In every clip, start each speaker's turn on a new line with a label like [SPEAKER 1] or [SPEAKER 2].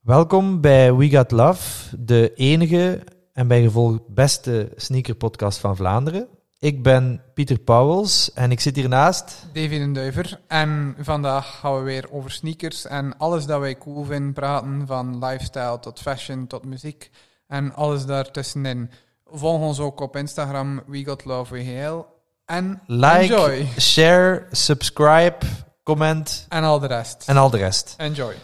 [SPEAKER 1] Welkom bij We Got Love, de enige en bij gevolg beste sneakerpodcast van Vlaanderen. Ik ben Pieter Pauwels en ik zit hiernaast.
[SPEAKER 2] David en Duiver. En vandaag gaan we weer over sneakers en alles dat wij cool vinden praten. Van lifestyle tot fashion tot muziek en alles daartussenin. Volg ons ook op Instagram, We Got Love WGL. En
[SPEAKER 1] Like,
[SPEAKER 2] enjoy.
[SPEAKER 1] share, subscribe, comment
[SPEAKER 2] En al de rest.
[SPEAKER 1] en al de rest.
[SPEAKER 2] Enjoy.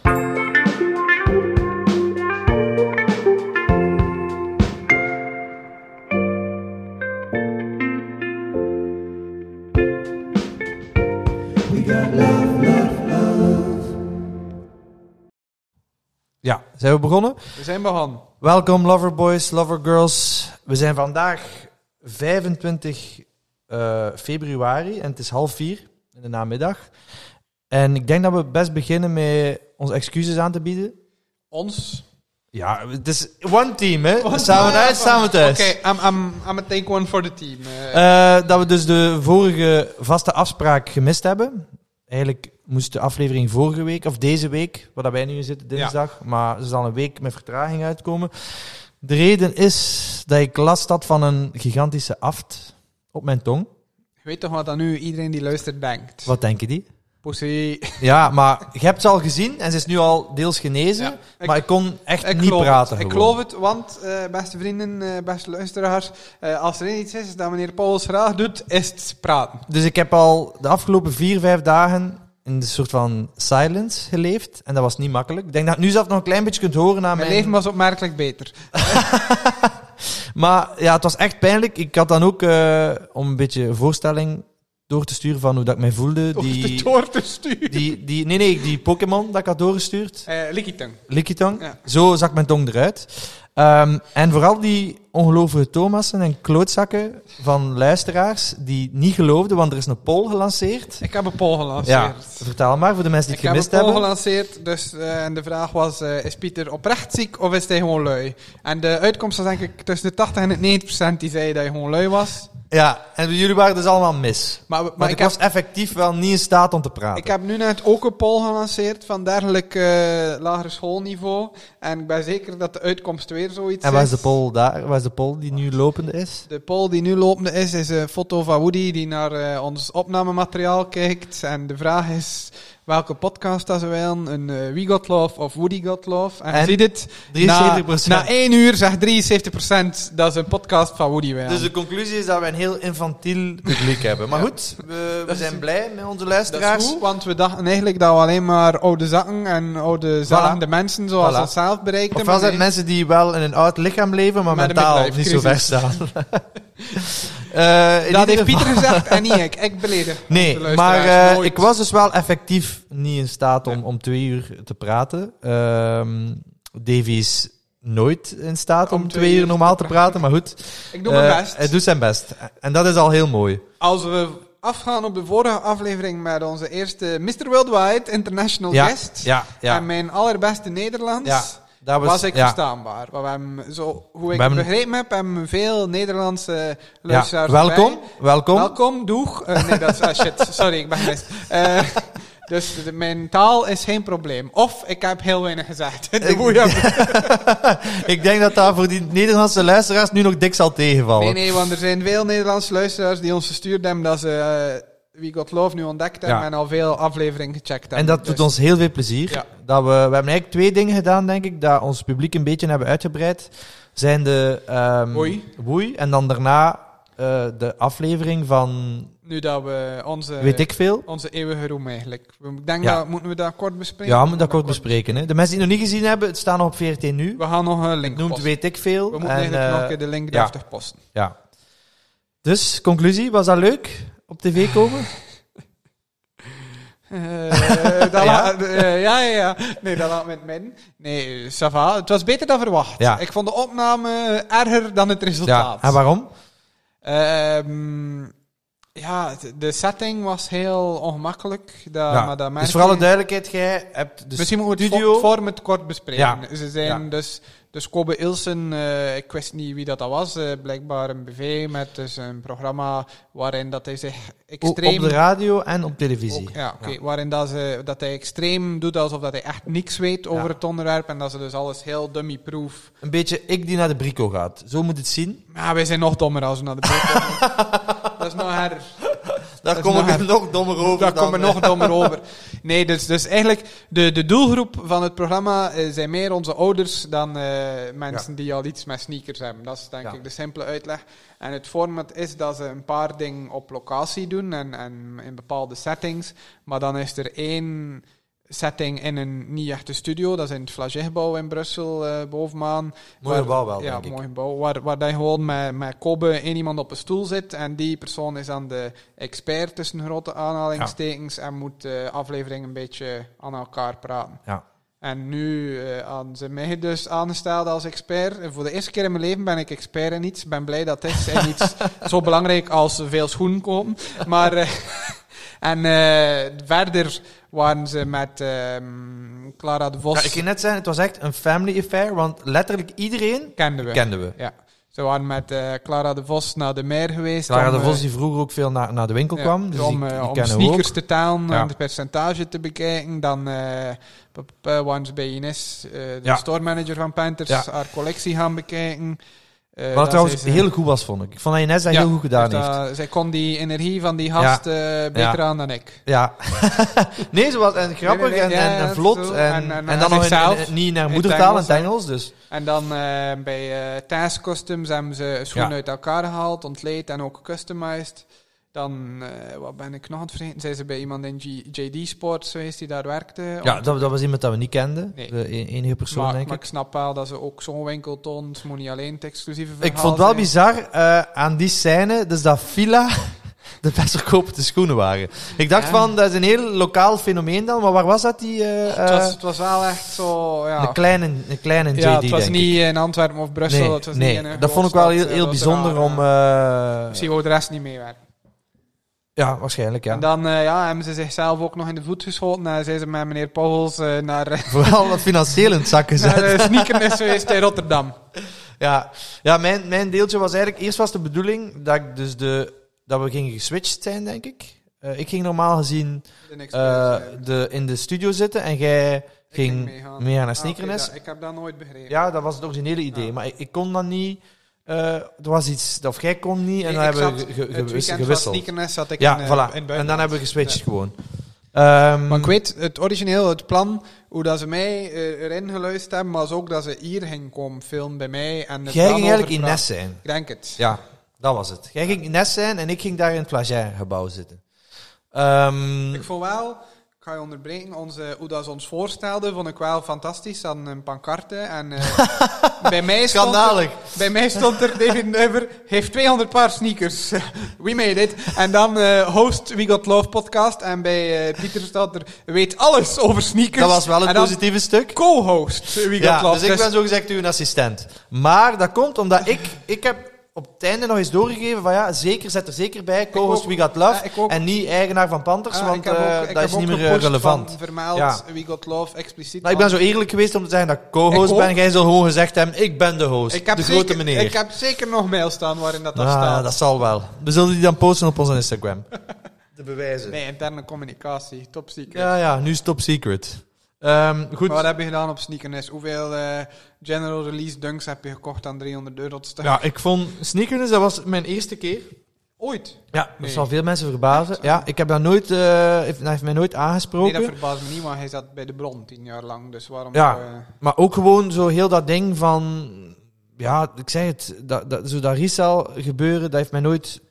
[SPEAKER 1] Ja, zijn we begonnen?
[SPEAKER 2] We zijn begonnen.
[SPEAKER 1] Welkom loverboys, lovergirls. We zijn vandaag 25 eh, februari en het is half vier in de namiddag. En ik denk dat we best beginnen met onze excuses aan te bieden.
[SPEAKER 2] Ons.
[SPEAKER 1] Ja, het is one team, hè?
[SPEAKER 2] One
[SPEAKER 1] samen
[SPEAKER 2] team.
[SPEAKER 1] uit, samen thuis.
[SPEAKER 2] Oké, I'm, I'm, I'm a take one for the team. Eh,
[SPEAKER 1] Eh, dat we dus de vorige vaste afspraak gemist hebben. Eigenlijk moest de aflevering vorige week, of deze week, waar dat wij nu in zitten, dinsdag. Maar ze zal een week met vertraging uitkomen. De reden is dat ik last had van een gigantische aft op mijn tong.
[SPEAKER 2] je weet toch wat dan nu iedereen die luistert denkt?
[SPEAKER 1] Wat denken die?
[SPEAKER 2] Pussy.
[SPEAKER 1] Ja, maar je hebt ze al gezien en ze is nu al deels genezen.
[SPEAKER 2] Ja, ik-
[SPEAKER 1] maar ik kon echt
[SPEAKER 2] Ik
[SPEAKER 1] niet
[SPEAKER 2] geloof
[SPEAKER 1] praten.
[SPEAKER 2] Het. Ik
[SPEAKER 1] gewoon.
[SPEAKER 2] geloof het, want eh, beste vrienden, eh, beste luisteraars, eh, als er iets is dat meneer Pauls graag doet, is het praten.
[SPEAKER 1] Dus ik heb al de afgelopen vier, vijf dagen in een soort van silence geleefd. En dat was niet makkelijk. Ik denk dat je nu zelf nog een klein beetje kunt horen aan
[SPEAKER 2] Mijn
[SPEAKER 1] mijn...
[SPEAKER 2] leven was opmerkelijk beter.
[SPEAKER 1] Maar ja, het was echt pijnlijk. Ik had dan ook, eh, om een beetje een voorstelling door te sturen van hoe dat ik mij voelde...
[SPEAKER 2] Door te-
[SPEAKER 1] Die,
[SPEAKER 2] Door te sturen.
[SPEAKER 1] die, die, nee, nee, die Pokémon dat ik had doorgestuurd.
[SPEAKER 2] Eh Likitang.
[SPEAKER 1] Likitang.
[SPEAKER 2] Ja.
[SPEAKER 1] Zo zak mijn tong eruit. Ehm, en vooral die ongelovige Thomassen en klootzakken van luisteraars die niet geloofden, want er is een poll gelanceerd.
[SPEAKER 2] Ik heb een poll
[SPEAKER 1] Ja,
[SPEAKER 2] gelanceerd.
[SPEAKER 1] vertel maar voor de mensen die
[SPEAKER 2] Ik
[SPEAKER 1] het
[SPEAKER 2] heb
[SPEAKER 1] gemist
[SPEAKER 2] een poll
[SPEAKER 1] hebben.
[SPEAKER 2] gelanceerd, dus eh, en de vraag was, eh, is Pieter oprecht ziek of is hij gewoon lui? En de uitkomst was denk ik tussen de 80 en de 90 procent die zei dat hij gewoon lui was.
[SPEAKER 1] Ja, en jullie waren dus allemaal mis.
[SPEAKER 2] Maar, maar,
[SPEAKER 1] Maar ik,
[SPEAKER 2] ik, heb,
[SPEAKER 1] was effectief wel niet in staat om te praten.
[SPEAKER 2] ik heb nu net ook een poll gelanceerd van dergelijk eh lagere schoolniveau. En ik ben zeker dat de uitkomst weer zoiets
[SPEAKER 1] en waar is
[SPEAKER 2] is.
[SPEAKER 1] de poll daar? Waar is de poll die nu lopende is?
[SPEAKER 2] De poll die nu lopende is, is een foto van Woody die naar eh, ons opnamemateriaal kijkt. En de vraag is welke podcast dat ze willen. Een eh, We Got Love of Woody Got Love. En,
[SPEAKER 1] En?
[SPEAKER 2] zie dit,
[SPEAKER 1] 73%.
[SPEAKER 2] na één uur zegt 73% dat ze een podcast van Woody willen.
[SPEAKER 1] Dus de conclusie is dat we een heel infantiel publiek hebben. Maar goed, we, we zijn blij met onze
[SPEAKER 2] dat is
[SPEAKER 1] luisteraars.
[SPEAKER 2] goed, want we dachten eigenlijk dat we alleen maar oude zakken en oude zalende mensen zoals
[SPEAKER 1] Voilà.
[SPEAKER 2] onszelf bereikten.
[SPEAKER 1] Ofwel
[SPEAKER 2] maar
[SPEAKER 1] zijn
[SPEAKER 2] nee.
[SPEAKER 1] het mensen die wel in een oud lichaam leven, maar
[SPEAKER 2] Met een
[SPEAKER 1] mentaal niet
[SPEAKER 2] midlife
[SPEAKER 1] zo ver
[SPEAKER 2] crisis.
[SPEAKER 1] staan. Eh, in
[SPEAKER 2] Dat
[SPEAKER 1] ieder
[SPEAKER 2] heeft
[SPEAKER 1] geval-
[SPEAKER 2] Pieter gezegd en niet ik. Ik beledig.
[SPEAKER 1] Nee,
[SPEAKER 2] de
[SPEAKER 1] maar
[SPEAKER 2] luisteraars
[SPEAKER 1] eh,
[SPEAKER 2] nooit.
[SPEAKER 1] ik was dus wel effectief niet in staat om,
[SPEAKER 2] Nee.
[SPEAKER 1] om twee uur te praten. Ehm Davy is nooit in staat om, twee uur normaal te praten, maar goed.
[SPEAKER 2] Ik doe mijn
[SPEAKER 1] eh,
[SPEAKER 2] best.
[SPEAKER 1] Hij doet zijn best. En dat is al heel mooi.
[SPEAKER 2] Als we afgaan op de vorige aflevering met onze eerste Mr. Worldwide International
[SPEAKER 1] ja,
[SPEAKER 2] Guest
[SPEAKER 1] ja, ja.
[SPEAKER 2] en mijn allerbeste Nederlands,
[SPEAKER 1] Ja, daar
[SPEAKER 2] was, ik
[SPEAKER 1] ja.
[SPEAKER 2] verstaanbaar. Want we hebben, zo, hoe ik
[SPEAKER 1] We hebben-
[SPEAKER 2] begrepen heb, hebben we veel Nederlandse
[SPEAKER 1] Ja,
[SPEAKER 2] luisteraars
[SPEAKER 1] welkom,
[SPEAKER 2] erbij.
[SPEAKER 1] welkom.
[SPEAKER 2] Welkom, doeg. Eh, nee, dat is... ah, shit, sorry, ik ben gemist. Eh, dus de- mijn taal is geen probleem. Of ik heb heel weinig gezegd. De
[SPEAKER 1] Ik-
[SPEAKER 2] boeien-
[SPEAKER 1] ik denk dat daar voor die Nederlandse luisteraars nu nog dik zal tegenvallen.
[SPEAKER 2] Nee, nee, want er zijn veel Nederlandse luisteraars die ons gestuurd hebben dat ze eh, We Got Love nu ontdekt hebben
[SPEAKER 1] Ja.
[SPEAKER 2] en al veel afleveringen gecheckt hebben.
[SPEAKER 1] En dat
[SPEAKER 2] Dus-
[SPEAKER 1] doet ons heel veel plezier.
[SPEAKER 2] Ja.
[SPEAKER 1] Dat we, we hebben eigenlijk twee dingen gedaan, denk ik, dat ons publiek een beetje hebben uitgebreid. Zijn de ehm
[SPEAKER 2] Woei.
[SPEAKER 1] woei en dan daarna eh, de aflevering van
[SPEAKER 2] Dus Nu dat we onze,
[SPEAKER 1] weet ik veel.
[SPEAKER 2] onze eeuwige roem eigenlijk. We- Ik denk
[SPEAKER 1] Ja.
[SPEAKER 2] dat moeten we dat kort bespreken.
[SPEAKER 1] Ja, we moeten dat kort bespreken. Hè. De mensen die het nog niet gezien hebben, het staan nog op VRT nu.
[SPEAKER 2] We gaan nog een
[SPEAKER 1] Het
[SPEAKER 2] link
[SPEAKER 1] noemt
[SPEAKER 2] posten.
[SPEAKER 1] weet ik veel.
[SPEAKER 2] We moeten
[SPEAKER 1] en,
[SPEAKER 2] eigenlijk nog
[SPEAKER 1] eh,
[SPEAKER 2] een keer de link
[SPEAKER 1] ja.
[SPEAKER 2] driftig posten.
[SPEAKER 1] Ja. Dus, conclusie, was dat leuk? Op tv komen?
[SPEAKER 2] Eh, dat
[SPEAKER 1] Ja?
[SPEAKER 2] la- eh, ja, ja, ja. Nee, dat laat met min. Nee, eh, ça va. Het was beter dan verwacht.
[SPEAKER 1] Ja.
[SPEAKER 2] Ik vond de opname erger dan het
[SPEAKER 1] ja.
[SPEAKER 2] resultaat.
[SPEAKER 1] En waarom?
[SPEAKER 2] Ehm, ja, de- de setting was heel ongemakkelijk. Dat,
[SPEAKER 1] ja.
[SPEAKER 2] maar dat merk
[SPEAKER 1] dus voor alle
[SPEAKER 2] je-
[SPEAKER 1] duidelijkheid, jij hebt de
[SPEAKER 2] Misschien moeten we het
[SPEAKER 1] dus studio...
[SPEAKER 2] vo- vorm het kort bespreken.
[SPEAKER 1] Ja.
[SPEAKER 2] Ze zijn
[SPEAKER 1] Ja.
[SPEAKER 2] dus Dus Kobe Ilsen, eh, ik wist niet wie dat, dat was, eh, blijkbaar een BV met dus een programma waarin dat hij zich
[SPEAKER 1] O-
[SPEAKER 2] extreem...
[SPEAKER 1] Op de radio en op televisie.
[SPEAKER 2] Ook, ja, oké. Waarin dat, ze, dat hij extreem doet alsof dat hij echt niks weet over
[SPEAKER 1] Ja.
[SPEAKER 2] het onderwerp en dat ze dus alles heel dummy-proof.
[SPEAKER 1] Een beetje ik die naar de brico gaat. Zo moet het zien.
[SPEAKER 2] Maar wij zijn nog dommer als we naar de beeld gaan. Dat is nog harder. Dat
[SPEAKER 1] Daar
[SPEAKER 2] is
[SPEAKER 1] kom
[SPEAKER 2] nog
[SPEAKER 1] ik er
[SPEAKER 2] erg.
[SPEAKER 1] nog dommer over
[SPEAKER 2] Daar
[SPEAKER 1] dan,
[SPEAKER 2] komen we
[SPEAKER 1] eh,
[SPEAKER 2] nog dommer over. Nee, dus, dus eigenlijk, de, de doelgroep van het programma eh, zijn meer onze ouders dan eh, mensen die al iets met sneakers hebben. Dat is denk
[SPEAKER 1] Ja.
[SPEAKER 2] ik de simpele uitleg. En het format is dat ze een paar dingen op locatie doen en, en in bepaalde settings. Maar dan is er één setting in een niet echte studio. Dat is in het Flagey-gebouw in Brussel, eh, bovenaan.
[SPEAKER 1] Mooi
[SPEAKER 2] Waar-
[SPEAKER 1] gebouw wel,
[SPEAKER 2] ja,
[SPEAKER 1] denk ik.
[SPEAKER 2] mooi gebouw. Waar, waar dat je gewoon met, met kobben één iemand op een stoel zit. En die persoon is dan de expert tussen grote aanhalingstekens. En moet de aflevering een beetje aan elkaar praten.
[SPEAKER 1] Ja.
[SPEAKER 2] En nu eh, aan ze mij dus aangesteld als expert. En voor de eerste keer in mijn leven ben ik expert in iets. Ik ben blij dat het is. En iets zo belangrijk als veel schoenen kopen. Maar... eh, en eh, verder waren ze met ehm, Clara de Vos...
[SPEAKER 1] Ja, ik ging net zeggen, het was echt een family affair, want letterlijk iedereen
[SPEAKER 2] kenden we.
[SPEAKER 1] kenden we.
[SPEAKER 2] Ja. Ze waren met eh, Clara de Vos naar de meer geweest.
[SPEAKER 1] Clara
[SPEAKER 2] om,
[SPEAKER 1] de
[SPEAKER 2] eh,
[SPEAKER 1] Vos die vroeger ook veel naar, naar de winkel
[SPEAKER 2] ja,
[SPEAKER 1] kwam, dus
[SPEAKER 2] om,
[SPEAKER 1] die,
[SPEAKER 2] eh,
[SPEAKER 1] die
[SPEAKER 2] om
[SPEAKER 1] kennen we
[SPEAKER 2] sneakers
[SPEAKER 1] ook.
[SPEAKER 2] te talen,
[SPEAKER 1] Ja.
[SPEAKER 2] om de percentage te bekijken. Dan eh, p- p- waren ze bij Ines, eh, de
[SPEAKER 1] Ja.
[SPEAKER 2] store manager van Panthers,
[SPEAKER 1] Ja,
[SPEAKER 2] haar collectie gaan bekijken. Eh,
[SPEAKER 1] Wat
[SPEAKER 2] dan
[SPEAKER 1] het trouwens
[SPEAKER 2] zei ze-
[SPEAKER 1] heel goed was, vond ik. Ik vond dat Ines dat
[SPEAKER 2] Ja,
[SPEAKER 1] heel goed gedaan
[SPEAKER 2] dus
[SPEAKER 1] heeft.
[SPEAKER 2] dat- zij kon die energie van die gast eh, beter
[SPEAKER 1] Ja.
[SPEAKER 2] aan dan ik.
[SPEAKER 1] Ja. nee, ze was en grappig
[SPEAKER 2] Nee, nee, nee,
[SPEAKER 1] en, en,
[SPEAKER 2] ja,
[SPEAKER 1] en vlot
[SPEAKER 2] zo.
[SPEAKER 1] en, en,
[SPEAKER 2] En- en-
[SPEAKER 1] dan
[SPEAKER 2] en
[SPEAKER 1] nog in,
[SPEAKER 2] zichzelf.
[SPEAKER 1] in- niet naar
[SPEAKER 2] In
[SPEAKER 1] moedertaal, in het Engels,
[SPEAKER 2] Engels,
[SPEAKER 1] dus.
[SPEAKER 2] En dan eh, bij eh Task Customs hebben ze schoenen
[SPEAKER 1] Ja.
[SPEAKER 2] uit elkaar gehaald, ontleed en ook customized. Dan, eh, wat ben ik nog aan het vergeten? Zijn ze bij iemand in G- JD Sports geweest die daar werkte?
[SPEAKER 1] Ja, dat, dat was iemand dat we niet kenden.
[SPEAKER 2] Nee.
[SPEAKER 1] De e- enige persoon,
[SPEAKER 2] maar,
[SPEAKER 1] denk ik.
[SPEAKER 2] maar ik snap wel dat ze ook zo'n winkel toont. Het moet niet alleen het exclusieve verhaal
[SPEAKER 1] Ik vond wel
[SPEAKER 2] zijn.
[SPEAKER 1] bizar eh, aan die scène, dus dat Fila de best verkopende schoenen waren. Ik dacht
[SPEAKER 2] Ja.
[SPEAKER 1] van, dat is een heel lokaal fenomeen dan, maar waar was dat die... eh,
[SPEAKER 2] Het was,
[SPEAKER 1] eh,
[SPEAKER 2] het was wel echt zo... Ja,
[SPEAKER 1] een kleine, een kleine JD,
[SPEAKER 2] ja het was
[SPEAKER 1] denk ik.
[SPEAKER 2] niet in Antwerpen of Brussel.
[SPEAKER 1] nee,
[SPEAKER 2] het was
[SPEAKER 1] nee.
[SPEAKER 2] niet in een
[SPEAKER 1] dat vond ik
[SPEAKER 2] grootstad,
[SPEAKER 1] wel heel,
[SPEAKER 2] eh,
[SPEAKER 1] heel
[SPEAKER 2] dat was
[SPEAKER 1] bijzonder
[SPEAKER 2] raar,
[SPEAKER 1] om...
[SPEAKER 2] ja.
[SPEAKER 1] eh,
[SPEAKER 2] Ik zie hoe de rest niet meewerkt.
[SPEAKER 1] ja, waarschijnlijk, ja.
[SPEAKER 2] En dan eh, ja, hebben ze zichzelf ook nog in de voet geschoten. En zijn ze met meneer Pauwels eh, naar,
[SPEAKER 1] Vooral wat financieel in het zak gezet.
[SPEAKER 2] naar eh, Sneakernis geweest in Rotterdam.
[SPEAKER 1] Ja, ja mijn, mijn deeltje was eigenlijk... Eerst was de bedoeling dat, ik dus de, dat we gingen geswitcht zijn, denk ik. Eh, ik ging normaal gezien
[SPEAKER 2] De next
[SPEAKER 1] eh,
[SPEAKER 2] place, eh.
[SPEAKER 1] de, in de studio zitten en jij ging,
[SPEAKER 2] ging
[SPEAKER 1] mee,
[SPEAKER 2] meegaan.
[SPEAKER 1] naar
[SPEAKER 2] Ah, oké,
[SPEAKER 1] Sneakernest.
[SPEAKER 2] dat- ik heb dat nooit begrepen.
[SPEAKER 1] Ja, dat was het originele idee,
[SPEAKER 2] Ja.
[SPEAKER 1] maar ik, ik kon dat niet... eh, er was iets, of jij kon niet, en dan
[SPEAKER 2] Nee, ik
[SPEAKER 1] hebben we
[SPEAKER 2] zat-
[SPEAKER 1] ge- ge-
[SPEAKER 2] het
[SPEAKER 1] gewis-
[SPEAKER 2] weekend van
[SPEAKER 1] gewisseld.
[SPEAKER 2] Sneakernest zat ik
[SPEAKER 1] ja,
[SPEAKER 2] in, eh,
[SPEAKER 1] voilà.
[SPEAKER 2] in
[SPEAKER 1] en
[SPEAKER 2] Buitenland.
[SPEAKER 1] dan hebben we geswitcht
[SPEAKER 2] Ja.
[SPEAKER 1] gewoon. Ehm,
[SPEAKER 2] Maar ik weet, het origineel, het plan, hoe dat ze mij eh, erin geluisterd hebben, was ook dat ze hier ging komen filmen bij mij. En het
[SPEAKER 1] jij
[SPEAKER 2] dan
[SPEAKER 1] ging eigenlijk
[SPEAKER 2] overvragen.
[SPEAKER 1] Ines zijn.
[SPEAKER 2] Ik denk het.
[SPEAKER 1] Ja, dat was het. Jij ging Ines zijn en ik ging daar in het Plagiair-gebouw zitten. Ehm,
[SPEAKER 2] Ik vond wel, ik ga je onderbreken, onze, hoe dat ze ons voorstelden, vond ik wel fantastisch. aan een pancarte en eh, bij, mij stond er,
[SPEAKER 1] Schandalig.
[SPEAKER 2] bij mij stond er David Neuber, heeft 200 paar sneakers. We made it. En dan eh, host We Got Love podcast. En bij eh, Pieter staat er, weet alles over sneakers.
[SPEAKER 1] Dat was wel
[SPEAKER 2] en
[SPEAKER 1] het
[SPEAKER 2] dan
[SPEAKER 1] positieve stuk.
[SPEAKER 2] co-host We Got
[SPEAKER 1] Ja,
[SPEAKER 2] Love.
[SPEAKER 1] dus ik ben zogezegd uw assistent. Maar dat komt omdat ik, ik heb op het einde nog eens doorgegeven van ja, zeker, zet er zeker bij, co-host
[SPEAKER 2] ook.
[SPEAKER 1] We Got Love.
[SPEAKER 2] Ja, ik ook.
[SPEAKER 1] en niet eigenaar van Panthers,
[SPEAKER 2] Ah,
[SPEAKER 1] want
[SPEAKER 2] ik heb ook-
[SPEAKER 1] eh,
[SPEAKER 2] ik
[SPEAKER 1] dat
[SPEAKER 2] heb
[SPEAKER 1] is
[SPEAKER 2] ook
[SPEAKER 1] niet meer eh,
[SPEAKER 2] gepost
[SPEAKER 1] relevant.
[SPEAKER 2] Van vermeld
[SPEAKER 1] Ja.
[SPEAKER 2] We Got Love expliciet.
[SPEAKER 1] Maar ik ben zo
[SPEAKER 2] want
[SPEAKER 1] eerlijk geweest om te zeggen dat ik
[SPEAKER 2] Ik
[SPEAKER 1] co-host
[SPEAKER 2] ook.
[SPEAKER 1] ben. Jij zou gewoon gezegd hebben, ik ben de host,
[SPEAKER 2] ik heb
[SPEAKER 1] de
[SPEAKER 2] zeker,
[SPEAKER 1] grote meneer.
[SPEAKER 2] Ik heb zeker nog mail staan waarin dat, dat
[SPEAKER 1] Ah,
[SPEAKER 2] staat.
[SPEAKER 1] dat zal wel. We zullen die dan posten op onze Instagram. De bewijzen.
[SPEAKER 2] Nee, interne communicatie, top secret.
[SPEAKER 1] Ja, ja, nu is top secret. Ehm, goed.
[SPEAKER 2] Maar wat heb je gedaan op Sneakerness? Hoeveel eh, general release dunks heb je gekocht aan 300 euro te staan?
[SPEAKER 1] Ja, ik vond sneakers, dat was mijn eerste keer.
[SPEAKER 2] Ooit?
[SPEAKER 1] Ja, dat
[SPEAKER 2] Nee.
[SPEAKER 1] zal veel mensen verbazen. Ja, ik heb dat nooit, eh, heeft, dat heeft mij nooit
[SPEAKER 2] Nee,
[SPEAKER 1] aangesproken.
[SPEAKER 2] dat verbaast me niet, maar hij zat bij de bron tien jaar lang. Dus waarom...
[SPEAKER 1] Ja.
[SPEAKER 2] zou, eh,
[SPEAKER 1] Maar ook gewoon zo heel dat ding van, ja, ik zeg het, dat, dat, zo dat resell gebeuren, dat heeft mij nooit,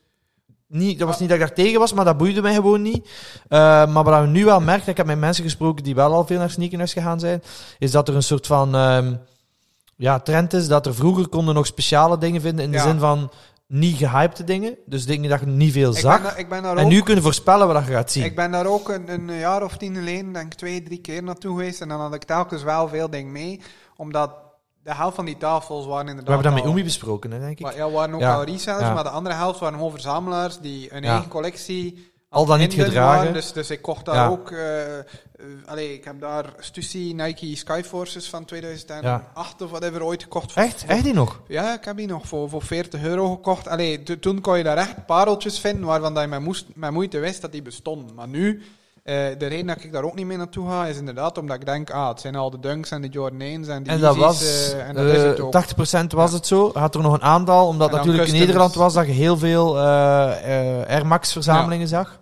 [SPEAKER 1] niet, dat was niet dat ik daar tegen was, maar dat boeide mij gewoon niet. Eh, maar wat we nu wel merken, ik heb met mensen gesproken die wel al veel naar sneakers gegaan zijn, is dat er een soort van, ehm, ja, trend is dat er vroeger konden nog speciale dingen vinden in de
[SPEAKER 2] Ja.
[SPEAKER 1] zin van niet gehypte dingen, dus dingen dat je niet veel
[SPEAKER 2] ik,
[SPEAKER 1] zag.
[SPEAKER 2] ben, daar- ik ben daar
[SPEAKER 1] En
[SPEAKER 2] ook...
[SPEAKER 1] nu kunnen voorspellen wat je gaat zien.
[SPEAKER 2] Ik ben daar ook een, een jaar of tien geleden, denk ik, twee, drie keer naartoe geweest. En dan had ik telkens wel veel dingen mee. Omdat de helft van die tafels waren inderdaad...
[SPEAKER 1] We hebben dat
[SPEAKER 2] al-
[SPEAKER 1] met Oemi besproken, hè, denk ik.
[SPEAKER 2] Maar ja, waren ook
[SPEAKER 1] Ja.
[SPEAKER 2] al resellers,
[SPEAKER 1] Ja.
[SPEAKER 2] maar de andere helft waren gewoon verzamelaars die een
[SPEAKER 1] Ja.
[SPEAKER 2] eigen collectie
[SPEAKER 1] Al dan niet
[SPEAKER 2] in ben
[SPEAKER 1] gedragen.
[SPEAKER 2] waren, Dus, dus ik kocht daar
[SPEAKER 1] Ja.
[SPEAKER 2] ook. eh, eh, allee, ik heb daar Stussy Nike Skyforces van 2008 of whatever ooit gekocht. voor-
[SPEAKER 1] Echt? Echt die nog?
[SPEAKER 2] Ja, ik heb die nog voor, voor 40 euro gekocht. Allee, to- toen kon je daar echt pareltjes vinden waarvan dat je met, moest, met moeite wist dat die bestonden. Maar nu, eh, de reden dat ik daar ook niet mee naartoe ga, is inderdaad omdat ik denk, ah, het zijn al de Dunks en de Jordan 1's en die
[SPEAKER 1] En dat
[SPEAKER 2] Yeezys,
[SPEAKER 1] was,
[SPEAKER 2] eh, en dat is het
[SPEAKER 1] eh,
[SPEAKER 2] ook.
[SPEAKER 1] 80% was het zo. Had er nog een aantal, omdat
[SPEAKER 2] En dan
[SPEAKER 1] natuurlijk in
[SPEAKER 2] customs.
[SPEAKER 1] Nederland was dat je heel veel eh, eh, Air Max verzamelingen zag.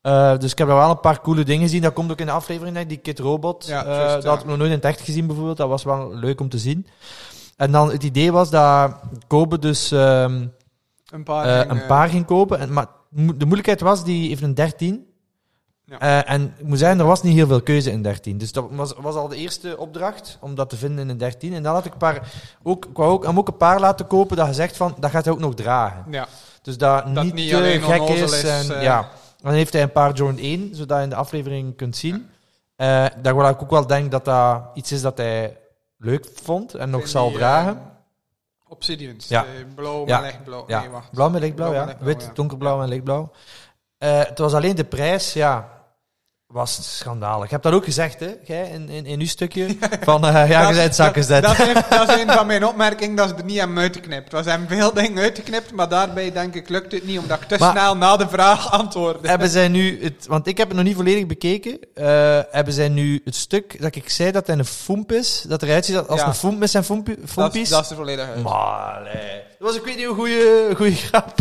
[SPEAKER 1] Eh, dus ik heb daar wel een paar coole dingen gezien. Dat komt ook in de aflevering, denk ik, die Kid Robot.
[SPEAKER 2] Ja,
[SPEAKER 1] Eh,
[SPEAKER 2] juist,
[SPEAKER 1] dat
[SPEAKER 2] ja.
[SPEAKER 1] had ik nog nooit in het echt gezien, bijvoorbeeld. Dat was wel leuk om te zien. En dan het idee was dat Kobe dus ehm,
[SPEAKER 2] Een paar.
[SPEAKER 1] eh,
[SPEAKER 2] en,
[SPEAKER 1] een
[SPEAKER 2] eh,
[SPEAKER 1] paar ging kopen. En, maar mo- de moeilijkheid was, die heeft een 13.
[SPEAKER 2] Ja.
[SPEAKER 1] Eh, en ik moet zeggen, er was niet heel veel keuze in 13. Dus dat was, was al de eerste opdracht, om dat te vinden in een 13. En dan had ik, een paar, ook, ik wou ook, hem ook een paar laten kopen dat gezegd van, dat gaat hij ook nog dragen.
[SPEAKER 2] Ja,
[SPEAKER 1] Dus dat,
[SPEAKER 2] Dat
[SPEAKER 1] niet,
[SPEAKER 2] niet
[SPEAKER 1] te
[SPEAKER 2] alleen
[SPEAKER 1] gek
[SPEAKER 2] onnozel
[SPEAKER 1] is.
[SPEAKER 2] is,
[SPEAKER 1] En,
[SPEAKER 2] eh.
[SPEAKER 1] ja. Dan heeft hij een paar Jordan 1, zodat je in de aflevering kunt zien. Eh dat waar ik ook wel denk dat dat iets is dat hij leuk vond en nog
[SPEAKER 2] Vind
[SPEAKER 1] zal
[SPEAKER 2] die,
[SPEAKER 1] dragen.
[SPEAKER 2] eh, Obsidians.
[SPEAKER 1] Ja.
[SPEAKER 2] Ja. blauw,
[SPEAKER 1] Ja.
[SPEAKER 2] maar echt blauw.
[SPEAKER 1] Ja.
[SPEAKER 2] Oh, Nee, wacht.
[SPEAKER 1] Blauw met lichtblauw, ja.
[SPEAKER 2] Blauw met lichtblauw,
[SPEAKER 1] Wit,
[SPEAKER 2] ja.
[SPEAKER 1] donkerblauw en lichtblauw. Eh, het was alleen de prijs, ja, was schandalig. Je hebt dat ook gezegd, hè, jij, in, in, in uw stukje. Van, eh, ja, je
[SPEAKER 2] Dat-
[SPEAKER 1] bent zakken
[SPEAKER 2] Dat, dat, is een, dat is een van mijn opmerkingen dat ze er niet aan uitgeknipt. Er zijn veel dingen uitgeknipt, maar daarbij denk ik lukt het niet, omdat ik te
[SPEAKER 1] Maar-
[SPEAKER 2] snel na de vraag antwoordde.
[SPEAKER 1] Hebben zij nu het, want ik heb het nog niet volledig bekeken. eh, hebben zij nu het stuk dat ik zei dat hij een foemp is, dat eruit ziet als
[SPEAKER 2] Ja.
[SPEAKER 1] een foemp met zijn foempie-
[SPEAKER 2] Dat, is-
[SPEAKER 1] foempies?
[SPEAKER 2] dat is er volledig uit.
[SPEAKER 1] Maar, allee. Dat was ook weer een goede, goede grap.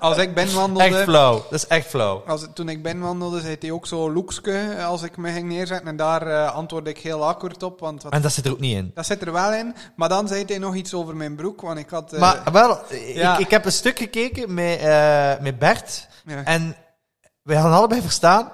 [SPEAKER 2] Als ik ben
[SPEAKER 1] Echt
[SPEAKER 2] wandelde,
[SPEAKER 1] flauw. Dat is echt flauw.
[SPEAKER 2] als, toen ik ben wandelde, zei hij ook zo loekske eh, als ik me ging neerzetten. En daar eh, antwoordde ik heel akkoord op, want wat-
[SPEAKER 1] En dat zit er ook niet in.
[SPEAKER 2] dat zit er wel in. Maar dan zei hij nog iets over mijn broek, want ik had... eh,
[SPEAKER 1] Maar wel, ik-
[SPEAKER 2] ja.
[SPEAKER 1] ik, heb een stuk gekeken met, eh, met Bert.
[SPEAKER 2] ja.
[SPEAKER 1] En wij hadden allebei verstaan.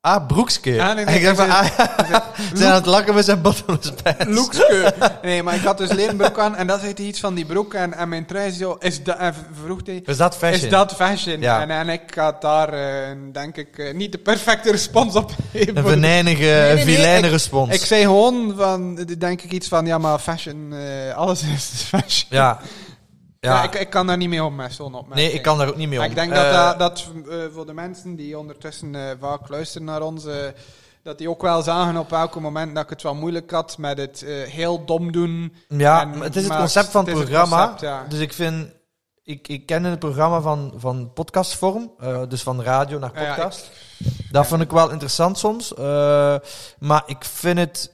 [SPEAKER 1] Ah, broekske.
[SPEAKER 2] Ah, nee, nee,
[SPEAKER 1] en ik dacht van,
[SPEAKER 2] nee,
[SPEAKER 1] ah, ze zijn aan het lakken met zijn bottomless pants.
[SPEAKER 2] Loekske. Nee, maar ik had dus leenbroek aan en dat zei hij iets van die broek. En, en mijn trui zo, is dat, en vroeg hij,
[SPEAKER 1] Is dat fashion?
[SPEAKER 2] is dat fashion?
[SPEAKER 1] Ja.
[SPEAKER 2] En, en ik had daar, eh, denk ik, eh, niet de perfecte respons op gegeven.
[SPEAKER 1] Een venijnige,
[SPEAKER 2] nee, nee,
[SPEAKER 1] vilijne
[SPEAKER 2] ik-
[SPEAKER 1] respons.
[SPEAKER 2] Ik zei gewoon van, eh, denk ik iets van, ja maar fashion, eh, alles is fashion.
[SPEAKER 1] ja.
[SPEAKER 2] Ja.
[SPEAKER 1] ja.
[SPEAKER 2] ik, ik kan daar niet mee om eh, met zo'n opmerking.
[SPEAKER 1] nee, ik kan daar ook niet mee
[SPEAKER 2] Maar
[SPEAKER 1] om.
[SPEAKER 2] ik denk
[SPEAKER 1] Eh,
[SPEAKER 2] dat, dat, dat eh, voor de mensen die ondertussen eh, vaak luisteren naar ons, eh, dat die ook wel zagen op welk moment dat ik het wel moeilijk had met het eh, heel dom doen.
[SPEAKER 1] ja,
[SPEAKER 2] en-
[SPEAKER 1] maar het is het
[SPEAKER 2] maar
[SPEAKER 1] concept van het,
[SPEAKER 2] het is het
[SPEAKER 1] programma.
[SPEAKER 2] concept, ja.
[SPEAKER 1] Dus ik vind... Ik, ik ken het programma van, van podcastvorm, eh, dus van radio naar
[SPEAKER 2] Ja, ja, ik-
[SPEAKER 1] podcast. Dat vond ik wel interessant soms. eh, maar ik vind het.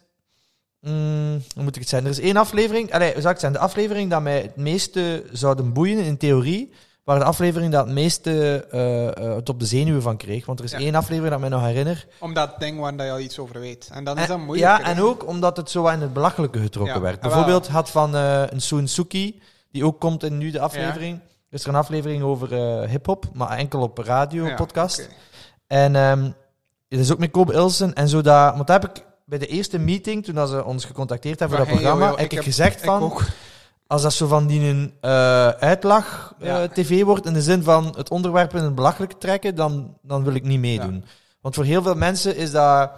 [SPEAKER 1] mm, hoe moet ik het zeggen? Er is één aflevering. Allee, hoe zou ik het zeggen? De aflevering dat mij het meeste zouden boeien in theorie. Waar de aflevering dat het meeste eh, eh, het op de zenuwen van kreeg. Want er is
[SPEAKER 2] Ja.
[SPEAKER 1] één aflevering dat mij nog herinner.
[SPEAKER 2] Om dat ding waar dat je al iets over weet. En dan is dat
[SPEAKER 1] Dus- En-
[SPEAKER 2] moeilijk.
[SPEAKER 1] ja, en ook omdat het zo wat in het belachelijke getrokken
[SPEAKER 2] Ja,
[SPEAKER 1] werd.
[SPEAKER 2] ah, wel.
[SPEAKER 1] Bijvoorbeeld had van eh, een Soensuki, die ook komt in nu de aflevering. Is er een aflevering over eh hip-hop, maar enkel op radio, podcast. En ehm het is ook met Kobe Ilsen en zo dat... Want daar heb ik bij de eerste meeting, toen dat ze ons gecontacteerd hebben voor
[SPEAKER 2] Van,
[SPEAKER 1] dat
[SPEAKER 2] hey,
[SPEAKER 1] programma,
[SPEAKER 2] joh, joh,
[SPEAKER 1] heb
[SPEAKER 2] ik
[SPEAKER 1] ik
[SPEAKER 2] heb-
[SPEAKER 1] gezegd van...
[SPEAKER 2] ook.
[SPEAKER 1] Als dat zo van die een eh, uitlag eh,
[SPEAKER 2] Ja.
[SPEAKER 1] tv wordt, in de zin van het onderwerp in het belachelijk trekken, dan, dan wil ik niet meedoen. Want voor heel veel mensen is dat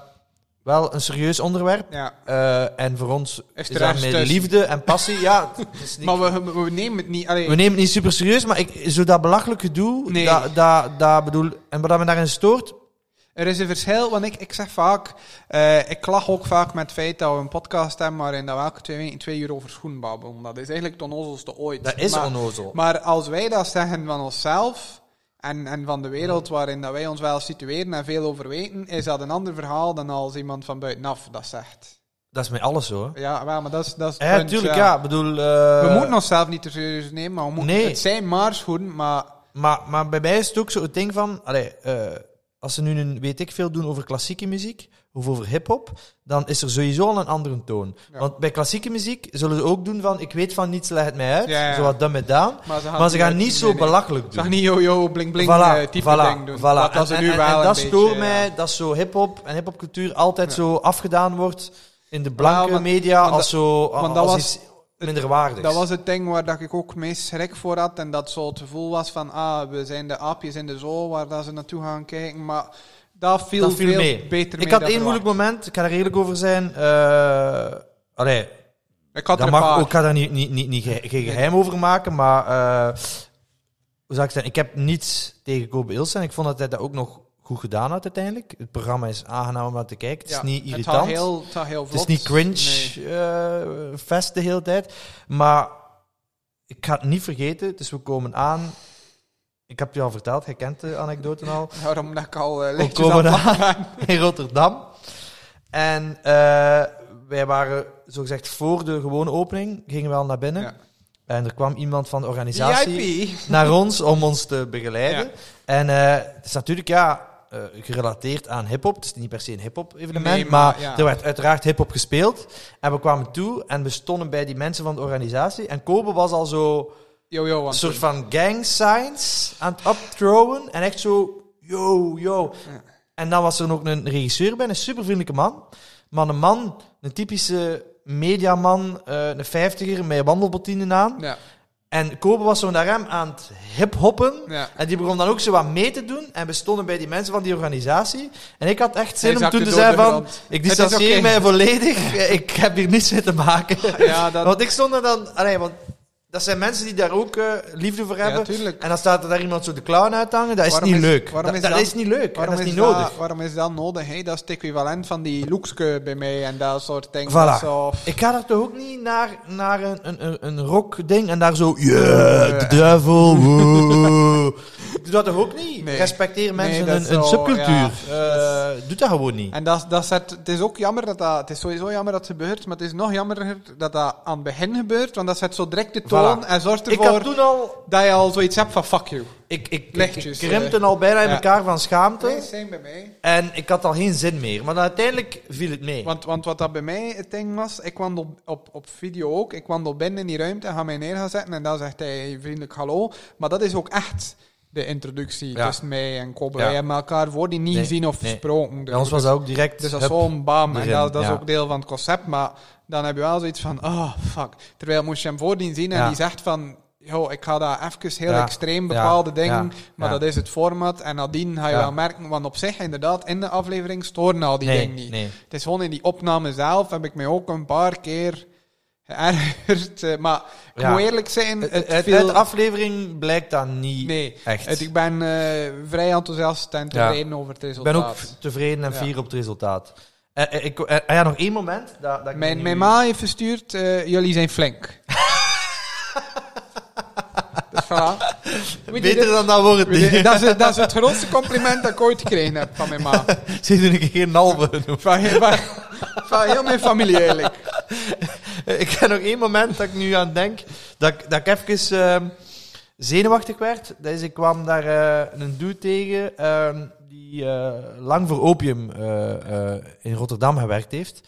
[SPEAKER 1] wel een serieus onderwerp.
[SPEAKER 2] Ja.
[SPEAKER 1] eh, en voor ons is,
[SPEAKER 2] Is er
[SPEAKER 1] dat
[SPEAKER 2] ergens
[SPEAKER 1] met
[SPEAKER 2] tussen?
[SPEAKER 1] liefde en passie. ja, het is niet-
[SPEAKER 2] Maar we, we- we nemen het niet. Allee,
[SPEAKER 1] we nemen het niet super serieus, maar ik, zo dat belachelijk gedoe,
[SPEAKER 2] Nee.
[SPEAKER 1] dat, dat, dat bedoel... En wat dat me daarin stoort,
[SPEAKER 2] Er is een verschil, want ik, ik zeg vaak, eh, ik lach ook vaak met het feit dat we een podcast hebben waarin dat we elke twee weken twee uur over schoen babbelen. Dat is eigenlijk het onnozelste ooit.
[SPEAKER 1] dat is
[SPEAKER 2] maar,
[SPEAKER 1] onnozel.
[SPEAKER 2] Maar als wij dat zeggen van onszelf en, en van de wereld waarin dat wij ons wel situeren en veel over weten, is dat een ander verhaal dan als iemand van buitenaf dat zegt.
[SPEAKER 1] Dat is met alles zo. hè.
[SPEAKER 2] Ja, wel, maar dat is, dat is het
[SPEAKER 1] Ja,
[SPEAKER 2] punt,
[SPEAKER 1] tuurlijk,
[SPEAKER 2] ja.
[SPEAKER 1] ja. Ik bedoel, eh,
[SPEAKER 2] We moeten onszelf niet te serieus nemen, maar we moeten,
[SPEAKER 1] Nee.
[SPEAKER 2] het zijn maar schoenen, maar
[SPEAKER 1] maar, maar bij mij is het ook zo het ding van... Allee, eh, als ze nu een, weet ik veel, doen over klassieke muziek of over hip-hop, dan is er sowieso al een andere toon.
[SPEAKER 2] Ja.
[SPEAKER 1] Want bij klassieke muziek zullen ze ook doen van... Ik weet van niets, leg het mij uit.
[SPEAKER 2] Ja, ja.
[SPEAKER 1] Zo wat dan met daan.
[SPEAKER 2] Maar ze gaan,
[SPEAKER 1] Maar ze gaan
[SPEAKER 2] nee,
[SPEAKER 1] niet zo
[SPEAKER 2] nee, nee.
[SPEAKER 1] belachelijk
[SPEAKER 2] Ze gaan
[SPEAKER 1] doen.
[SPEAKER 2] niet yo-yo, bling-bling
[SPEAKER 1] Voilà,
[SPEAKER 2] eh, type
[SPEAKER 1] voilà,
[SPEAKER 2] ding doen.
[SPEAKER 1] voilà.
[SPEAKER 2] Dat
[SPEAKER 1] En,
[SPEAKER 2] is er nu
[SPEAKER 1] en-
[SPEAKER 2] wel
[SPEAKER 1] en
[SPEAKER 2] een
[SPEAKER 1] dat
[SPEAKER 2] beetje, eh,
[SPEAKER 1] stoort
[SPEAKER 2] ja.
[SPEAKER 1] mij, dat zo hip-hop en hip-hopcultuur altijd zo afgedaan wordt in de
[SPEAKER 2] Ja,
[SPEAKER 1] blanke
[SPEAKER 2] want-
[SPEAKER 1] media
[SPEAKER 2] want
[SPEAKER 1] als zo
[SPEAKER 2] want dat
[SPEAKER 1] als
[SPEAKER 2] was-
[SPEAKER 1] iets minderwaardigs.
[SPEAKER 2] Dat was het ding waar dat ik ook het meest schrik voor had. En dat zo het gevoel was van, ah, we zijn de aapjes in de zool waar dat ze naartoe gaan kijken. Maar dat viel,
[SPEAKER 1] Dat viel
[SPEAKER 2] veel
[SPEAKER 1] mee.
[SPEAKER 2] beter mee
[SPEAKER 1] Ik had
[SPEAKER 2] dan
[SPEAKER 1] één moeilijk moment, ik ga er eerlijk over zijn. eh allee,
[SPEAKER 2] verwacht. Ik had er
[SPEAKER 1] dat
[SPEAKER 2] een
[SPEAKER 1] mag
[SPEAKER 2] paar.
[SPEAKER 1] ook, ik ga daar niet, niet, niet, niet ge- geen geheim over maken, maar eh, hoe zou ik zeggen, ik heb niets tegen Kobe Ilse en ik vond dat hij dat ook nog goed gedaan had uiteindelijk. Het programma is aangenaam om naar te kijken. Het is niet
[SPEAKER 2] Het
[SPEAKER 1] irritant.
[SPEAKER 2] gaat heel, het gaat heel
[SPEAKER 1] Het is
[SPEAKER 2] vlot.
[SPEAKER 1] niet
[SPEAKER 2] Nee.
[SPEAKER 1] cringe eh, fest de hele tijd. Maar ik ga het niet vergeten. Dus we komen aan. Ik heb je al verteld, jij kent de anekdote al.
[SPEAKER 2] Daarom dat ik al eh, lichtjes
[SPEAKER 1] komen
[SPEAKER 2] aan het
[SPEAKER 1] daar.
[SPEAKER 2] lachen ben.
[SPEAKER 1] In Rotterdam. En eh, wij waren, zogezegd, voor de gewone opening. Gingen we al naar binnen.
[SPEAKER 2] Ja.
[SPEAKER 1] En er kwam iemand van de organisatie
[SPEAKER 2] VIP.
[SPEAKER 1] naar ons om ons te begeleiden.
[SPEAKER 2] Ja.
[SPEAKER 1] En eh, het is natuurlijk ja, eh, gerelateerd aan hip-hop. Het is niet per se een hip-hop evenement,
[SPEAKER 2] Nee, maar
[SPEAKER 1] maar,
[SPEAKER 2] ja.
[SPEAKER 1] er werd uiteraard hip-hop gespeeld. En we kwamen toe en we stonden bij die mensen van de organisatie. En Kobe was al zo
[SPEAKER 2] Yo, yo,
[SPEAKER 1] een
[SPEAKER 2] want
[SPEAKER 1] soort van gang signs aan het upthrowen. En echt zo, yo, yo.
[SPEAKER 2] Ja.
[SPEAKER 1] En dan was er nog een regisseur bij, een supervriendelijke man. Maar een man, een typische mediaman, eh, een vijftiger met wandelbottinen aan.
[SPEAKER 2] Ja,
[SPEAKER 1] En Kobe was zo naar hem aan het hiphoppen.
[SPEAKER 2] ja.
[SPEAKER 1] En die begon dan ook zo wat mee te doen. En we stonden bij die mensen van die organisatie. En ik had echt
[SPEAKER 2] Hij
[SPEAKER 1] zin om
[SPEAKER 2] zakte
[SPEAKER 1] toen te
[SPEAKER 2] door
[SPEAKER 1] zeggen
[SPEAKER 2] de
[SPEAKER 1] van...
[SPEAKER 2] grond.
[SPEAKER 1] Ik
[SPEAKER 2] is
[SPEAKER 1] distancieer
[SPEAKER 2] oké.
[SPEAKER 1] mij volledig. eh, ik heb hier niets mee te maken.
[SPEAKER 2] Ja, dat,
[SPEAKER 1] Want ik stond er dan... Allee, want dat zijn mensen die daar ook eh, liefde voor hebben.
[SPEAKER 2] ja, tuurlijk.
[SPEAKER 1] en dan staat er daar iemand zo de clown uithangen. Dat is
[SPEAKER 2] Waarom
[SPEAKER 1] niet
[SPEAKER 2] is-
[SPEAKER 1] leuk.
[SPEAKER 2] waarom
[SPEAKER 1] Dat,
[SPEAKER 2] is
[SPEAKER 1] dat
[SPEAKER 2] dat-
[SPEAKER 1] is niet leuk. En
[SPEAKER 2] Waarom
[SPEAKER 1] dat is niet
[SPEAKER 2] Dat,
[SPEAKER 1] nodig.
[SPEAKER 2] waarom is dat nodig? hè? Dat is het equivalent van die lookske bij mij en dat soort dingen.
[SPEAKER 1] Voilà.
[SPEAKER 2] Dat is zo- pff,
[SPEAKER 1] Ik ga daar toch ook niet naar, naar een, een, een, een rockding en daar zo... Yeah, the devil, woe." Ik Doe dat toch ook niet?
[SPEAKER 2] Nee.
[SPEAKER 1] Respecteer mensen
[SPEAKER 2] dat
[SPEAKER 1] een,
[SPEAKER 2] is
[SPEAKER 1] een
[SPEAKER 2] zo,
[SPEAKER 1] subcultuur.
[SPEAKER 2] ja.
[SPEAKER 1] Eh, doe dat gewoon niet.
[SPEAKER 2] En dat, dat zet, het is ook jammer dat dat... Het is sowieso jammer dat het gebeurt, maar het is nog jammerder dat dat aan het begin gebeurt, want dat zet zo direct de toon
[SPEAKER 1] Voilà.
[SPEAKER 2] en zorgt
[SPEAKER 1] Ik
[SPEAKER 2] ervoor
[SPEAKER 1] had toen al...
[SPEAKER 2] dat je al zoiets hebt van fuck you.
[SPEAKER 1] Ik, ik, ik, ik
[SPEAKER 2] Lichtjes, eh,
[SPEAKER 1] krimpte al bijna in
[SPEAKER 2] ja.
[SPEAKER 1] elkaar van
[SPEAKER 2] Nee,
[SPEAKER 1] schaamte.
[SPEAKER 2] same bij mij.
[SPEAKER 1] En ik had al geen zin meer. Maar dan uiteindelijk viel het mee.
[SPEAKER 2] Want, want wat dat bij mij het ding was, ik wandel op, op video ook, ik wandel binnen in die ruimte, ga mij neer gaan zetten en dan zegt hij vriendelijk hallo. Maar dat is ook echt de introductie
[SPEAKER 1] Ja.
[SPEAKER 2] tussen mij en Kobe.
[SPEAKER 1] Ja.
[SPEAKER 2] Wij hebben elkaar voor die niet
[SPEAKER 1] Nee,
[SPEAKER 2] gezien of
[SPEAKER 1] nee.
[SPEAKER 2] gesproken. Dus,
[SPEAKER 1] Bij ons was dat ook direct...
[SPEAKER 2] dus dat is
[SPEAKER 1] hup.
[SPEAKER 2] zo'n bam, en
[SPEAKER 1] erin,
[SPEAKER 2] dat, dat is
[SPEAKER 1] ja.
[SPEAKER 2] ook deel van het concept. Maar dan heb je wel zoiets van, oh fuck. Terwijl moest je hem voordien zien en
[SPEAKER 1] Ja.
[SPEAKER 2] die zegt van... Yo, ik ga daar even heel
[SPEAKER 1] Ja.
[SPEAKER 2] extreem
[SPEAKER 1] Ja.
[SPEAKER 2] bepaalde dingen,
[SPEAKER 1] Ja.
[SPEAKER 2] maar
[SPEAKER 1] Ja.
[SPEAKER 2] dat is het format. En nadien ga je
[SPEAKER 1] Ja.
[SPEAKER 2] wel merken, want op zich inderdaad, in de aflevering storen al die
[SPEAKER 1] nee,
[SPEAKER 2] dingen niet.
[SPEAKER 1] Nee.
[SPEAKER 2] Het is gewoon in die opname zelf heb ik mij ook een paar keer geërgerd. eh, Maar ik
[SPEAKER 1] Ja.
[SPEAKER 2] moet eerlijk zijn,
[SPEAKER 1] Het,
[SPEAKER 2] het,
[SPEAKER 1] uit-
[SPEAKER 2] viel...
[SPEAKER 1] uit de aflevering blijkt dat niet
[SPEAKER 2] nee,
[SPEAKER 1] echt.
[SPEAKER 2] het, ik ben eh, vrij enthousiast en
[SPEAKER 1] Ja.
[SPEAKER 2] tevreden over het
[SPEAKER 1] Ik ben
[SPEAKER 2] resultaat.
[SPEAKER 1] ook tevreden en
[SPEAKER 2] Ja.
[SPEAKER 1] fier op het resultaat. Eh, eh, ik, eh, ah ja, nog één moment. Dat, dat ik
[SPEAKER 2] Mijn,
[SPEAKER 1] nu-
[SPEAKER 2] mijn ma heeft verstuurd, eh, jullie zijn flink. dus voilà. We did
[SPEAKER 1] Beter
[SPEAKER 2] it.
[SPEAKER 1] dan dat woord
[SPEAKER 2] We did it.
[SPEAKER 1] niet.
[SPEAKER 2] Dat is, het- dat is het grootste compliment dat ik ooit gekregen heb van mijn ma.
[SPEAKER 1] Ze doen ik geen halve genoemd.
[SPEAKER 2] Van, heel- van, van heel mijn familie eigenlijk.
[SPEAKER 1] Eh, Ik heb nog één moment dat ik nu aan denk. Dat ik, dat ik even ehm, zenuwachtig werd. Dat is, ik kwam daar eh, een dude tegen ehm, die eh, lang voor opium eh, eh, in Rotterdam gewerkt heeft.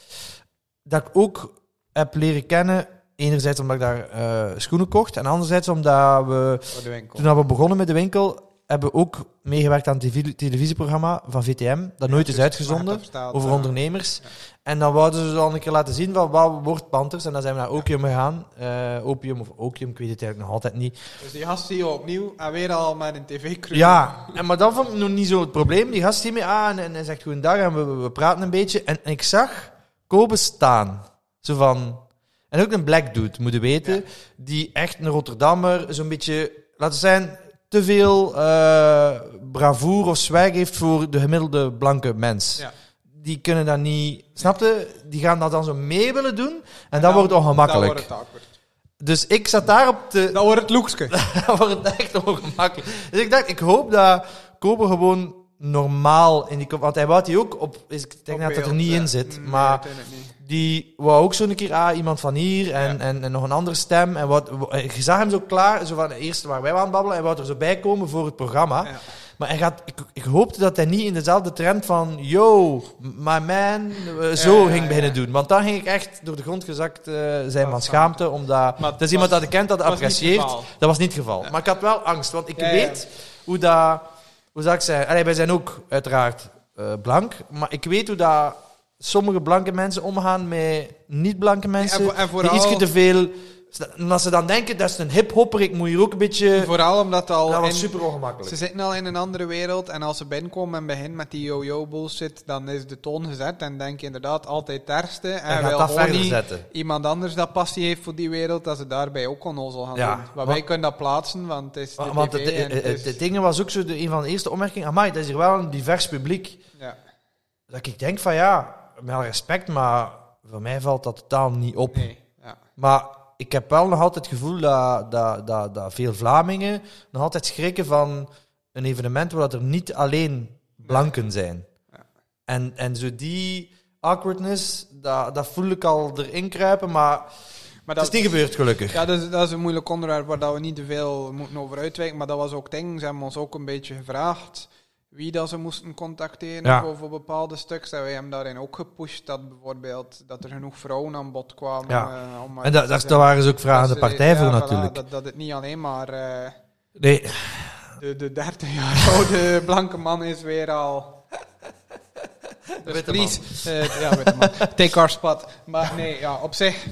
[SPEAKER 1] Dat ik ook heb leren kennen. Enerzijds omdat ik daar eh, schoenen kocht. En anderzijds omdat we
[SPEAKER 2] Voor de winkel.
[SPEAKER 1] Toen we begonnen met de winkel, hebben we ook meegewerkt aan het televi- televisieprogramma van VTM, dat nooit
[SPEAKER 2] dus
[SPEAKER 1] is uitgezonden, over
[SPEAKER 2] eh,
[SPEAKER 1] ondernemers.
[SPEAKER 2] Ja.
[SPEAKER 1] En dan wouden ze dan een keer laten zien van wat wordt Panthers. En dan zijn we naar Opium gegaan. Eh, opium of Opium, ik weet het eigenlijk nog altijd niet.
[SPEAKER 2] Dus die gast zie je opnieuw en weer al met een tv-crew.
[SPEAKER 1] Ja, en, maar dat vond ik nog niet zo het probleem. Die gast ziet me aan en hij zegt goedendag en we, we, we praten een beetje. En, en ik zag Kobe staan. Zo van... En ook een black dude, moeten weten.
[SPEAKER 2] Ja.
[SPEAKER 1] Die echt een Rotterdammer, zo'n beetje... Laten we zijn, te veel eh bravoure of zwijg heeft voor de gemiddelde blanke mens.
[SPEAKER 2] Ja.
[SPEAKER 1] Die kunnen dat niet... Snapte? Die gaan dat dan zo mee willen doen. En, dat
[SPEAKER 2] dan-
[SPEAKER 1] wordt ongemakkelijk.
[SPEAKER 2] Dat wordt het awkward.
[SPEAKER 1] Dus ik zat daarop te...
[SPEAKER 2] Dat wordt het loekske.
[SPEAKER 1] Dan wordt het echt ongemakkelijk. Dus ik dacht, ik hoop dat Koper gewoon normaal in die... kop- Want hij wou die ook op... is- Ik denk dat dat er niet
[SPEAKER 2] eh,
[SPEAKER 1] in zit.
[SPEAKER 2] Mm,
[SPEAKER 1] maar die wou ook zo een keer, ah, iemand van hier en,
[SPEAKER 2] Ja.
[SPEAKER 1] en, en nog een andere stem. En wat, wa- je zag hem zo klaar, zo van eerst waar wij aan babbelen. Hij wou er zo bij komen voor het programma.
[SPEAKER 2] Ja.
[SPEAKER 1] Maar hij gaat, ik, ik hoopte dat hij niet in dezelfde trend van, yo, my man, eh, zo
[SPEAKER 2] ja,
[SPEAKER 1] ging
[SPEAKER 2] ja.
[SPEAKER 1] beginnen doen. Want dan ging ik echt door de grond gezakt eh, zijn van
[SPEAKER 2] schaamte.
[SPEAKER 1] schaamte, omdat
[SPEAKER 2] Maar
[SPEAKER 1] dat
[SPEAKER 2] het
[SPEAKER 1] is iemand
[SPEAKER 2] was-
[SPEAKER 1] dat ik kent, dat
[SPEAKER 2] het was niet het
[SPEAKER 1] apprecieert.
[SPEAKER 2] geval.
[SPEAKER 1] Dat was niet het geval. Maar ik had wel angst, want ik
[SPEAKER 2] Ja, ja.
[SPEAKER 1] weet hoe dat... Hoe zou ik zeggen? Allee, wij zijn ook uiteraard eh, blank, maar ik weet hoe dat sommige blanke mensen omgaan met niet-blanke mensen
[SPEAKER 2] en voor- en
[SPEAKER 1] die
[SPEAKER 2] vooral-
[SPEAKER 1] ietsje te veel En als ze dan denken, dat is een hiphopper, ik moet hier ook een beetje...
[SPEAKER 2] Vooral omdat al
[SPEAKER 1] dat was
[SPEAKER 2] in-
[SPEAKER 1] super ongemakkelijk.
[SPEAKER 2] Ze zitten al in een andere wereld en als ze binnenkomen en beginnen met die yo-yo bullshit, dan is de toon gezet en denk je inderdaad altijd terste.
[SPEAKER 1] Hij
[SPEAKER 2] En
[SPEAKER 1] gaat
[SPEAKER 2] wil
[SPEAKER 1] dat
[SPEAKER 2] gewoon
[SPEAKER 1] verder
[SPEAKER 2] niet
[SPEAKER 1] zetten.
[SPEAKER 2] iemand anders dat passie heeft voor die wereld, dat ze daarbij ook onnozel gaan
[SPEAKER 1] Ja,
[SPEAKER 2] doen. Maar
[SPEAKER 1] want-
[SPEAKER 2] wij kunnen dat plaatsen, want het is de
[SPEAKER 1] Wa- Want
[SPEAKER 2] TV
[SPEAKER 1] het,
[SPEAKER 2] en dus-
[SPEAKER 1] het,
[SPEAKER 2] het
[SPEAKER 1] het,
[SPEAKER 2] is-
[SPEAKER 1] ding was ook zo eh, de, een van de eerste opmerkingen. Amai, dat is hier wel een divers publiek.
[SPEAKER 2] ja.
[SPEAKER 1] Dat ik denk van ja, met alle respect, maar voor mij valt dat totaal niet op.
[SPEAKER 2] Nee, ja.
[SPEAKER 1] Maar ik heb wel nog altijd het gevoel dat, dat, dat, dat veel Vlamingen nog altijd schrikken van een evenement waar dat er niet alleen blanken zijn.
[SPEAKER 2] Ja.
[SPEAKER 1] En, en zo die awkwardness, dat, dat voel ik al erin kruipen, maar
[SPEAKER 2] Maar
[SPEAKER 1] het is niet gebeurd gelukkig.
[SPEAKER 2] Ja, dat is, dat is een moeilijk onderwerp waar dat we niet te veel moeten over uitwijken. Maar dat was ook het ding. Ze hebben ons ook een beetje gevraagd wie dat ze moesten contacteren
[SPEAKER 1] Ja.
[SPEAKER 2] voor, voor bepaalde stuks. En wij hebben daarin ook gepusht dat bijvoorbeeld dat er genoeg vrouwen aan bod kwamen.
[SPEAKER 1] Ja.
[SPEAKER 2] eh, om,
[SPEAKER 1] en dat, daar, daar waren ze ook vragen aan de partij voor natuurlijk.
[SPEAKER 2] dat, dat het niet alleen maar eh,
[SPEAKER 1] Nee,
[SPEAKER 2] de, de 30 jaar oude blanke man is weer al... Dus
[SPEAKER 1] Witte
[SPEAKER 2] please, eh, ja, witte man. Take our spot. Maar nee, ja, op zich,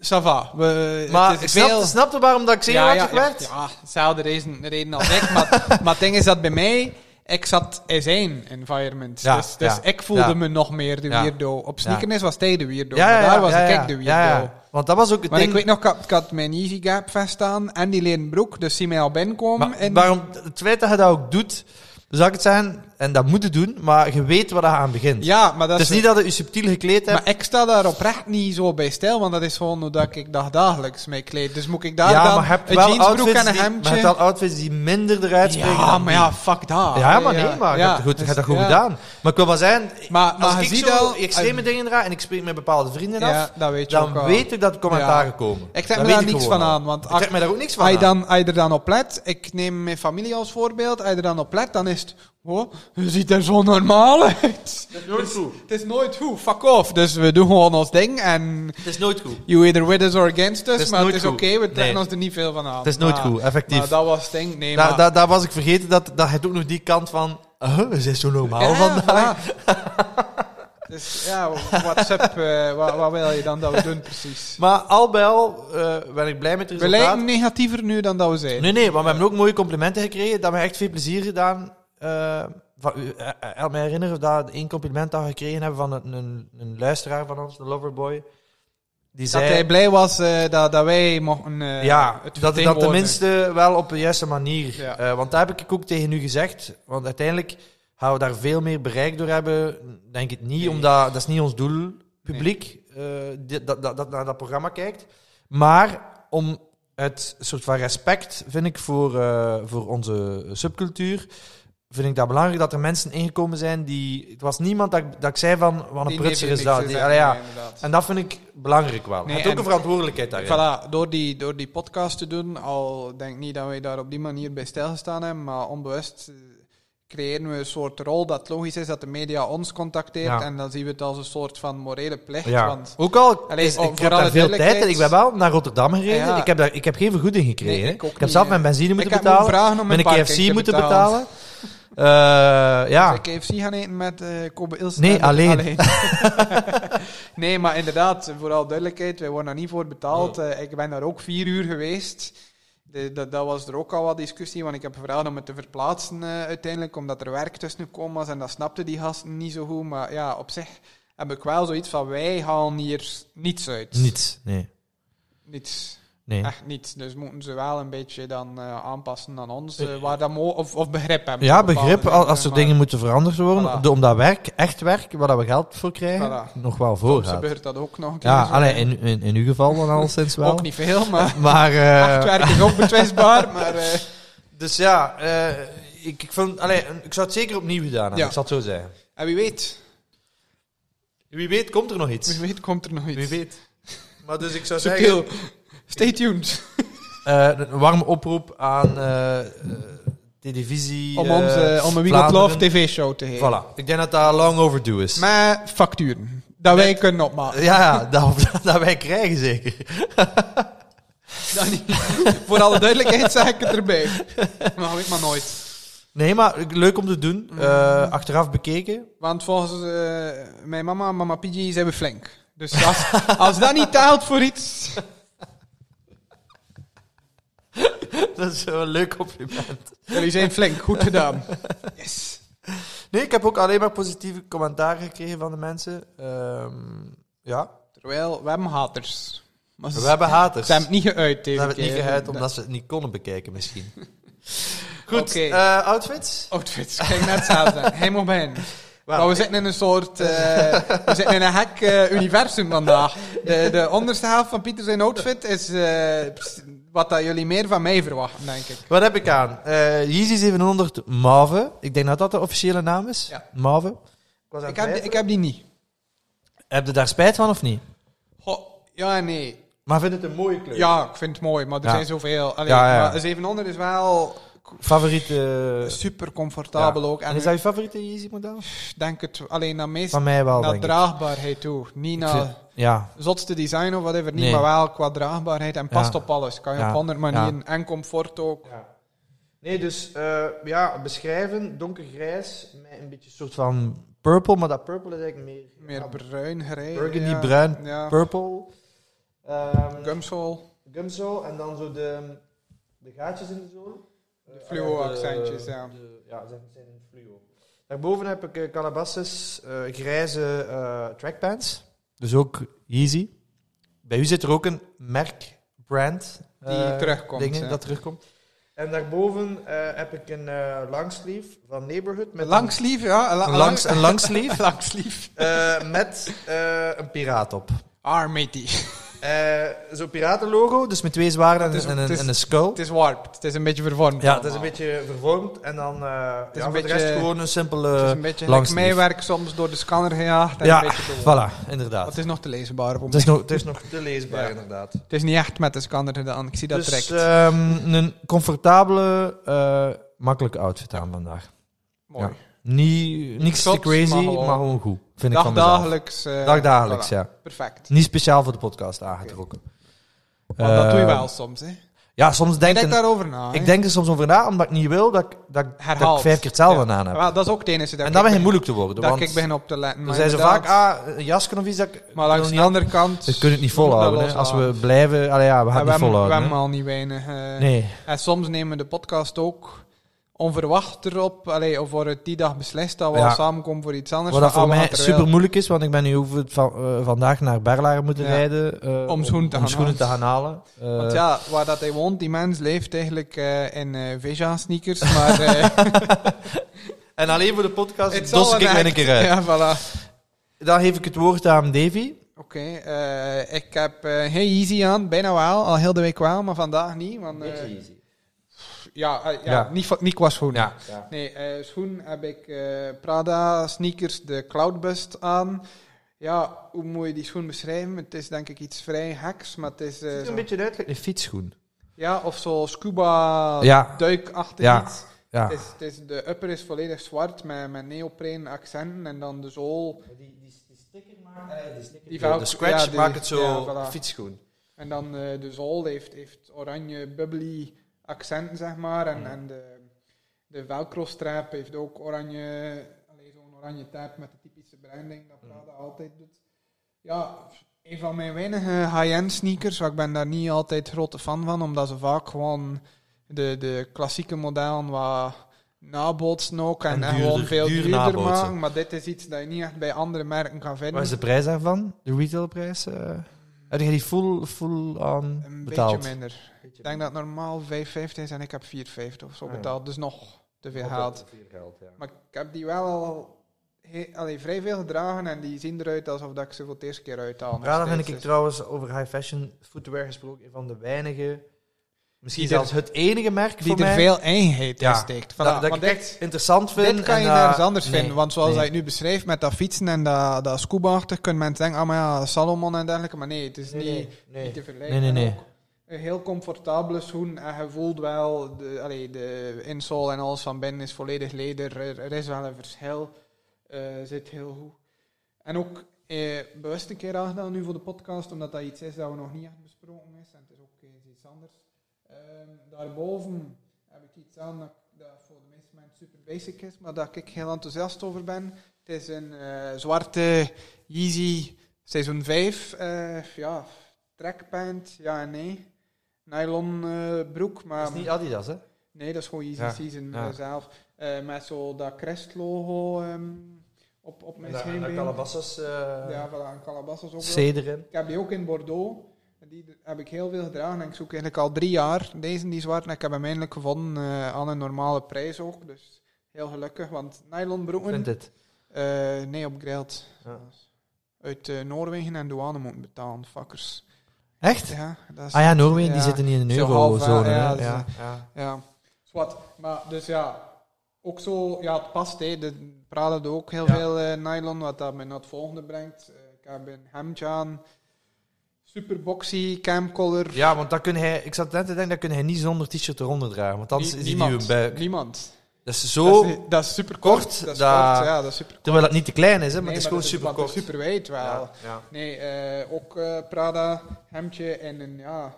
[SPEAKER 2] ça va. We,
[SPEAKER 1] maar
[SPEAKER 2] het
[SPEAKER 1] ik
[SPEAKER 2] is
[SPEAKER 1] snapte,
[SPEAKER 2] veel-
[SPEAKER 1] snapte waarom dat ik zenuwachtig
[SPEAKER 2] ja,
[SPEAKER 1] werd.
[SPEAKER 2] ja, dezelfde reden, reden als ik. maar, maar het ding is dat bij mij, ik zat in zijn environment.
[SPEAKER 1] Ja,
[SPEAKER 2] dus dus
[SPEAKER 1] ja,
[SPEAKER 2] ik voelde
[SPEAKER 1] ja.
[SPEAKER 2] me nog meer de
[SPEAKER 1] Ja.
[SPEAKER 2] weirdo. Op sneakers was hij de weirdo,
[SPEAKER 1] Ja,
[SPEAKER 2] maar
[SPEAKER 1] ja,
[SPEAKER 2] daar
[SPEAKER 1] ja,
[SPEAKER 2] was
[SPEAKER 1] ja,
[SPEAKER 2] ik
[SPEAKER 1] ja.
[SPEAKER 2] de weirdo.
[SPEAKER 1] Ja, ja. Want dat was ook het
[SPEAKER 2] Maar
[SPEAKER 1] ding.
[SPEAKER 2] ik weet nog, ik had, ik had mijn Yeezy Gap vest aan en die leren broek, dus zie mij al binnenkomen.
[SPEAKER 1] Maar
[SPEAKER 2] en
[SPEAKER 1] waarom, het feit dat je dat ook doet, zou ik het zeggen, en dat moet je doen, maar je weet waar je aan begint.
[SPEAKER 2] Ja, maar dat
[SPEAKER 1] het is
[SPEAKER 2] is
[SPEAKER 1] niet dat je je subtiel gekleed hebt.
[SPEAKER 2] maar ik sta daar oprecht niet zo bij stijl, want dat is gewoon hoe dat ik dag dagelijks mee kleed. Dus moet ik daar
[SPEAKER 1] ja,
[SPEAKER 2] dan
[SPEAKER 1] maar je hebt
[SPEAKER 2] een
[SPEAKER 1] wel
[SPEAKER 2] jeansbroek
[SPEAKER 1] outfits
[SPEAKER 2] en een
[SPEAKER 1] die- maar je
[SPEAKER 2] hemdje...
[SPEAKER 1] hebt wel outfits die minder eruit springen.
[SPEAKER 2] ja,
[SPEAKER 1] dan
[SPEAKER 2] maar
[SPEAKER 1] die.
[SPEAKER 2] ja, fuck dat.
[SPEAKER 1] Ja, maar nee, maar je
[SPEAKER 2] ja.
[SPEAKER 1] hebt het goed, je hebt dat goed
[SPEAKER 2] Ja.
[SPEAKER 1] gedaan. Maar ik wil maar zeggen,
[SPEAKER 2] Maar-
[SPEAKER 1] als
[SPEAKER 2] maar
[SPEAKER 1] ik
[SPEAKER 2] je ziet
[SPEAKER 1] zo
[SPEAKER 2] al-
[SPEAKER 1] extreme dingen draai en ik spreek met bepaalde vrienden af,
[SPEAKER 2] Ja, dat weet je ook
[SPEAKER 1] dan
[SPEAKER 2] al.
[SPEAKER 1] weet ik dat er commentaren
[SPEAKER 2] Ja.
[SPEAKER 1] komen.
[SPEAKER 2] Ik
[SPEAKER 1] Dat
[SPEAKER 2] trek me
[SPEAKER 1] weet
[SPEAKER 2] daar niks
[SPEAKER 1] gewoon
[SPEAKER 2] van
[SPEAKER 1] al.
[SPEAKER 2] aan, want
[SPEAKER 1] Ik trek
[SPEAKER 2] als
[SPEAKER 1] me daar ook niks van
[SPEAKER 2] als je,
[SPEAKER 1] aan.
[SPEAKER 2] dan, als je er dan op let, ik neem mijn familie als voorbeeld, als je er dan op let, dan is het, oh, je ziet er zo normaal uit.
[SPEAKER 1] Het is nooit goed.
[SPEAKER 2] Het is nooit goed, fuck off. Dus we doen gewoon ons ding en
[SPEAKER 1] Het is nooit goed.
[SPEAKER 2] you either with us or against us,
[SPEAKER 1] is
[SPEAKER 2] maar het
[SPEAKER 1] nooit
[SPEAKER 2] is
[SPEAKER 1] goed.
[SPEAKER 2] oké, we trekken
[SPEAKER 1] Nee.
[SPEAKER 2] ons er niet veel van aan.
[SPEAKER 1] Het is nooit
[SPEAKER 2] Maar-
[SPEAKER 1] goed, effectief. Nou,
[SPEAKER 2] Maar dat was het ding, nee,
[SPEAKER 1] Daar,
[SPEAKER 2] maar...
[SPEAKER 1] daar, daar was ik vergeten dat, dat het ook nog die kant van. Oh, ze is zo normaal
[SPEAKER 2] Ja,
[SPEAKER 1] vandaag.
[SPEAKER 2] voilà. dus ja, WhatsApp, eh wat, wat wil je dan dat we doen precies?
[SPEAKER 1] Maar al bij al eh, ben ik blij met het
[SPEAKER 2] We
[SPEAKER 1] resultaat.
[SPEAKER 2] lijken negatiever nu dan dat we zijn.
[SPEAKER 1] Nee, nee, want we hebben ook mooie complimenten gekregen. Dat me echt veel plezier gedaan. eh van, u- eh, eh, help mij herinneren dat één compliment dat we gekregen hebben van een, een, een luisteraar van ons, de Loverboy. Die
[SPEAKER 2] Dat
[SPEAKER 1] zei
[SPEAKER 2] hij blij was eh, dat, dat wij mochten eh,
[SPEAKER 1] ja,
[SPEAKER 2] het
[SPEAKER 1] dat, dat
[SPEAKER 2] vertegenwoordigen.
[SPEAKER 1] tenminste wel op de juiste manier.
[SPEAKER 2] Ja.
[SPEAKER 1] Eh, want dat heb ik ook tegen u gezegd. Want uiteindelijk gaan we daar veel meer bereik door hebben. Denk ik niet,
[SPEAKER 2] Nee.
[SPEAKER 1] omdat dat is niet ons doel, publiek, eh, die- dat, dat, dat naar dat programma kijkt. Maar om het soort van respect, vind ik, voor, eh, voor onze subcultuur... Vind ik dat belangrijk dat er mensen ingekomen zijn die. Het was niemand dat ik, dat ik zei van. Wat een
[SPEAKER 2] Die ah,
[SPEAKER 1] prutser
[SPEAKER 2] heeft
[SPEAKER 1] is dat.
[SPEAKER 2] niks
[SPEAKER 1] Die,
[SPEAKER 2] gezegd,
[SPEAKER 1] allee, ja.
[SPEAKER 2] nee, inderdaad.
[SPEAKER 1] En dat vind ik belangrijk wel.
[SPEAKER 2] Nee,
[SPEAKER 1] het ook
[SPEAKER 2] en-
[SPEAKER 1] een verantwoordelijkheid daarin.
[SPEAKER 2] Voilà, door die, door die podcast te doen, al denk ik niet dat wij daar op die manier bij stilgestaan hebben, maar onbewust eh, creëren we een soort rol dat logisch is dat de media ons contacteert
[SPEAKER 1] Ja.
[SPEAKER 2] en dan zien we het als een soort van morele plicht.
[SPEAKER 1] Ja.
[SPEAKER 2] Want
[SPEAKER 1] ook al
[SPEAKER 2] Allee,
[SPEAKER 1] is-
[SPEAKER 2] om-
[SPEAKER 1] ik
[SPEAKER 2] voor
[SPEAKER 1] heb
[SPEAKER 2] alle
[SPEAKER 1] daar veel tijd en
[SPEAKER 2] duidelijkheid-
[SPEAKER 1] ik ben wel naar Rotterdam gereden.
[SPEAKER 2] Ja.
[SPEAKER 1] Ik, heb daar, ik heb geen vergoeding gekregen.
[SPEAKER 2] Nee,
[SPEAKER 1] hè.
[SPEAKER 2] ik ook
[SPEAKER 1] heb
[SPEAKER 2] niet,
[SPEAKER 1] zelf
[SPEAKER 2] hè.
[SPEAKER 1] mijn benzine
[SPEAKER 2] ik
[SPEAKER 1] moeten
[SPEAKER 2] heb moeten
[SPEAKER 1] betalen,
[SPEAKER 2] vragen om
[SPEAKER 1] mijn
[SPEAKER 2] mijn parking
[SPEAKER 1] KFC
[SPEAKER 2] te
[SPEAKER 1] moeten betalen.
[SPEAKER 2] betalen.
[SPEAKER 1] Eh, ja,
[SPEAKER 2] Dus ik KFC gaan eten met eh Kobe Ilsen.
[SPEAKER 1] Nee,
[SPEAKER 2] en-
[SPEAKER 1] alleen.
[SPEAKER 2] nee, maar inderdaad, vooral duidelijkheid, wij worden daar niet voor betaald. Eh, ik ben daar ook vier uur geweest. De- dat, dat was er ook al wat discussie, want ik heb gevraagd om het te verplaatsen eh, uiteindelijk, omdat er werk tussen kwam was en dat snapten die gasten niet zo goed. Maar ja, op zich heb ik wel zoiets van, wij halen hier niets uit.
[SPEAKER 1] niets. Nee.
[SPEAKER 2] Niets.
[SPEAKER 1] nee.
[SPEAKER 2] Echt niets. Dus moeten ze wel een beetje dan eh, aanpassen aan ons, eh, waar dat mo- of, of begrip hebben.
[SPEAKER 1] Ja,
[SPEAKER 2] voor bepaalde
[SPEAKER 1] begrip al- als er
[SPEAKER 2] maar-
[SPEAKER 1] dingen moeten veranderd worden.
[SPEAKER 2] Voilà.
[SPEAKER 1] de- Omdat werk, echt werk, waar dat we geld voor krijgen,
[SPEAKER 2] Voilà.
[SPEAKER 1] nog wel voor
[SPEAKER 2] Soms
[SPEAKER 1] gaat.
[SPEAKER 2] gebeurt dat ook nog een keer.
[SPEAKER 1] Ja,
[SPEAKER 2] zo.
[SPEAKER 1] allee, in, in, in uw geval dan al sinds wel.
[SPEAKER 2] Ook dus, niet veel, maar
[SPEAKER 1] Maar, eh,
[SPEAKER 2] echt werk is ook betwistbaar. Maar eh,
[SPEAKER 1] dus ja, eh, ik, ik, vond, allee, ik zou het zeker opnieuw gedaan hebben.
[SPEAKER 2] Ja.
[SPEAKER 1] Ik zal het zo zeggen.
[SPEAKER 2] en wie weet,
[SPEAKER 1] Wie weet komt er nog iets.
[SPEAKER 2] wie weet komt er nog iets.
[SPEAKER 1] Wie weet. Maar dus ik zou zeggen...
[SPEAKER 2] Subtiel. Stay tuned.
[SPEAKER 1] eh, een warme oproep aan eh, eh, televisie...
[SPEAKER 2] Om,
[SPEAKER 1] eh,
[SPEAKER 2] ons, eh, om een We Got
[SPEAKER 1] Vlaanderen.
[SPEAKER 2] Love tv-show te geven.
[SPEAKER 1] Voilà. Ik denk dat dat long overdue is.
[SPEAKER 2] Met facturen. Dat wij kunnen opmaken.
[SPEAKER 1] Ja, ja dat, dat wij krijgen zeker.
[SPEAKER 2] Dat niet. Voor alle duidelijkheid zeg ik het erbij. Maar weet maar nooit.
[SPEAKER 1] Nee, maar leuk om te doen.
[SPEAKER 2] Mm.
[SPEAKER 1] Eh, achteraf bekeken.
[SPEAKER 2] Want volgens eh, mijn mama en mama Pidgey zijn we flink. Dus als, als dat niet taalt voor iets...
[SPEAKER 1] dat is wel een leuk compliment.
[SPEAKER 2] Jullie zijn flink, goed gedaan. Yes.
[SPEAKER 1] Nee, ik heb ook alleen maar positieve commentaren gekregen van de mensen. Ehm, ja,
[SPEAKER 2] Terwijl, we hebben haters. Maar ze,
[SPEAKER 1] we hebben haters.
[SPEAKER 2] ze hebben het niet geuit
[SPEAKER 1] Ze
[SPEAKER 2] deze
[SPEAKER 1] hebben het niet
[SPEAKER 2] keer.
[SPEAKER 1] geuit omdat ze het niet konden bekijken misschien. Goed,
[SPEAKER 2] Oké.
[SPEAKER 1] eh, outfits?
[SPEAKER 2] Outfits, kijk net hetzelfde. Hij mag bij
[SPEAKER 1] Wel,
[SPEAKER 2] we zitten in een soort... eh, we zitten in een hek eh, universum vandaag. De, de onderste helft van Pieter zijn outfit is eh, pst, wat dat jullie meer van mij verwachten, denk ik.
[SPEAKER 1] Wat heb ik aan? Eh Yeezy 700 Mave. Ik denk dat dat de officiële naam is.
[SPEAKER 2] Ja.
[SPEAKER 1] Mave. Ik, was aan
[SPEAKER 2] Ik
[SPEAKER 1] het
[SPEAKER 2] heb, die- ik
[SPEAKER 1] twijfelen.
[SPEAKER 2] heb die niet.
[SPEAKER 1] Heb je daar spijt van of niet?
[SPEAKER 2] Goh, ja en nee.
[SPEAKER 1] Maar vind het een mooie kleur?
[SPEAKER 2] Ja, ik vind het mooi, maar er
[SPEAKER 1] Ja.
[SPEAKER 2] zijn zoveel. Allee,
[SPEAKER 1] Ja, ja.
[SPEAKER 2] Maar 700 is wel
[SPEAKER 1] Favoriete... eh,
[SPEAKER 2] super comfortabel ook.
[SPEAKER 1] en
[SPEAKER 2] En
[SPEAKER 1] is dat je favoriete Yeezy model?
[SPEAKER 2] ik denk het alleen naar meest
[SPEAKER 1] Van mij wel,
[SPEAKER 2] naar
[SPEAKER 1] denk ik.
[SPEAKER 2] draagbaarheid toe. Niet
[SPEAKER 1] Ik
[SPEAKER 2] naar
[SPEAKER 1] vind- Ja.
[SPEAKER 2] zotste design of whatever, niet,
[SPEAKER 1] Nee.
[SPEAKER 2] maar wel qua draagbaarheid en past
[SPEAKER 1] Ja.
[SPEAKER 2] op alles. Kan je
[SPEAKER 1] Ja.
[SPEAKER 2] op andere manieren en comfort ook.
[SPEAKER 1] Nee, dus ja, beschrijven. Donkergrijs met een beetje soort van purple. Maar dat purple is eigenlijk meer...
[SPEAKER 2] Meer bruin gereden.
[SPEAKER 1] Burgundy,
[SPEAKER 2] ja.
[SPEAKER 1] bruin,
[SPEAKER 2] Ja.
[SPEAKER 1] purple. Ehm,
[SPEAKER 2] Gumsole.
[SPEAKER 1] gumzo en dan zo de, de gaatjes in de zool. Eh,
[SPEAKER 2] De fluo-accentjes,
[SPEAKER 1] De-
[SPEAKER 2] ja.
[SPEAKER 1] de- ja, ze zijn in fluo. Daarboven heb ik eh, Calabasas eh, grijze eh, trackpants. Dus ook Yeezy. Bij u zit er ook een merk, brand.
[SPEAKER 2] Die
[SPEAKER 1] eh,
[SPEAKER 2] terugkomt,
[SPEAKER 1] dingen
[SPEAKER 2] ja.
[SPEAKER 1] dat terugkomt. En daarboven eh, heb ik een eh langsleeve van Neighborhood. Met
[SPEAKER 2] Langslief, ja.
[SPEAKER 1] Een, langs, een langsleeve
[SPEAKER 2] Langslief.
[SPEAKER 1] eh, met eh, een piraat op.
[SPEAKER 2] Armatey.
[SPEAKER 1] Eh, Zo'n piratenlogo, dus met twee zwaarden
[SPEAKER 2] Het is-
[SPEAKER 1] en, een-
[SPEAKER 2] het is-
[SPEAKER 1] en een skull.
[SPEAKER 2] Het is warped. Het is een beetje vervormd.
[SPEAKER 1] Ja, het is een
[SPEAKER 2] allemaal.
[SPEAKER 1] beetje vervormd en dan eh ja,
[SPEAKER 2] is een
[SPEAKER 1] voor de
[SPEAKER 2] beetje-
[SPEAKER 1] rest gewoon een
[SPEAKER 2] Het is
[SPEAKER 1] simpele...
[SPEAKER 2] een beetje
[SPEAKER 1] eh, langs
[SPEAKER 2] langs meewerk soms door de scanner gejaagd. En
[SPEAKER 1] Ja,
[SPEAKER 2] een beetje door-
[SPEAKER 1] Voilà,
[SPEAKER 2] Want
[SPEAKER 1] inderdaad.
[SPEAKER 2] het is nog te lezenbaar. voor
[SPEAKER 1] Het
[SPEAKER 2] mij.
[SPEAKER 1] is, nog, het is nog te leesbaar,
[SPEAKER 2] Ja.
[SPEAKER 1] inderdaad.
[SPEAKER 2] Het is niet echt met de scanner gedaan. Ik zie dat
[SPEAKER 1] dus
[SPEAKER 2] direct.
[SPEAKER 1] ehm, een comfortabele, eh, makkelijke outfit aan vandaag.
[SPEAKER 2] Mooi.
[SPEAKER 1] Niet, niks
[SPEAKER 2] Shots,
[SPEAKER 1] te crazy,
[SPEAKER 2] maar
[SPEAKER 1] maar
[SPEAKER 2] gewoon-
[SPEAKER 1] gewoon, goed. Vind ik van mezelf.
[SPEAKER 2] Dagdagelijks. eh,
[SPEAKER 1] Dagdagelijks,
[SPEAKER 2] voilà.
[SPEAKER 1] ja.
[SPEAKER 2] Perfect.
[SPEAKER 1] Niet speciaal voor de podcast aangetrokken.
[SPEAKER 2] Want dat doe je
[SPEAKER 1] Eh,
[SPEAKER 2] wel soms, hè.
[SPEAKER 1] Ja, soms denk
[SPEAKER 2] Ik denk
[SPEAKER 1] ik...
[SPEAKER 2] daarover na, hè.
[SPEAKER 1] Ik denk er soms over na, omdat ik niet wil dat ik, dat, ik- dat ik
[SPEAKER 2] Herhaald.
[SPEAKER 1] vijf keer hetzelfde aan heb.
[SPEAKER 2] Ah, Wel, dat is ook het enige dat
[SPEAKER 1] en dan
[SPEAKER 2] ik,
[SPEAKER 1] begin moeilijk te worden.
[SPEAKER 2] dat
[SPEAKER 1] want
[SPEAKER 2] ik begin op te letten.
[SPEAKER 1] dan
[SPEAKER 2] maar
[SPEAKER 1] zijn ze
[SPEAKER 2] inderdaad.
[SPEAKER 1] vaak, ah, een jasje of iets dat ik...
[SPEAKER 2] Maar langs
[SPEAKER 1] wil
[SPEAKER 2] de andere kant...
[SPEAKER 1] We kunnen het niet
[SPEAKER 2] we moeten
[SPEAKER 1] volhouden.
[SPEAKER 2] dat
[SPEAKER 1] hè. Als
[SPEAKER 2] loslaten.
[SPEAKER 1] we blijven... Allee, ja, we gaan
[SPEAKER 2] En we
[SPEAKER 1] het niet
[SPEAKER 2] hebben- We
[SPEAKER 1] volhouden.
[SPEAKER 2] hebben
[SPEAKER 1] hè.
[SPEAKER 2] al niet weinig. eh,
[SPEAKER 1] Nee.
[SPEAKER 2] En soms nemen we de podcast ook onverwacht erop. Allee, of wordt het die dag beslist dat we
[SPEAKER 1] Ja.
[SPEAKER 2] al samenkomen voor iets anders.
[SPEAKER 1] Wat dat
[SPEAKER 2] van,
[SPEAKER 1] voor
[SPEAKER 2] ah, we
[SPEAKER 1] mij
[SPEAKER 2] gaan terwijl-
[SPEAKER 1] super moeilijk is, want ik ben nu over het van, eh, vandaag naar Berlaren moeten
[SPEAKER 2] Ja.
[SPEAKER 1] rijden. eh,
[SPEAKER 2] Om schoenen te gaan
[SPEAKER 1] schoenen
[SPEAKER 2] halen.
[SPEAKER 1] gaan halen. Eh,
[SPEAKER 2] Want ja, waar dat hij woont, die mens leeft eigenlijk eh, in eh Veja-sneakers. Maar eh
[SPEAKER 1] En alleen voor de podcast
[SPEAKER 2] het zal
[SPEAKER 1] dos ik
[SPEAKER 2] een
[SPEAKER 1] mij een
[SPEAKER 2] act-
[SPEAKER 1] keer uit.
[SPEAKER 2] Ja, voilà.
[SPEAKER 1] Dan geef ik het woord aan Davy.
[SPEAKER 2] Oké, eh, ik heb eh heel easy aan, bijna wel, al heel de week wel, maar vandaag niet. Want, eh, ja, eh, ja,
[SPEAKER 1] Ja.
[SPEAKER 2] Niet, va- niet qua schoenen.
[SPEAKER 1] Ja.
[SPEAKER 2] Nee, eh, schoen heb ik eh, Prada sneakers, de Cloudbust aan. Ja, hoe moet je die schoen beschrijven? Het is denk ik iets vrij heks, maar het is... eh,
[SPEAKER 1] Het is
[SPEAKER 2] zo-
[SPEAKER 1] een beetje duidelijk. Een fietsschoen.
[SPEAKER 2] ja, of zo scuba
[SPEAKER 1] Ja.
[SPEAKER 2] duikachtig
[SPEAKER 1] Ja,
[SPEAKER 2] iets.
[SPEAKER 1] Ja.
[SPEAKER 2] Het is, het is, de upper is volledig zwart met, met neopreen accenten en dan de zool
[SPEAKER 1] Eh, Die, sticker maken...
[SPEAKER 2] Die
[SPEAKER 1] Eh, Die
[SPEAKER 2] velcro-
[SPEAKER 1] de scratch
[SPEAKER 2] ja, die-
[SPEAKER 1] maakt het zo
[SPEAKER 2] ja, voilà.
[SPEAKER 1] fietsschoen.
[SPEAKER 2] en dan eh, de zool heeft, heeft oranje bubbly accenten zeg maar en,
[SPEAKER 1] Mhm.
[SPEAKER 2] en de, de velcro strap heeft ook oranje, alleen zo'n oranje tape met de typische branding
[SPEAKER 1] Mm.
[SPEAKER 2] dat Prada altijd doet. Ja, een van mijn weinige high-end sneakers, maar ik ben daar niet altijd grote fan van, omdat ze vaak gewoon de, de klassieke modellen wat nabootsen ook en,
[SPEAKER 1] En
[SPEAKER 2] en
[SPEAKER 1] duurder-
[SPEAKER 2] gewoon veel
[SPEAKER 1] duur
[SPEAKER 2] duurder
[SPEAKER 1] nabootsen.
[SPEAKER 2] maken. Maar dit is iets dat je niet echt bij andere merken kan vinden.
[SPEAKER 1] Wat is de prijs daarvan? De retailprijs? eh heb je die full, full aan
[SPEAKER 2] Ehm, Een
[SPEAKER 1] betaald?
[SPEAKER 2] beetje minder. Ik denk dat normaal 5,50 is en ik heb 4,50 of zo
[SPEAKER 1] Ah, ja.
[SPEAKER 2] betaald. Dus nog te veel geld. Maar ik heb die wel al he- allee, vrij veel gedragen en die zien eruit alsof dat ik ze voor het eerste keer uithaal.
[SPEAKER 1] Ja, dan
[SPEAKER 2] Nog
[SPEAKER 1] vind ik
[SPEAKER 2] steeds.
[SPEAKER 1] trouwens over high fashion footwear gesproken een van de weinige, misschien
[SPEAKER 2] Die er-
[SPEAKER 1] zelfs het enige merk
[SPEAKER 2] dus. Die
[SPEAKER 1] voor
[SPEAKER 2] er
[SPEAKER 1] mij
[SPEAKER 2] veel eenheid
[SPEAKER 1] Ja.
[SPEAKER 2] in steekt. Voilà,
[SPEAKER 1] dat, dat
[SPEAKER 2] want
[SPEAKER 1] ik echt
[SPEAKER 2] dit,
[SPEAKER 1] interessant vind.
[SPEAKER 2] dit kan
[SPEAKER 1] en,
[SPEAKER 2] je
[SPEAKER 1] eh,
[SPEAKER 2] nergens anders
[SPEAKER 1] nee,
[SPEAKER 2] vinden. Want zoals
[SPEAKER 1] nee.
[SPEAKER 2] dat je het nu beschrijft met dat fietsen en dat, dat scuba-achtig, kunnen mensen denken, ah maar ja, Salomon en dergelijke. Maar nee, het is
[SPEAKER 1] Nee,
[SPEAKER 2] niet,
[SPEAKER 1] nee, nee.
[SPEAKER 2] niet te vergelijken.
[SPEAKER 1] Nee, nee, nee.
[SPEAKER 2] En ook Een heel comfortabele schoen en je voelt wel, de, allee, de insole en alles van binnen is volledig leder. Er, er is wel een verschil, Eh, zit heel goed. En ook eh, bewust een keer aangedaan nu voor de podcast, omdat dat iets is dat we nog niet echt besproken is. En het is ook eens iets anders. Ehm, daarboven heb ik iets aan dat, dat voor de meeste mensen super basic is, maar dat ik heel enthousiast over ben. Het is een eh, zwarte Yeezy seizoen 5. eh ja, trackpant, ja en nee. nylon eh, broek. Maar
[SPEAKER 1] Dat is niet Adidas, hè?
[SPEAKER 2] Nee, dat is gewoon Easy
[SPEAKER 1] Ja,
[SPEAKER 2] Season
[SPEAKER 1] ja.
[SPEAKER 2] eh, zelf. Eh, met zo dat crest-logo ehm, op, op mijn scheenbeen.
[SPEAKER 1] Calabasas.
[SPEAKER 2] eh, Ja, voilà, en Calabasas ook wel.
[SPEAKER 1] C erin.
[SPEAKER 2] Ik heb die ook in Bordeaux. En Die heb ik heel veel gedragen. En ik zoek eigenlijk al drie jaar deze, die zwart. En ik heb hem eindelijk gevonden eh, aan een normale prijs ook. Dus heel gelukkig, want nylon broeken...
[SPEAKER 1] Vindt het.
[SPEAKER 2] eh, nee, op Geld. Dus
[SPEAKER 1] Ja.
[SPEAKER 2] Uit eh, Noorwegen en douane moeten betalen, fuckers.
[SPEAKER 1] Echt?
[SPEAKER 2] Ja, dat is...
[SPEAKER 1] Ah ja, Noorwegen, die
[SPEAKER 2] Ja.
[SPEAKER 1] zitten niet in de
[SPEAKER 2] Zo half,
[SPEAKER 1] eurozone.
[SPEAKER 2] ja,
[SPEAKER 1] hè?
[SPEAKER 2] ja,
[SPEAKER 1] ja.
[SPEAKER 2] Ja, zwart. Maar dus ja, ook zo, ja, het past. Hè. De Prada doet ook heel
[SPEAKER 1] Ja.
[SPEAKER 2] veel eh, nylon, wat dat mij naar het volgende brengt. Eh, ik heb een hemdje aan, super boxy, camcolor.
[SPEAKER 1] Ja, want dan kun hij, ik zat net te denken, dat kun hij niet zonder t-shirt eronder dragen. Want anders
[SPEAKER 2] Nie-
[SPEAKER 1] is hij
[SPEAKER 2] niemand.
[SPEAKER 1] uw buik.
[SPEAKER 2] Niemand.
[SPEAKER 1] Dat is zo,
[SPEAKER 2] dat, is, dat is super
[SPEAKER 1] kort,
[SPEAKER 2] kort. Dat is
[SPEAKER 1] dat-
[SPEAKER 2] kort, ja, dat is super
[SPEAKER 1] terwijl het niet te klein is, hè, maar
[SPEAKER 2] Nee,
[SPEAKER 1] het is gewoon
[SPEAKER 2] dat
[SPEAKER 1] super
[SPEAKER 2] want het
[SPEAKER 1] kort.
[SPEAKER 2] is super wijd wel.
[SPEAKER 1] ja, ja.
[SPEAKER 2] Nee, eh, ook eh, Prada hemdje en een ja,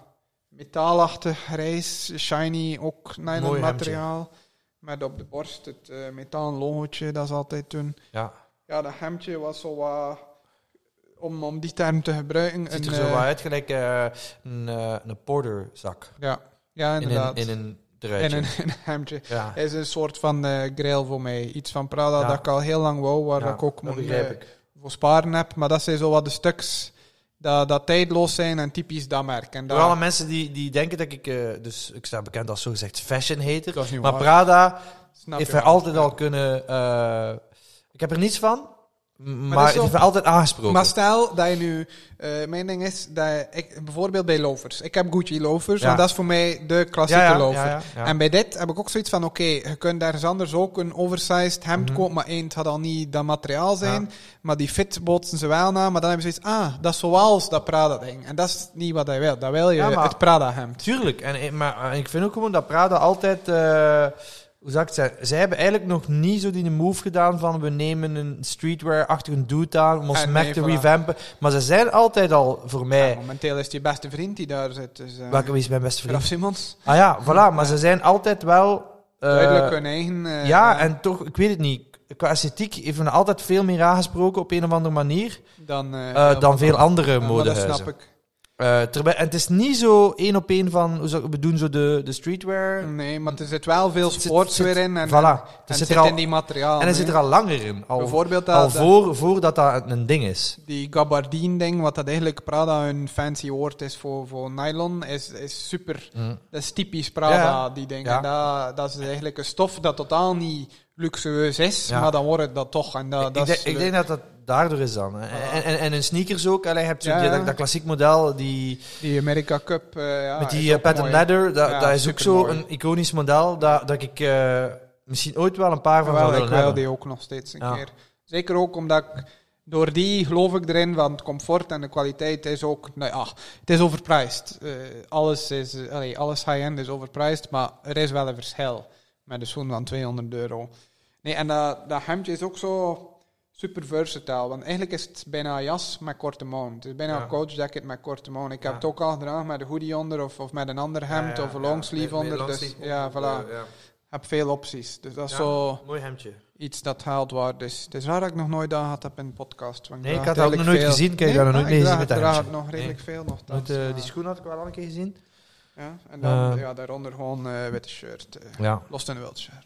[SPEAKER 2] metaalachtig grijs, shiny, ook nylon
[SPEAKER 1] Mooi hemdje.
[SPEAKER 2] materiaal. Met op de borst het eh metalen logotje, dat is altijd toen.
[SPEAKER 1] Ja.
[SPEAKER 2] Ja, dat hemdje was zo wat, om, om die term te gebruiken.
[SPEAKER 1] Het ziet
[SPEAKER 2] een,
[SPEAKER 1] er zo
[SPEAKER 2] eh,
[SPEAKER 1] wat uit, gelijk eh, een, eh, een porterzak.
[SPEAKER 2] Ja, ja
[SPEAKER 1] In een,
[SPEAKER 2] inderdaad.
[SPEAKER 1] in een
[SPEAKER 2] en
[SPEAKER 1] truitje.
[SPEAKER 2] een, een hemdje.
[SPEAKER 1] ja.
[SPEAKER 2] Is een soort van eh grail voor mij. Iets van Prada
[SPEAKER 1] Ja.
[SPEAKER 2] dat ik al heel lang wou, waar
[SPEAKER 1] Ja,
[SPEAKER 2] ik ook
[SPEAKER 1] dat
[SPEAKER 2] moet,
[SPEAKER 1] begrijp
[SPEAKER 2] eh,
[SPEAKER 1] ik.
[SPEAKER 2] voor sparen heb. Maar dat zijn zo wat de stuks dat, dat tijdloos zijn en typisch dat merk. En dat,
[SPEAKER 1] Voor alle mensen die, die denken dat ik, eh, dus ik sta bekend als zogezegd fashion hater.
[SPEAKER 2] Dat is niet
[SPEAKER 1] Maar
[SPEAKER 2] waar.
[SPEAKER 1] Prada
[SPEAKER 2] Snap
[SPEAKER 1] heeft
[SPEAKER 2] je
[SPEAKER 1] hij
[SPEAKER 2] wel.
[SPEAKER 1] altijd al kunnen. eh, ik heb er niets van, m- maar,
[SPEAKER 2] dat is
[SPEAKER 1] het
[SPEAKER 2] zo-
[SPEAKER 1] heeft mij altijd aangesproken.
[SPEAKER 2] Maar stel dat je nu... eh, mijn ding is, dat ik, bijvoorbeeld bij lovers. Ik heb Gucci lovers,
[SPEAKER 1] Ja.
[SPEAKER 2] want dat is voor mij de klassieke lover.
[SPEAKER 1] ja.
[SPEAKER 2] En bij dit heb ik ook zoiets van, oké, je kunt ergens anders ook een oversized hemd
[SPEAKER 1] Mhm.
[SPEAKER 2] kopen, maar één, het gaat al niet dat materiaal zijn, maar die fit botsen ze wel na, maar dan hebben ze zoiets, ah, dat is zoals dat Prada-ding. En dat is niet wat hij wil. Dat wil je,
[SPEAKER 1] Ja, maar-
[SPEAKER 2] het Prada-hemd.
[SPEAKER 1] Tuurlijk, en, eh, maar eh, ik vind ook gewoon dat Prada altijd. eh, hoe zou ik het zeggen? Zij hebben eigenlijk nog niet zo die move gedaan van we nemen een streetwear-achtige dude aan om ons
[SPEAKER 2] En
[SPEAKER 1] merk
[SPEAKER 2] Ah, nee,
[SPEAKER 1] te
[SPEAKER 2] voilà.
[SPEAKER 1] revampen. Maar ze zijn altijd al voor mij.
[SPEAKER 2] Ja, momenteel is het je beste vriend die daar zit. Dus, eh,
[SPEAKER 1] Welke is mijn beste
[SPEAKER 2] Graf
[SPEAKER 1] vriend?
[SPEAKER 2] Simons.
[SPEAKER 1] Ah ja, voilà, maar ze zijn altijd wel. eh,
[SPEAKER 2] Duidelijk hun eigen... eh,
[SPEAKER 1] ja, en toch, ik weet het niet. Qua esthetiek heeft me altijd veel meer aangesproken op een of andere manier.
[SPEAKER 2] Dan, eh,
[SPEAKER 1] Eh, dan veel andere
[SPEAKER 2] Ja, maar
[SPEAKER 1] modehuizen.
[SPEAKER 2] Dat snap ik.
[SPEAKER 1] Eh, terwijl, en het is niet zo één op één van, hoe zou ik- we doen zo de, de streetwear.
[SPEAKER 2] Nee, maar er zit wel veel
[SPEAKER 1] Zit-
[SPEAKER 2] sports
[SPEAKER 1] zit-
[SPEAKER 2] weer in. En,
[SPEAKER 1] voilà.
[SPEAKER 2] Mm, en
[SPEAKER 1] Het zit
[SPEAKER 2] het zit
[SPEAKER 1] er al-
[SPEAKER 2] in die materiaal.
[SPEAKER 1] en hij zit er al langer in. Al,
[SPEAKER 2] Bijvoorbeeld dat,
[SPEAKER 1] al
[SPEAKER 2] dat-
[SPEAKER 1] voor, voordat dat een ding is.
[SPEAKER 2] die gabardine-ding, wat dat eigenlijk Prada een fancy woord is voor, voor nylon, is, is super.
[SPEAKER 1] Mm.
[SPEAKER 2] Dat is typisch Prada,
[SPEAKER 1] Ja.
[SPEAKER 2] die ding.
[SPEAKER 1] Ja.
[SPEAKER 2] En Dat, dat is eigenlijk een stof dat totaal niet luxueus is,
[SPEAKER 1] Ja.
[SPEAKER 2] maar dan wordt het dat toch. En dat,
[SPEAKER 1] ik,
[SPEAKER 2] dat
[SPEAKER 1] denk,
[SPEAKER 2] is
[SPEAKER 1] ik denk dat dat daardoor is dan. hè. En, en, en hun sneakers ook. Allee, je hebt zo
[SPEAKER 2] Ja.
[SPEAKER 1] die- dat, dat klassiek model die,
[SPEAKER 2] die America Cup. eh, ja,
[SPEAKER 1] met
[SPEAKER 2] is
[SPEAKER 1] die eh,
[SPEAKER 2] ook
[SPEAKER 1] patent
[SPEAKER 2] mooi.
[SPEAKER 1] leather. Dat,
[SPEAKER 2] Ja,
[SPEAKER 1] dat is ook zo
[SPEAKER 2] supermooi.
[SPEAKER 1] een iconisch model dat, dat ik eh, misschien ooit wel een paar van
[SPEAKER 2] Jawel,
[SPEAKER 1] zou willen
[SPEAKER 2] ik wil
[SPEAKER 1] hebben.
[SPEAKER 2] die ook nog steeds een
[SPEAKER 1] Ja.
[SPEAKER 2] keer. Zeker ook omdat ik door die geloof ik erin, want comfort en de kwaliteit is ook, nou ja, het is overpriced. Eh, alles is, eh, allee, alles high-end is overpriced, maar er is wel een verschil met een schoen van 200 euro. Nee, en dat, dat hemdje is ook zo super versatile, want eigenlijk is het bijna een jas met korte mouw. Het is bijna
[SPEAKER 1] Ja.
[SPEAKER 2] een coach jacket met korte mouw. Ik heb
[SPEAKER 1] Ja.
[SPEAKER 2] het ook al gedragen met een hoodie onder of, of met een ander hemd
[SPEAKER 1] Ja,
[SPEAKER 2] of een
[SPEAKER 1] ja,
[SPEAKER 2] longsleeve
[SPEAKER 1] met- met
[SPEAKER 2] onder. dus
[SPEAKER 1] longsleeve
[SPEAKER 2] ja,
[SPEAKER 1] onder,
[SPEAKER 2] voilà.
[SPEAKER 1] eh, ja.
[SPEAKER 2] Ik heb veel opties. Dus dat is
[SPEAKER 1] Ja.
[SPEAKER 2] zo
[SPEAKER 1] Mooi hemdje.
[SPEAKER 2] iets dat haalt waard is. Het is raar dat ik nog nooit aan had heb in een podcast. want
[SPEAKER 1] Nee, ik
[SPEAKER 2] draag
[SPEAKER 1] had dat ook nog
[SPEAKER 2] redelijk
[SPEAKER 1] nooit gezien. Kijk, ik heb dat
[SPEAKER 2] maar
[SPEAKER 1] nooit meegezien met
[SPEAKER 2] Ik
[SPEAKER 1] dat
[SPEAKER 2] draag
[SPEAKER 1] hemdje.
[SPEAKER 2] nog redelijk veel nog.
[SPEAKER 1] Want,
[SPEAKER 2] thans,
[SPEAKER 1] eh,
[SPEAKER 2] maar-
[SPEAKER 1] die schoen had ik wel al een keer gezien.
[SPEAKER 2] ja, en dan,
[SPEAKER 1] Eh.
[SPEAKER 2] ja, daaronder gewoon eh, witte shirt. eh,
[SPEAKER 1] Ja.
[SPEAKER 2] Lost in Wild shirt.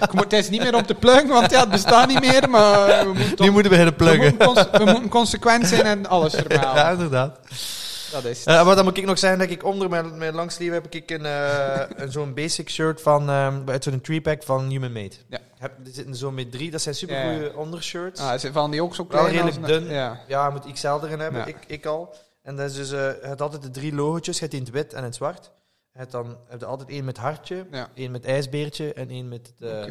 [SPEAKER 2] ik moet deze niet meer op de plug, want ja, het bestaat niet meer. Maar we moeten,
[SPEAKER 1] Nu moeten we beginnen
[SPEAKER 2] we
[SPEAKER 1] pluggen.
[SPEAKER 2] moeten cons- we moeten consequent zijn en alles
[SPEAKER 1] Ja,
[SPEAKER 2] vermelden.
[SPEAKER 1] inderdaad.
[SPEAKER 2] Dat is het.
[SPEAKER 1] Eh, maar dan moet ik nog zeggen dat ik onder mijn, mijn langsleeve heb ik een, eh, een zo'n basic shirt van, ehm, uit zo'n 3-pack van Human Made.
[SPEAKER 2] Ja.
[SPEAKER 1] Heb, er zitten zo met drie, dat zijn supergoeie
[SPEAKER 2] Ja.
[SPEAKER 1] ondershirts.
[SPEAKER 2] Ah, ze- van die ook zo
[SPEAKER 1] Wel
[SPEAKER 2] klein
[SPEAKER 1] redelijk
[SPEAKER 2] als een-
[SPEAKER 1] dun.
[SPEAKER 2] Ja.
[SPEAKER 1] Ja, je moet XL erin hebben,
[SPEAKER 2] Ja.
[SPEAKER 1] ik, ik al. En dat is dus, eh, je hebt altijd de drie logotjes, je hebt in het wit en in het zwart. Je hebt dan heb je altijd één met hartje,
[SPEAKER 2] Ja.
[SPEAKER 1] één met ijsbeertje en één met... het, eh, eh,
[SPEAKER 2] Oké.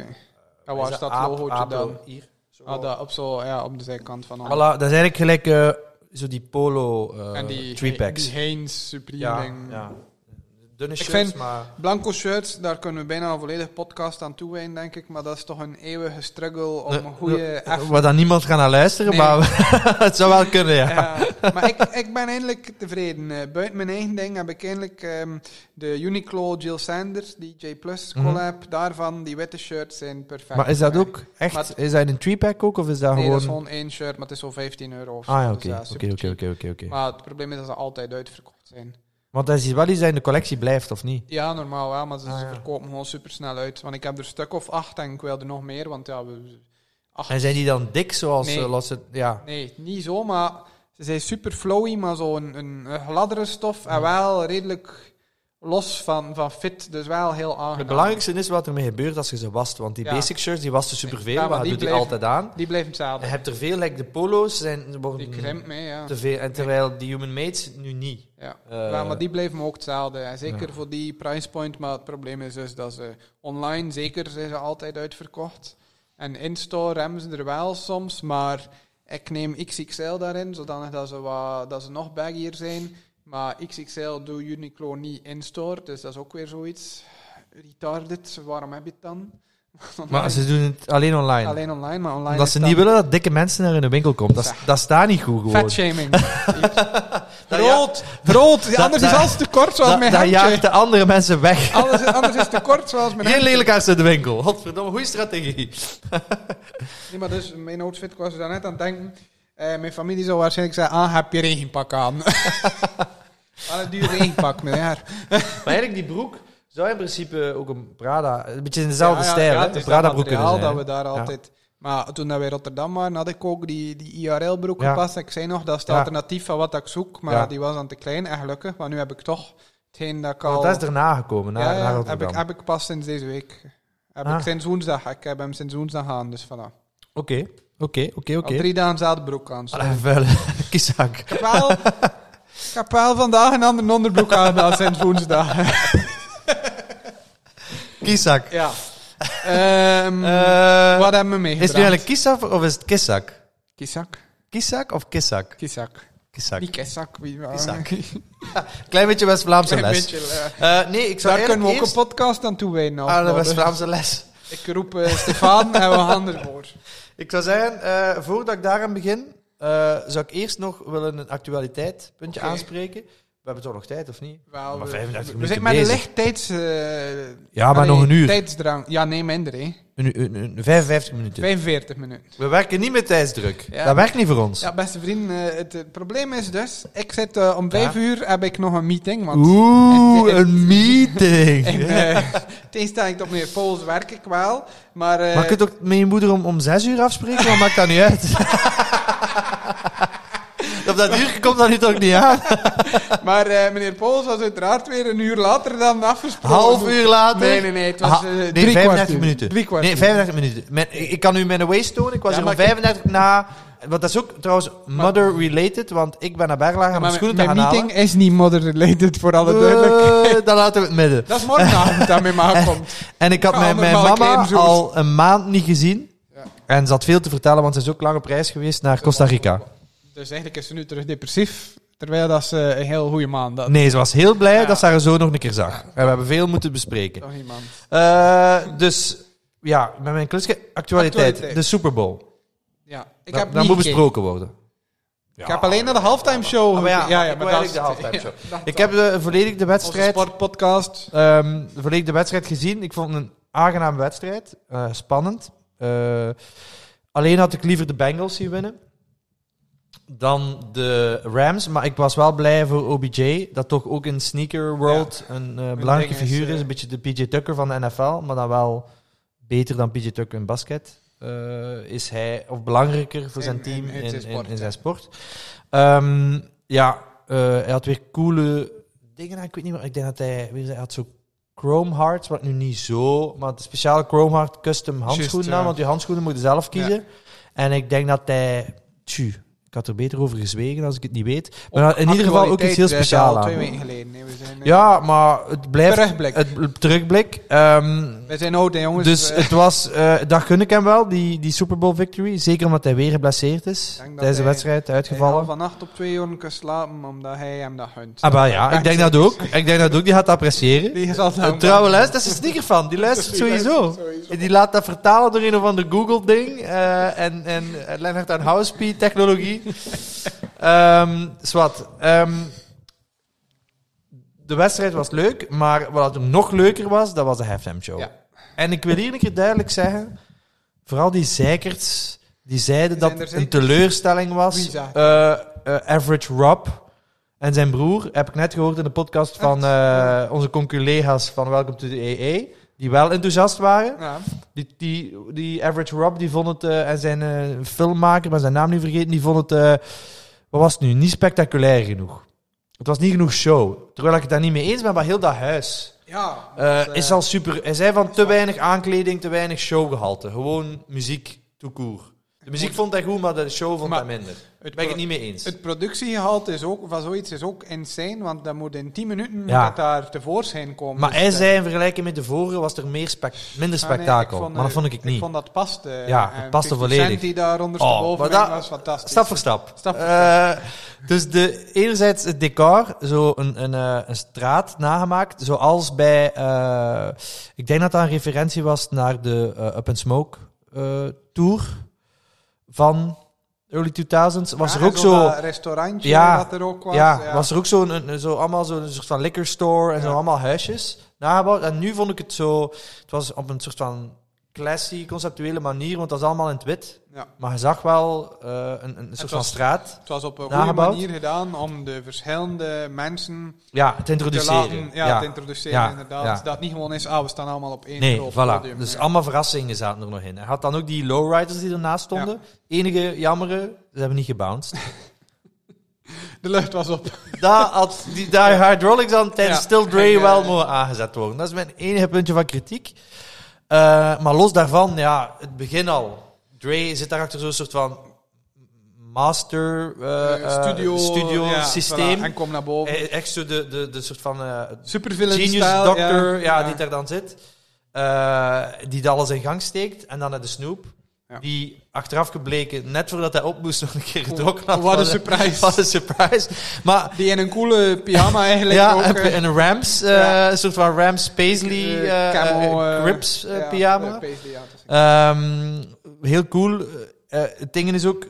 [SPEAKER 2] En waar
[SPEAKER 1] is
[SPEAKER 2] is dat
[SPEAKER 1] aap-
[SPEAKER 2] logootje
[SPEAKER 1] aaplo-
[SPEAKER 2] dan?
[SPEAKER 1] Hier. Zo.
[SPEAKER 2] Ah, dat, op, zo, ja, op de zijkant van alles.
[SPEAKER 1] Voilà, dat is eigenlijk gelijk eh, zo die polo eh,
[SPEAKER 2] en die,
[SPEAKER 1] three-packs.
[SPEAKER 2] die Heinz Supreme
[SPEAKER 1] ja,
[SPEAKER 2] ding.
[SPEAKER 1] ja. Dunne
[SPEAKER 2] Ik
[SPEAKER 1] shirts,
[SPEAKER 2] vind-
[SPEAKER 1] maar...
[SPEAKER 2] Blanco shirts, daar kunnen we bijna een volledige podcast aan toewijden, denk ik. Maar dat is toch een eeuwige struggle om een
[SPEAKER 1] Nee,
[SPEAKER 2] goede...
[SPEAKER 1] nee,
[SPEAKER 2] eff-
[SPEAKER 1] Waar dan niemand gaat naar luisteren,
[SPEAKER 2] Nee.
[SPEAKER 1] maar het zou wel kunnen, ja.
[SPEAKER 2] Ja, maar ik, ik ben eindelijk tevreden. Eh, buiten mijn eigen ding heb ik eindelijk ehm, de Uniqlo Jill Sanders, die J Plus collab, daarvan, die witte shirts zijn perfect.
[SPEAKER 1] Mhm. Maar is dat
[SPEAKER 2] voor mij.
[SPEAKER 1] ook echt,
[SPEAKER 2] Maar het-
[SPEAKER 1] is dat in een three-pack ook, of is dat
[SPEAKER 2] Nee,
[SPEAKER 1] gewoon...
[SPEAKER 2] dat is gewoon één shirt, maar het is zo 15 euro. of zo.
[SPEAKER 1] Ah ja,
[SPEAKER 2] Dus
[SPEAKER 1] oké,
[SPEAKER 2] ja,
[SPEAKER 1] oké,
[SPEAKER 2] super
[SPEAKER 1] oké,
[SPEAKER 2] cheap.
[SPEAKER 1] oké, oké, oké.
[SPEAKER 2] Maar het probleem is dat ze altijd uitverkocht zijn.
[SPEAKER 1] Want dat is wel iets dat in de collectie blijft, of niet?
[SPEAKER 2] Ja, normaal wel, maar ze
[SPEAKER 1] Ah, ja.
[SPEAKER 2] verkopen gewoon supersnel uit. Want ik heb er een stuk of acht en ik wilde nog meer, want ja, we, acht.
[SPEAKER 1] En zijn die dan dik zoals
[SPEAKER 2] Nee. Oh,
[SPEAKER 1] eh, losse... Ja.
[SPEAKER 2] Nee, niet zo, maar ze zijn super flowy, maar zo'n een, een gladdere stof en wel redelijk los van, van fit, dus wel heel aangenaam.
[SPEAKER 1] Het belangrijkste is wat ermee gebeurt als je ze wast. Want die
[SPEAKER 2] Ja.
[SPEAKER 1] basic shirts, die wasten superveel,
[SPEAKER 2] Ja, maar
[SPEAKER 1] maar dat
[SPEAKER 2] die
[SPEAKER 1] doet hij
[SPEAKER 2] blijven-
[SPEAKER 1] altijd aan.
[SPEAKER 2] Die blijven hetzelfde.
[SPEAKER 1] Je hebt er veel, like de polo's, zijn,
[SPEAKER 2] Die
[SPEAKER 1] worden
[SPEAKER 2] krimpt mee, ja.
[SPEAKER 1] te veel. En terwijl die human mates nu niet.
[SPEAKER 2] ja.
[SPEAKER 1] Eh,
[SPEAKER 2] Ja, maar die blijven ook hetzelfde. En zeker voor die price point. Maar het probleem is dus dat ze online, zeker zijn ze altijd uitverkocht. En in-store hebben ze er wel soms, maar ik neem XXL daarin, zodanig dat ze, wat, dat ze nog baggier zijn. Maar XXL doet Uniqlo niet in-store, dus dat is ook weer zoiets retarded. Waarom heb je het dan?
[SPEAKER 1] Maar ze doen het alleen online.
[SPEAKER 2] Alleen online, maar online
[SPEAKER 1] Omdat
[SPEAKER 2] is
[SPEAKER 1] ze
[SPEAKER 2] dan
[SPEAKER 1] niet willen dat dikke mensen naar in de winkel komen. Dat, is- dat staat niet goed gewoon.
[SPEAKER 2] Fatshaming.
[SPEAKER 1] Dat
[SPEAKER 2] rood, rood.
[SPEAKER 1] Nou dat-
[SPEAKER 2] anders is
[SPEAKER 1] dat-
[SPEAKER 2] alles te kort, zoals
[SPEAKER 1] Dat,
[SPEAKER 2] mijn
[SPEAKER 1] dat
[SPEAKER 2] hemdje.
[SPEAKER 1] jaagt de andere mensen weg.
[SPEAKER 2] Alles, anders is te kort, zoals mijn
[SPEAKER 1] Geen
[SPEAKER 2] hemdje.
[SPEAKER 1] lelijkaars in de winkel. Godverdomme, goede strategie.
[SPEAKER 2] Nee, maar dus, mijn outfit ik was er daarnet aan het denken. Eh, mijn familie zou waarschijnlijk zeggen, ah, heb je regenpak aan? Aan een duur regenpak, meneer.
[SPEAKER 1] Maar eigenlijk, die broek zou in principe ook een Prada... Een beetje in dezelfde
[SPEAKER 2] Ja, ja,
[SPEAKER 1] stijl,
[SPEAKER 2] ja,
[SPEAKER 1] hè?
[SPEAKER 2] het
[SPEAKER 1] Een
[SPEAKER 2] is
[SPEAKER 1] Prada dus,
[SPEAKER 2] dat
[SPEAKER 1] broek kunnen
[SPEAKER 2] materiaal
[SPEAKER 1] zijn.
[SPEAKER 2] dat we daar altijd... Maar toen dat wij in Rotterdam waren, had ik ook die, die IRL-broek
[SPEAKER 1] Ja.
[SPEAKER 2] gepast. Ik zei nog, dat is het
[SPEAKER 1] Ja.
[SPEAKER 2] alternatief van wat ik zoek. Maar
[SPEAKER 1] Ja.
[SPEAKER 2] die was dan te klein, en gelukkig. Maar nu heb ik toch hetgeen dat ik al...
[SPEAKER 1] Want dat is erna gekomen, na,
[SPEAKER 2] ja,
[SPEAKER 1] na
[SPEAKER 2] ja, heb,
[SPEAKER 1] Rotterdam.
[SPEAKER 2] ik, heb ik pas sinds deze week. Heb
[SPEAKER 1] Ah.
[SPEAKER 2] ik sinds woensdag. Ik heb hem sinds woensdag aan, dus voilà.
[SPEAKER 1] Oké, oké, oké, Ah,
[SPEAKER 2] Al
[SPEAKER 1] oké.
[SPEAKER 2] drie dagen dezelfde broek aan. sorry.
[SPEAKER 1] Allee, vuile kieszak.
[SPEAKER 2] Ik heb wel, ik heb wel vandaag een ander onderbroek aangedaan sinds woensdag.
[SPEAKER 1] Kieszak.
[SPEAKER 2] ja. Ehm,
[SPEAKER 1] Eh,
[SPEAKER 2] wat hebben
[SPEAKER 1] is
[SPEAKER 2] we
[SPEAKER 1] het
[SPEAKER 2] meegebracht?
[SPEAKER 1] nu eigenlijk kieszak of is het kiszak?
[SPEAKER 2] Kisak.
[SPEAKER 1] Kieszak of kiszak?
[SPEAKER 2] Kisak.
[SPEAKER 1] Kieszak.
[SPEAKER 2] Niet kisak. Wie,
[SPEAKER 1] Kisak.
[SPEAKER 2] Klein
[SPEAKER 1] Klein beetje West-Vlaamse les.
[SPEAKER 2] beetje, eh,
[SPEAKER 1] Eh, nee, ik zou
[SPEAKER 2] Daar kunnen we ook
[SPEAKER 1] eerst Ah,
[SPEAKER 2] een podcast aan toewijden. als
[SPEAKER 1] aan de
[SPEAKER 2] nodig.
[SPEAKER 1] West-Vlaamse les.
[SPEAKER 2] Ik roep eh, Stefan en we gaan ervoor.
[SPEAKER 1] Ik zou zeggen, eh, voordat ik daaraan begin, eh, zou ik eerst nog willen een actualiteitpuntje
[SPEAKER 2] Oké.
[SPEAKER 1] aanspreken. We hebben toch nog tijd, of niet?
[SPEAKER 2] Wel,
[SPEAKER 1] Maar
[SPEAKER 2] we-
[SPEAKER 1] 35
[SPEAKER 2] We
[SPEAKER 1] minuten
[SPEAKER 2] zitten met een
[SPEAKER 1] bezig.
[SPEAKER 2] licht tijds... eh,
[SPEAKER 1] Ja, maar
[SPEAKER 2] allee,
[SPEAKER 1] nog een uur.
[SPEAKER 2] Tijdsdrang. Ja, nee, minder, hè.
[SPEAKER 1] Een, een, een 55 minuten.
[SPEAKER 2] 45 minuten.
[SPEAKER 1] We werken niet met tijdsdruk.
[SPEAKER 2] Ja.
[SPEAKER 1] Dat werkt niet voor ons.
[SPEAKER 2] Ja, beste vrienden, eh, het, eh, probleem is dus... Ik zit eh, om 5
[SPEAKER 1] Ja.
[SPEAKER 2] uur, heb ik nog een meeting, want...
[SPEAKER 1] Oeh,
[SPEAKER 2] En-
[SPEAKER 1] een meeting.
[SPEAKER 2] En eh tegenstelling tot meneer Pools werk ik wel, maar... eh,
[SPEAKER 1] Mag ik het ook met je moeder om, om zes uur afspreken? Wat maakt dat niet uit? Op dat uur komt dat nu toch niet aan?
[SPEAKER 2] Maar eh, meneer Pools was uiteraard weer een uur later dan afgesproken.
[SPEAKER 1] Half uur later?
[SPEAKER 2] Nee, nee, nee, het was
[SPEAKER 1] Ah,
[SPEAKER 2] eh,
[SPEAKER 1] nee,
[SPEAKER 2] drie
[SPEAKER 1] 35
[SPEAKER 2] kwart uur.
[SPEAKER 1] minuten.
[SPEAKER 2] Drie kwart
[SPEAKER 1] nee,
[SPEAKER 2] uur.
[SPEAKER 1] 35 minuten. Mijn- ik ik kan u mijn waste tonen. Ik was
[SPEAKER 2] Ja,
[SPEAKER 1] er om
[SPEAKER 2] maar
[SPEAKER 1] 35 na... Want dat is ook trouwens mother-related, want ik ben naar Berla gaan mijn
[SPEAKER 2] Maar mijn
[SPEAKER 1] schoenen te
[SPEAKER 2] mijn
[SPEAKER 1] gaan
[SPEAKER 2] meeting is niet modder-related, voor alle duidelijk.
[SPEAKER 1] halen. Eh, dan laten we het midden.
[SPEAKER 2] Dat is morgenavond dat mijn ma komt.
[SPEAKER 1] En ik had
[SPEAKER 2] Ja,
[SPEAKER 1] mijn, mijn
[SPEAKER 2] normaal
[SPEAKER 1] mama
[SPEAKER 2] kleinzoon.
[SPEAKER 1] al een maand niet gezien.
[SPEAKER 2] Ja.
[SPEAKER 1] En ze had veel te vertellen, want ze is ook lang op reis geweest naar Costa Rica.
[SPEAKER 2] Dus eigenlijk is ze nu terug depressief, terwijl dat ze een heel goede maand had.
[SPEAKER 1] Nee, ze was heel blij
[SPEAKER 2] Ja.
[SPEAKER 1] dat ze haar zo nog een keer zag. En we hebben veel moeten bespreken.
[SPEAKER 2] Toch iemand.
[SPEAKER 1] Eh, dus ja, met mijn klusje. Actualiteit,
[SPEAKER 2] Actualiteit.
[SPEAKER 1] de Super Bowl.
[SPEAKER 2] Ja, ik
[SPEAKER 1] Dat-
[SPEAKER 2] heb
[SPEAKER 1] dat
[SPEAKER 2] niet
[SPEAKER 1] moet
[SPEAKER 2] gekeken.
[SPEAKER 1] besproken worden.
[SPEAKER 2] Ik heb alleen naar de halftime show.
[SPEAKER 1] Ah, maar ja, ik wil
[SPEAKER 2] dat
[SPEAKER 1] eigenlijk
[SPEAKER 2] is
[SPEAKER 1] de
[SPEAKER 2] het.
[SPEAKER 1] halftime
[SPEAKER 2] Ja,
[SPEAKER 1] show.
[SPEAKER 2] dat
[SPEAKER 1] Ik
[SPEAKER 2] dan.
[SPEAKER 1] heb de, volledig de
[SPEAKER 2] Onze
[SPEAKER 1] wedstrijd,
[SPEAKER 2] sportpodcast.
[SPEAKER 1] ehm, volledig de wedstrijd gezien. Ik vond het een aangename wedstrijd. eh, spannend. Eh, alleen had ik liever de Bengals zien winnen dan de Rams. Maar ik was wel blij voor OBJ. Dat toch ook in sneaker world een eh, belangrijke
[SPEAKER 2] ding is,
[SPEAKER 1] figuur is.
[SPEAKER 2] eh,
[SPEAKER 1] Een beetje de PJ Tucker van de NFL. Maar dan wel beter dan PJ Tucker in basket. eh, is hij, of belangrijker voor
[SPEAKER 2] In-
[SPEAKER 1] zijn
[SPEAKER 2] in-
[SPEAKER 1] team
[SPEAKER 2] in
[SPEAKER 1] in,
[SPEAKER 2] zijn
[SPEAKER 1] in,
[SPEAKER 2] sport,
[SPEAKER 1] in
[SPEAKER 2] ja.
[SPEAKER 1] zijn sport. Ehm, ja, eh, hij had weer coole dingen. aan. Ik weet niet meer. Ik denk dat hij, weer, hij had zo Chrome Hearts, wat nu niet zo, maar de speciale Chrome Heart custom handschoenen
[SPEAKER 2] Juist, ja.
[SPEAKER 1] aan, want die handschoenen moeten zelf kiezen. En ik denk dat hij, tju, ik had er beter over gezwegen als ik het niet weet. Maar Nou, in ieder geval ook iets heel speciaals
[SPEAKER 2] Actualiteit, eh, is al twee
[SPEAKER 1] aan.
[SPEAKER 2] weken geleden. Nee, we zijn, eh,
[SPEAKER 1] Ja, maar het blijft
[SPEAKER 2] Terugblik.
[SPEAKER 1] het bl- terugblik. Ehm,
[SPEAKER 2] We zijn oud, hè, jongens.
[SPEAKER 1] dus
[SPEAKER 2] Eh,
[SPEAKER 1] het was, eh dat gun ik hem wel, die, die Super Bowl victory. Zeker omdat hij weer geblesseerd is
[SPEAKER 2] Ik denk dat
[SPEAKER 1] tijdens de
[SPEAKER 2] hij-
[SPEAKER 1] wedstrijd,
[SPEAKER 2] Hij
[SPEAKER 1] uitgevallen.
[SPEAKER 2] had vannacht op twee uur kunnen slapen, omdat hij hem dat gunt.
[SPEAKER 1] Ah, bah, ja, ik denk dat ook. Ik denk dat ook, die gaat het appreciëren.
[SPEAKER 2] Die is al
[SPEAKER 1] Een Eh, trouwe luister, dat is een sneakerfan, die luistert sowieso. En Die laat dat vertalen door een of ander Google-ding. eh, en, en en Lennart aan Housepie-technologie. Ehm zwart. Ehm, de wedstrijd was leuk, maar wat er nog leuker was, dat was de halftime show.
[SPEAKER 2] Ja.
[SPEAKER 1] En ik wil hier een keer duidelijk zeggen, vooral die zeikerts, die zeiden dat
[SPEAKER 2] Zijn er
[SPEAKER 1] het een
[SPEAKER 2] zeikers?
[SPEAKER 1] teleurstelling
[SPEAKER 2] Wie
[SPEAKER 1] was.
[SPEAKER 2] zei
[SPEAKER 1] Eh, eh, average Rob. En zijn broer, heb ik net gehoord in de podcast van eh, onze conculega's van Welcome to the EE, die wel enthousiast waren.
[SPEAKER 2] Ja.
[SPEAKER 1] Die, die, die Average Rob, die vond het, eh, en zijn eh, filmmaker, maar zijn naam nu vergeten, die vond het, eh, wat was het nu, niet spectaculair genoeg. Het was niet genoeg show. Terwijl ik het daar niet mee eens ben, maar heel dat huis
[SPEAKER 2] ja
[SPEAKER 1] eh,
[SPEAKER 2] dat, eh,
[SPEAKER 1] is al super. Hij zei van te weinig aankleding, te weinig showgehalte. Gewoon muziek, tout court. De muziek vond hij goed, maar de show vond
[SPEAKER 2] Maar-
[SPEAKER 1] hij minder.
[SPEAKER 2] het,
[SPEAKER 1] ben ik
[SPEAKER 2] pro-
[SPEAKER 1] het niet mee eens.
[SPEAKER 2] het productiegehalte is ook, van zoiets is ook insane, want dat moet in 10 minuten moet
[SPEAKER 1] Ja.
[SPEAKER 2] het daar tevoorschijn komen.
[SPEAKER 1] Maar
[SPEAKER 2] Dus
[SPEAKER 1] hij
[SPEAKER 2] dat-
[SPEAKER 1] zei in vergelijking met de vorige was er meer spek- minder
[SPEAKER 2] Ah, nee, ik
[SPEAKER 1] spektakel.
[SPEAKER 2] vond,
[SPEAKER 1] maar dat
[SPEAKER 2] eh,
[SPEAKER 1] vond ik,
[SPEAKER 2] Ik
[SPEAKER 1] niet.
[SPEAKER 2] vond dat paste.
[SPEAKER 1] Ja, het paste volledig.
[SPEAKER 2] die daar
[SPEAKER 1] Oh,
[SPEAKER 2] ondersteboven
[SPEAKER 1] maar
[SPEAKER 2] oh,
[SPEAKER 1] dat-
[SPEAKER 2] was fantastisch.
[SPEAKER 1] Stap voor stap.
[SPEAKER 2] Stap voor
[SPEAKER 1] Eh, dus de, enerzijds het decor, zo een, een, eh, een straat nagemaakt, zoals bij, eh, ik denk dat dat een referentie was naar de eh, Up and Smoke eh, tour van early 2000s. Was
[SPEAKER 2] Ja,
[SPEAKER 1] er ook
[SPEAKER 2] en
[SPEAKER 1] zo,
[SPEAKER 2] Ah, dat restaurantje
[SPEAKER 1] Ja,
[SPEAKER 2] dat er ook was.
[SPEAKER 1] ja, was er ook zo'n een- een- zo allemaal zo'n soort van liquor store en
[SPEAKER 2] Ja.
[SPEAKER 1] zo allemaal huisjes nagebouwd. En nu vond ik het zo, het was op een soort van classy, conceptuele manier, want dat is allemaal in het wit.
[SPEAKER 2] Ja.
[SPEAKER 1] Maar je zag wel eh, een, een soort van
[SPEAKER 2] was-
[SPEAKER 1] straat.
[SPEAKER 2] Het was op een
[SPEAKER 1] Nagebouwd?
[SPEAKER 2] goede manier gedaan om de verschillende mensen
[SPEAKER 1] Ja, te
[SPEAKER 2] te
[SPEAKER 1] introduceren.
[SPEAKER 2] laten ja,
[SPEAKER 1] Ja.
[SPEAKER 2] te introduceren.
[SPEAKER 1] Ja,
[SPEAKER 2] inderdaad.
[SPEAKER 1] ja.
[SPEAKER 2] Dat het niet gewoon is, ah, we staan allemaal op één
[SPEAKER 1] Nee,
[SPEAKER 2] groot
[SPEAKER 1] voilà.
[SPEAKER 2] podium.
[SPEAKER 1] Dus
[SPEAKER 2] Ja.
[SPEAKER 1] allemaal verrassingen zaten er nog in. Hij had dan ook die lowriders die ernaast stonden. Enige jammere, ze hebben niet gebounced.
[SPEAKER 2] De lucht was op.
[SPEAKER 1] Daar had die, daar hydraulics aan tijdens
[SPEAKER 2] Ja.
[SPEAKER 1] Still Dre
[SPEAKER 2] En, eh,
[SPEAKER 1] wel mogen aangezet worden. Dat is mijn enige puntje van kritiek. Eh, maar los daarvan, ja, het begin al. Dre zit daarachter zo'n soort van master eh,
[SPEAKER 2] Eh,
[SPEAKER 1] eh,
[SPEAKER 2] studio,
[SPEAKER 1] studio
[SPEAKER 2] ja,
[SPEAKER 1] systeem.
[SPEAKER 2] voilà, en kom naar boven.
[SPEAKER 1] Eh, Echt zo de, de, de soort van eh,
[SPEAKER 2] Supervillain
[SPEAKER 1] Genius
[SPEAKER 2] style,
[SPEAKER 1] Doctor, ja,
[SPEAKER 2] ja.
[SPEAKER 1] die daar dan zit. Eh, die dat alles in gang steekt. En dan naar de Snoop.
[SPEAKER 2] Ja.
[SPEAKER 1] Die achteraf gebleken, net voordat hij op moest, nog een keer gedronken had.
[SPEAKER 2] Wat een
[SPEAKER 1] Wat
[SPEAKER 2] surprise.
[SPEAKER 1] Wat een surprise. Maar
[SPEAKER 2] Die in een coole pyjama eigenlijk ook.
[SPEAKER 1] ja,
[SPEAKER 2] eh,
[SPEAKER 1] en een Rams, eh,
[SPEAKER 2] ja.
[SPEAKER 1] een soort van Rams Paisley
[SPEAKER 2] eh,
[SPEAKER 1] eh, eh,
[SPEAKER 2] camo, eh,
[SPEAKER 1] Grips eh,
[SPEAKER 2] ja,
[SPEAKER 1] pyjama.
[SPEAKER 2] eh, paisley, ja, dat
[SPEAKER 1] Ehm,
[SPEAKER 2] is-
[SPEAKER 1] heel cool. Eh, eh, het ding is ook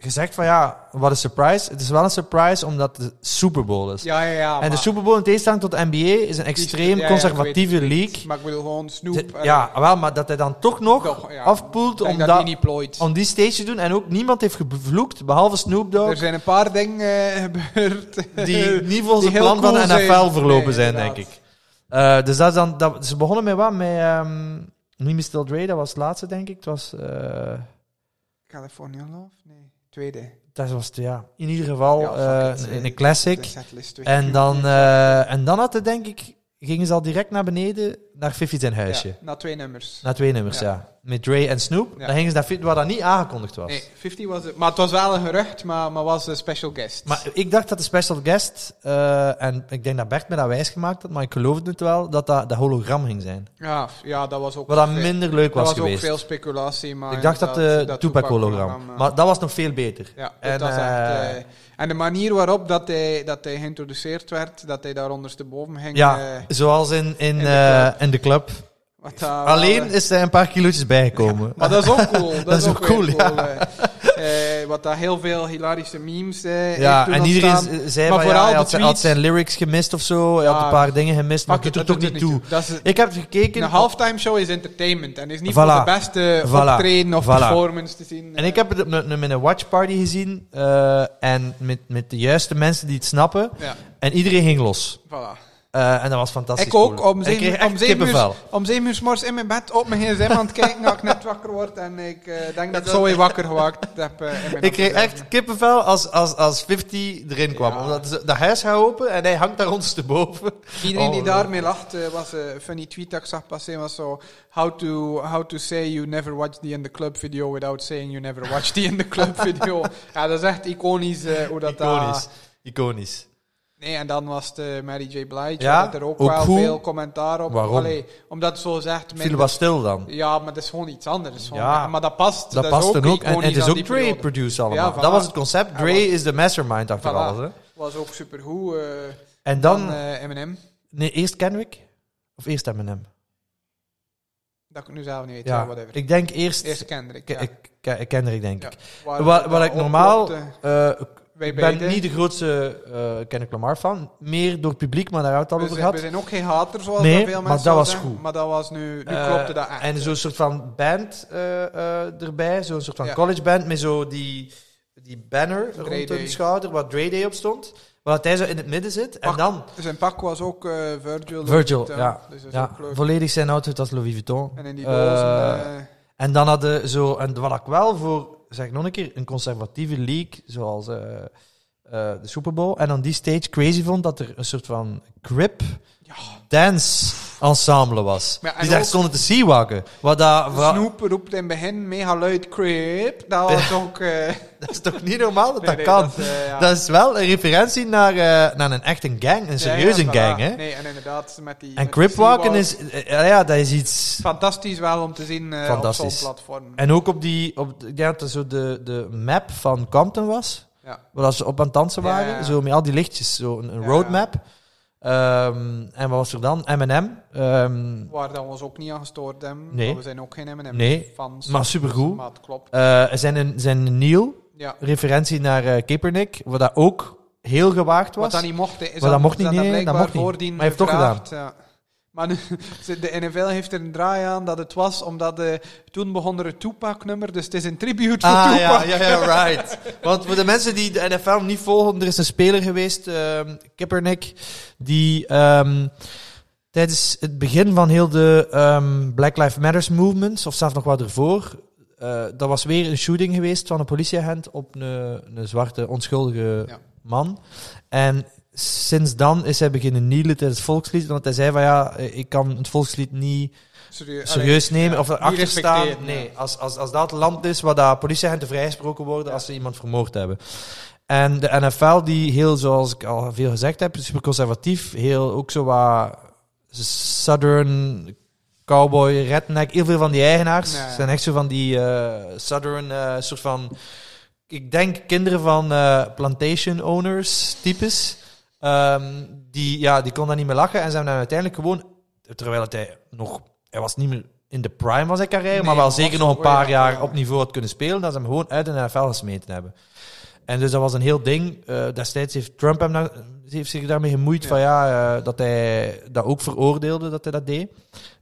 [SPEAKER 1] gezegd van ja, wat een surprise. Het is wel een surprise omdat de Super Bowl is.
[SPEAKER 2] Ja, ja, ja.
[SPEAKER 1] en de
[SPEAKER 2] maar-
[SPEAKER 1] Super Bowl in tegenstelling tot de NBA is een
[SPEAKER 2] ja,
[SPEAKER 1] extreem
[SPEAKER 2] ja, ik
[SPEAKER 1] conservatieve
[SPEAKER 2] weet het, ik weet het.
[SPEAKER 1] league.
[SPEAKER 2] Maar ik bedoel gewoon Snoop.
[SPEAKER 1] De-
[SPEAKER 2] eh,
[SPEAKER 1] ja, wel, maar dat hij dan toch nog
[SPEAKER 2] Toch, ja.
[SPEAKER 1] afpoelt
[SPEAKER 2] ik denk
[SPEAKER 1] om,
[SPEAKER 2] dat
[SPEAKER 1] dat,
[SPEAKER 2] die niet plooit.
[SPEAKER 1] om die stage te doen. En ook niemand heeft gevloekt, behalve Snoop
[SPEAKER 2] Er
[SPEAKER 1] Dogg,
[SPEAKER 2] zijn een paar dingen eh, gebeurd.
[SPEAKER 1] die niet volgens
[SPEAKER 2] die
[SPEAKER 1] het
[SPEAKER 2] heel
[SPEAKER 1] plan van
[SPEAKER 2] cool
[SPEAKER 1] NFL
[SPEAKER 2] zijn.
[SPEAKER 1] verlopen
[SPEAKER 2] Nee,
[SPEAKER 1] zijn,
[SPEAKER 2] inderdaad.
[SPEAKER 1] denk ik. Eh, dus dat is dan, dat, ze begonnen met wat? Met ehm Niet meer Still Dre, dat was het laatste, denk ik. Het was, eh,
[SPEAKER 2] California Love? Nee, tweede.
[SPEAKER 1] dat was het, ja. in ieder geval
[SPEAKER 2] Ja, fuck
[SPEAKER 1] eh,
[SPEAKER 2] it,
[SPEAKER 1] een-
[SPEAKER 2] eh,
[SPEAKER 1] een classic.
[SPEAKER 2] De setlist twee.
[SPEAKER 1] En dan, eh, en dan had het, denk ik, gingen ze al direct naar beneden, naar 50 zijn
[SPEAKER 2] Ja,
[SPEAKER 1] huisje.
[SPEAKER 2] na twee nummers.
[SPEAKER 1] Na twee nummers, ja.
[SPEAKER 2] Ja.
[SPEAKER 1] Met Dre en Snoop.
[SPEAKER 2] Ja.
[SPEAKER 1] Dan gingen ze naar 50, waar dat niet aangekondigd was.
[SPEAKER 2] Nee, 50 was het. Maar het was wel een gerucht, maar, maar was een special guest.
[SPEAKER 1] Maar ik dacht dat de special guest, eh, en ik denk dat Bert me dat wijsgemaakt had, maar ik geloofde het wel, dat dat de hologram ging zijn.
[SPEAKER 2] ja, f- ja, dat was ook.
[SPEAKER 1] Wat dan
[SPEAKER 2] veel-
[SPEAKER 1] minder leuk
[SPEAKER 2] dat
[SPEAKER 1] was,
[SPEAKER 2] was ook
[SPEAKER 1] geweest.
[SPEAKER 2] veel speculatie. Maar
[SPEAKER 1] ik dacht dat
[SPEAKER 2] inderdaad,
[SPEAKER 1] de Tupac hologram.
[SPEAKER 2] Tupac-hologram, eh,
[SPEAKER 1] Maar dat was nog veel beter.
[SPEAKER 2] Ja, dat
[SPEAKER 1] En,
[SPEAKER 2] was echt,
[SPEAKER 1] eh,
[SPEAKER 2] eh, en de manier waarop dat hij, dat hij geïntroduceerd werd, dat hij daar ondersteboven ging.
[SPEAKER 1] Ja,
[SPEAKER 2] eh,
[SPEAKER 1] zoals in, in,
[SPEAKER 2] de
[SPEAKER 1] eh,
[SPEAKER 2] club.
[SPEAKER 1] in de club.
[SPEAKER 2] wat daar-
[SPEAKER 1] Alleen is er een paar kilootjes bijgekomen.
[SPEAKER 2] Maar dat is ook cool. Dat,
[SPEAKER 1] is ook
[SPEAKER 2] weer
[SPEAKER 1] cool, ja.
[SPEAKER 2] eh. Eh, wat daar heel veel hilarische memes eh, heeft
[SPEAKER 1] Ja,
[SPEAKER 2] doen
[SPEAKER 1] en iedereen
[SPEAKER 2] ontstaan.
[SPEAKER 1] z- zei
[SPEAKER 2] Maar
[SPEAKER 1] van ja,
[SPEAKER 2] vooral
[SPEAKER 1] hij
[SPEAKER 2] de
[SPEAKER 1] had, zijn- had
[SPEAKER 2] tweets.
[SPEAKER 1] zijn lyrics gemist of zo. Hij had
[SPEAKER 2] Ja,
[SPEAKER 1] een paar dingen gemist, maar
[SPEAKER 2] Fuck
[SPEAKER 1] het
[SPEAKER 2] it,
[SPEAKER 1] doet
[SPEAKER 2] dat
[SPEAKER 1] er toch niet
[SPEAKER 2] er
[SPEAKER 1] toe.
[SPEAKER 2] Dat is,
[SPEAKER 1] Ik heb
[SPEAKER 2] een
[SPEAKER 1] gekeken.
[SPEAKER 2] halftime show is entertainment en is niet
[SPEAKER 1] Voilà.
[SPEAKER 2] voor de beste
[SPEAKER 1] Voilà.
[SPEAKER 2] optreden of
[SPEAKER 1] Voilà.
[SPEAKER 2] performance te zien.
[SPEAKER 1] En ik heb het op een- op een watchparty gezien. eh, en met, met de juiste mensen die het snappen.
[SPEAKER 2] Ja,
[SPEAKER 1] En iedereen ging los.
[SPEAKER 2] voilà.
[SPEAKER 1] Eh, en dat was fantastisch.
[SPEAKER 2] Ik ook,
[SPEAKER 1] cool.
[SPEAKER 2] om
[SPEAKER 1] En ik kreeg
[SPEAKER 2] zeven,
[SPEAKER 1] echt
[SPEAKER 2] om, zeven
[SPEAKER 1] kippenvel.
[SPEAKER 2] uur, om zeven uur 's morgens in mijn bed op mijn gsm aan het kijken dat ik net wakker word en ik eh, denk dat ik zo weer wakker gewaakt heb. eh, in mijn
[SPEAKER 1] Ik kreeg
[SPEAKER 2] opgezet.
[SPEAKER 1] echt kippenvel als, als, als 50 erin kwam.
[SPEAKER 2] Ja.
[SPEAKER 1] Omdat ze- dat huis gaat open en hij hangt daar ondersteboven.
[SPEAKER 2] Iedereen die
[SPEAKER 1] Oh,
[SPEAKER 2] daarmee lacht, eh, was eh, een funny tweet dat ik zag passeren, was zo, how to, how to say you never watched the In The Club video without saying you never watched the In The Club video. ja, dat is echt iconisch eh, hoe dat daar-
[SPEAKER 1] Iconisch. Iconisch.
[SPEAKER 2] Nee, en dan was het eh, Mary J. Blige,
[SPEAKER 1] Ja,
[SPEAKER 2] dat er ook,
[SPEAKER 1] ook
[SPEAKER 2] wel
[SPEAKER 1] goed.
[SPEAKER 2] veel commentaar op.
[SPEAKER 1] Waarom?
[SPEAKER 2] Allee, omdat het zo zegt...
[SPEAKER 1] Viel wat stil dan.
[SPEAKER 2] Ja, maar dat is gewoon iets anders. Van,
[SPEAKER 1] Ja.
[SPEAKER 2] maar dat past.
[SPEAKER 1] Dat,
[SPEAKER 2] is
[SPEAKER 1] past dan ook. En, en
[SPEAKER 2] iconisch
[SPEAKER 1] het is
[SPEAKER 2] aan
[SPEAKER 1] ook
[SPEAKER 2] die
[SPEAKER 1] Dre
[SPEAKER 2] periode.
[SPEAKER 1] produced allemaal.
[SPEAKER 2] Ja,
[SPEAKER 1] Dat
[SPEAKER 2] voilà.
[SPEAKER 1] was het concept.
[SPEAKER 2] Hij
[SPEAKER 1] Dre is de mastermind achter
[SPEAKER 2] Voilà.
[SPEAKER 1] alles. Hè.
[SPEAKER 2] was ook supergoed. eh
[SPEAKER 1] En dan...
[SPEAKER 2] dan eh, Eminem,
[SPEAKER 1] nee, eerst Kendrick? Of eerst Eminem?
[SPEAKER 2] dat ik nu zelf niet weet, ja.
[SPEAKER 1] Ja,
[SPEAKER 2] whatever.
[SPEAKER 1] ik denk eerst...
[SPEAKER 2] Eerst Kendrick,
[SPEAKER 1] Ke-
[SPEAKER 2] ja.
[SPEAKER 1] ik- Ke- eh, Kendrick, denk
[SPEAKER 2] Ja.
[SPEAKER 1] ik.
[SPEAKER 2] Waar
[SPEAKER 1] Wat,
[SPEAKER 2] dat
[SPEAKER 1] wat ik
[SPEAKER 2] oploopt,
[SPEAKER 1] normaal...
[SPEAKER 2] eh,
[SPEAKER 1] eh,
[SPEAKER 2] wij
[SPEAKER 1] ik ben
[SPEAKER 2] beiden.
[SPEAKER 1] niet de grootste eh Kendrick Lamar fan. Meer door het publiek, maar daar hebben we
[SPEAKER 2] we
[SPEAKER 1] het al
[SPEAKER 2] zijn,
[SPEAKER 1] over
[SPEAKER 2] we
[SPEAKER 1] gehad.
[SPEAKER 2] zijn ook geen haters zoals
[SPEAKER 1] Nee,
[SPEAKER 2] dat veel
[SPEAKER 1] maar
[SPEAKER 2] mensen
[SPEAKER 1] dat
[SPEAKER 2] al
[SPEAKER 1] was
[SPEAKER 2] zeggen,
[SPEAKER 1] goed.
[SPEAKER 2] Maar dat was nu, nu
[SPEAKER 1] Eh,
[SPEAKER 2] klopte dat echt.
[SPEAKER 1] En zo'n soort van band eh, eh, erbij. Zo'n soort van
[SPEAKER 2] Ja.
[SPEAKER 1] college band met zo die, die banner
[SPEAKER 2] Dre
[SPEAKER 1] rond
[SPEAKER 2] Day.
[SPEAKER 1] hun schouder waar Dre Day op stond. Wat hij zo in het midden zit. En
[SPEAKER 2] Pak-
[SPEAKER 1] dan
[SPEAKER 2] Dus Zijn pak was ook eh, Virgil. Louis
[SPEAKER 1] Virgil,
[SPEAKER 2] Vuitton,
[SPEAKER 1] ja.
[SPEAKER 2] Dus dat is
[SPEAKER 1] ja,
[SPEAKER 2] ook leuk.
[SPEAKER 1] volledig zijn outfit als Louis Vuitton.
[SPEAKER 2] En in die
[SPEAKER 1] Eh,
[SPEAKER 2] dozen. eh,
[SPEAKER 1] En dan hadden zo, en wat ik wel voor, zeg ik nog een keer, een conservatieve league, zoals eh, eh, de Super Bowl, en dan die stage crazy vond dat er een soort van grip
[SPEAKER 2] Ja.
[SPEAKER 1] dance ensemble was.
[SPEAKER 2] Maar ja, en
[SPEAKER 1] die daar
[SPEAKER 2] ook-
[SPEAKER 1] stonden te seawakken. Wat dat, wa-
[SPEAKER 2] Snoep roept in het begin mega luid creep. Dat was ook... eh,
[SPEAKER 1] dat is toch niet normaal dat
[SPEAKER 2] nee,
[SPEAKER 1] dat
[SPEAKER 2] nee,
[SPEAKER 1] kan?
[SPEAKER 2] dat, eh, ja.
[SPEAKER 1] Dat is wel een referentie naar, eh, naar een echte gang, een
[SPEAKER 2] Ja, ja,
[SPEAKER 1] serieuze
[SPEAKER 2] voilà.
[SPEAKER 1] gang, hè?
[SPEAKER 2] Nee, en inderdaad, met die...
[SPEAKER 1] en
[SPEAKER 2] met die
[SPEAKER 1] cripwalken
[SPEAKER 2] seawalk.
[SPEAKER 1] is, eh, ja, ja, dat is iets...
[SPEAKER 2] Fantastisch wel om te zien eh, op zo'n
[SPEAKER 1] Fantastisch.
[SPEAKER 2] platform.
[SPEAKER 1] En ook op die, op, ik denk dat dat zo de, de map van Compton was.
[SPEAKER 2] Ja.
[SPEAKER 1] Waar dat ze op aan het dansen
[SPEAKER 2] Ja,
[SPEAKER 1] waren.
[SPEAKER 2] ja.
[SPEAKER 1] Zo met al die lichtjes. Zo een, een
[SPEAKER 2] Ja.
[SPEAKER 1] roadmap. Ehm, en wat was er dan? M&M. Ehm,
[SPEAKER 2] Waar dat we ons ook niet aan gestoord hebben.
[SPEAKER 1] Nee.
[SPEAKER 2] want We zijn ook geen
[SPEAKER 1] Nee,
[SPEAKER 2] M&M-fans.
[SPEAKER 1] maar supergoed.
[SPEAKER 2] Maar het klopt.
[SPEAKER 1] eh, zijn, een- zijn Neil.
[SPEAKER 2] Ja.
[SPEAKER 1] Referentie naar eh Kaepernick. Wat dat ook heel gewaagd was.
[SPEAKER 2] Wat dat niet mocht, is
[SPEAKER 1] dat mocht niet, nee, dat
[SPEAKER 2] blijkbaar
[SPEAKER 1] mocht niet.
[SPEAKER 2] voordien
[SPEAKER 1] Maar hij heeft toch
[SPEAKER 2] gevraagd, ja. Maar nu, ze- de NFL heeft er een draai aan dat het was, omdat eh, toen begon er het Tupac-nummer, dus het is een tribute voor
[SPEAKER 1] Ah ja,
[SPEAKER 2] Tupac.
[SPEAKER 1] ja, ja, right. Want voor de mensen die de NFL niet volgen, er is een speler geweest, ehm Kaepernick, die ehm, tijdens het begin van heel de ehm, Black Lives Matters movement, of zelfs nog wat ervoor, eh dat was weer een shooting geweest van een politieagent op een, een zwarte onschuldige
[SPEAKER 2] Ja.
[SPEAKER 1] man. En sinds dan is hij beginnen kneelen tijdens het volkslied, want hij zei van ja, ik kan het volkslied niet
[SPEAKER 2] Serieus.
[SPEAKER 1] serieus nemen of
[SPEAKER 2] niet
[SPEAKER 1] erachter staan.
[SPEAKER 2] respecteren,
[SPEAKER 1] Nee,
[SPEAKER 2] ja.
[SPEAKER 1] als, als, als dat het land is waar dat politieagenten vrijgesproken worden als ze iemand vermoord hebben. En de NFL, die heel, zoals ik al veel gezegd heb, super conservatief, heel ook zo wat Southern cowboy, redneck, heel veel van die eigenaars
[SPEAKER 2] Ja, ja.
[SPEAKER 1] zijn echt zo van die eh, Southern eh, soort van, ik denk kinderen van eh, plantation owners types. Ehm, die, ja, die kon daar niet meer lachen. En ze hebben hem uiteindelijk gewoon, terwijl het hij nog, hij was niet meer in de prime van zijn carrière,
[SPEAKER 2] Nee,
[SPEAKER 1] maar wel
[SPEAKER 2] maar
[SPEAKER 1] zeker
[SPEAKER 2] was
[SPEAKER 1] nog een
[SPEAKER 2] nog
[SPEAKER 1] paar
[SPEAKER 2] wel,
[SPEAKER 1] jaar
[SPEAKER 2] ja.
[SPEAKER 1] op niveau had kunnen spelen, dat ze hem gewoon uit de NFL gesmeten hebben. En dus dat was een heel ding. Eh, destijds heeft Trump hem daar- heeft zich daarmee gemoeid
[SPEAKER 2] Ja.
[SPEAKER 1] van ja, eh, dat hij dat ook veroordeelde dat hij dat deed.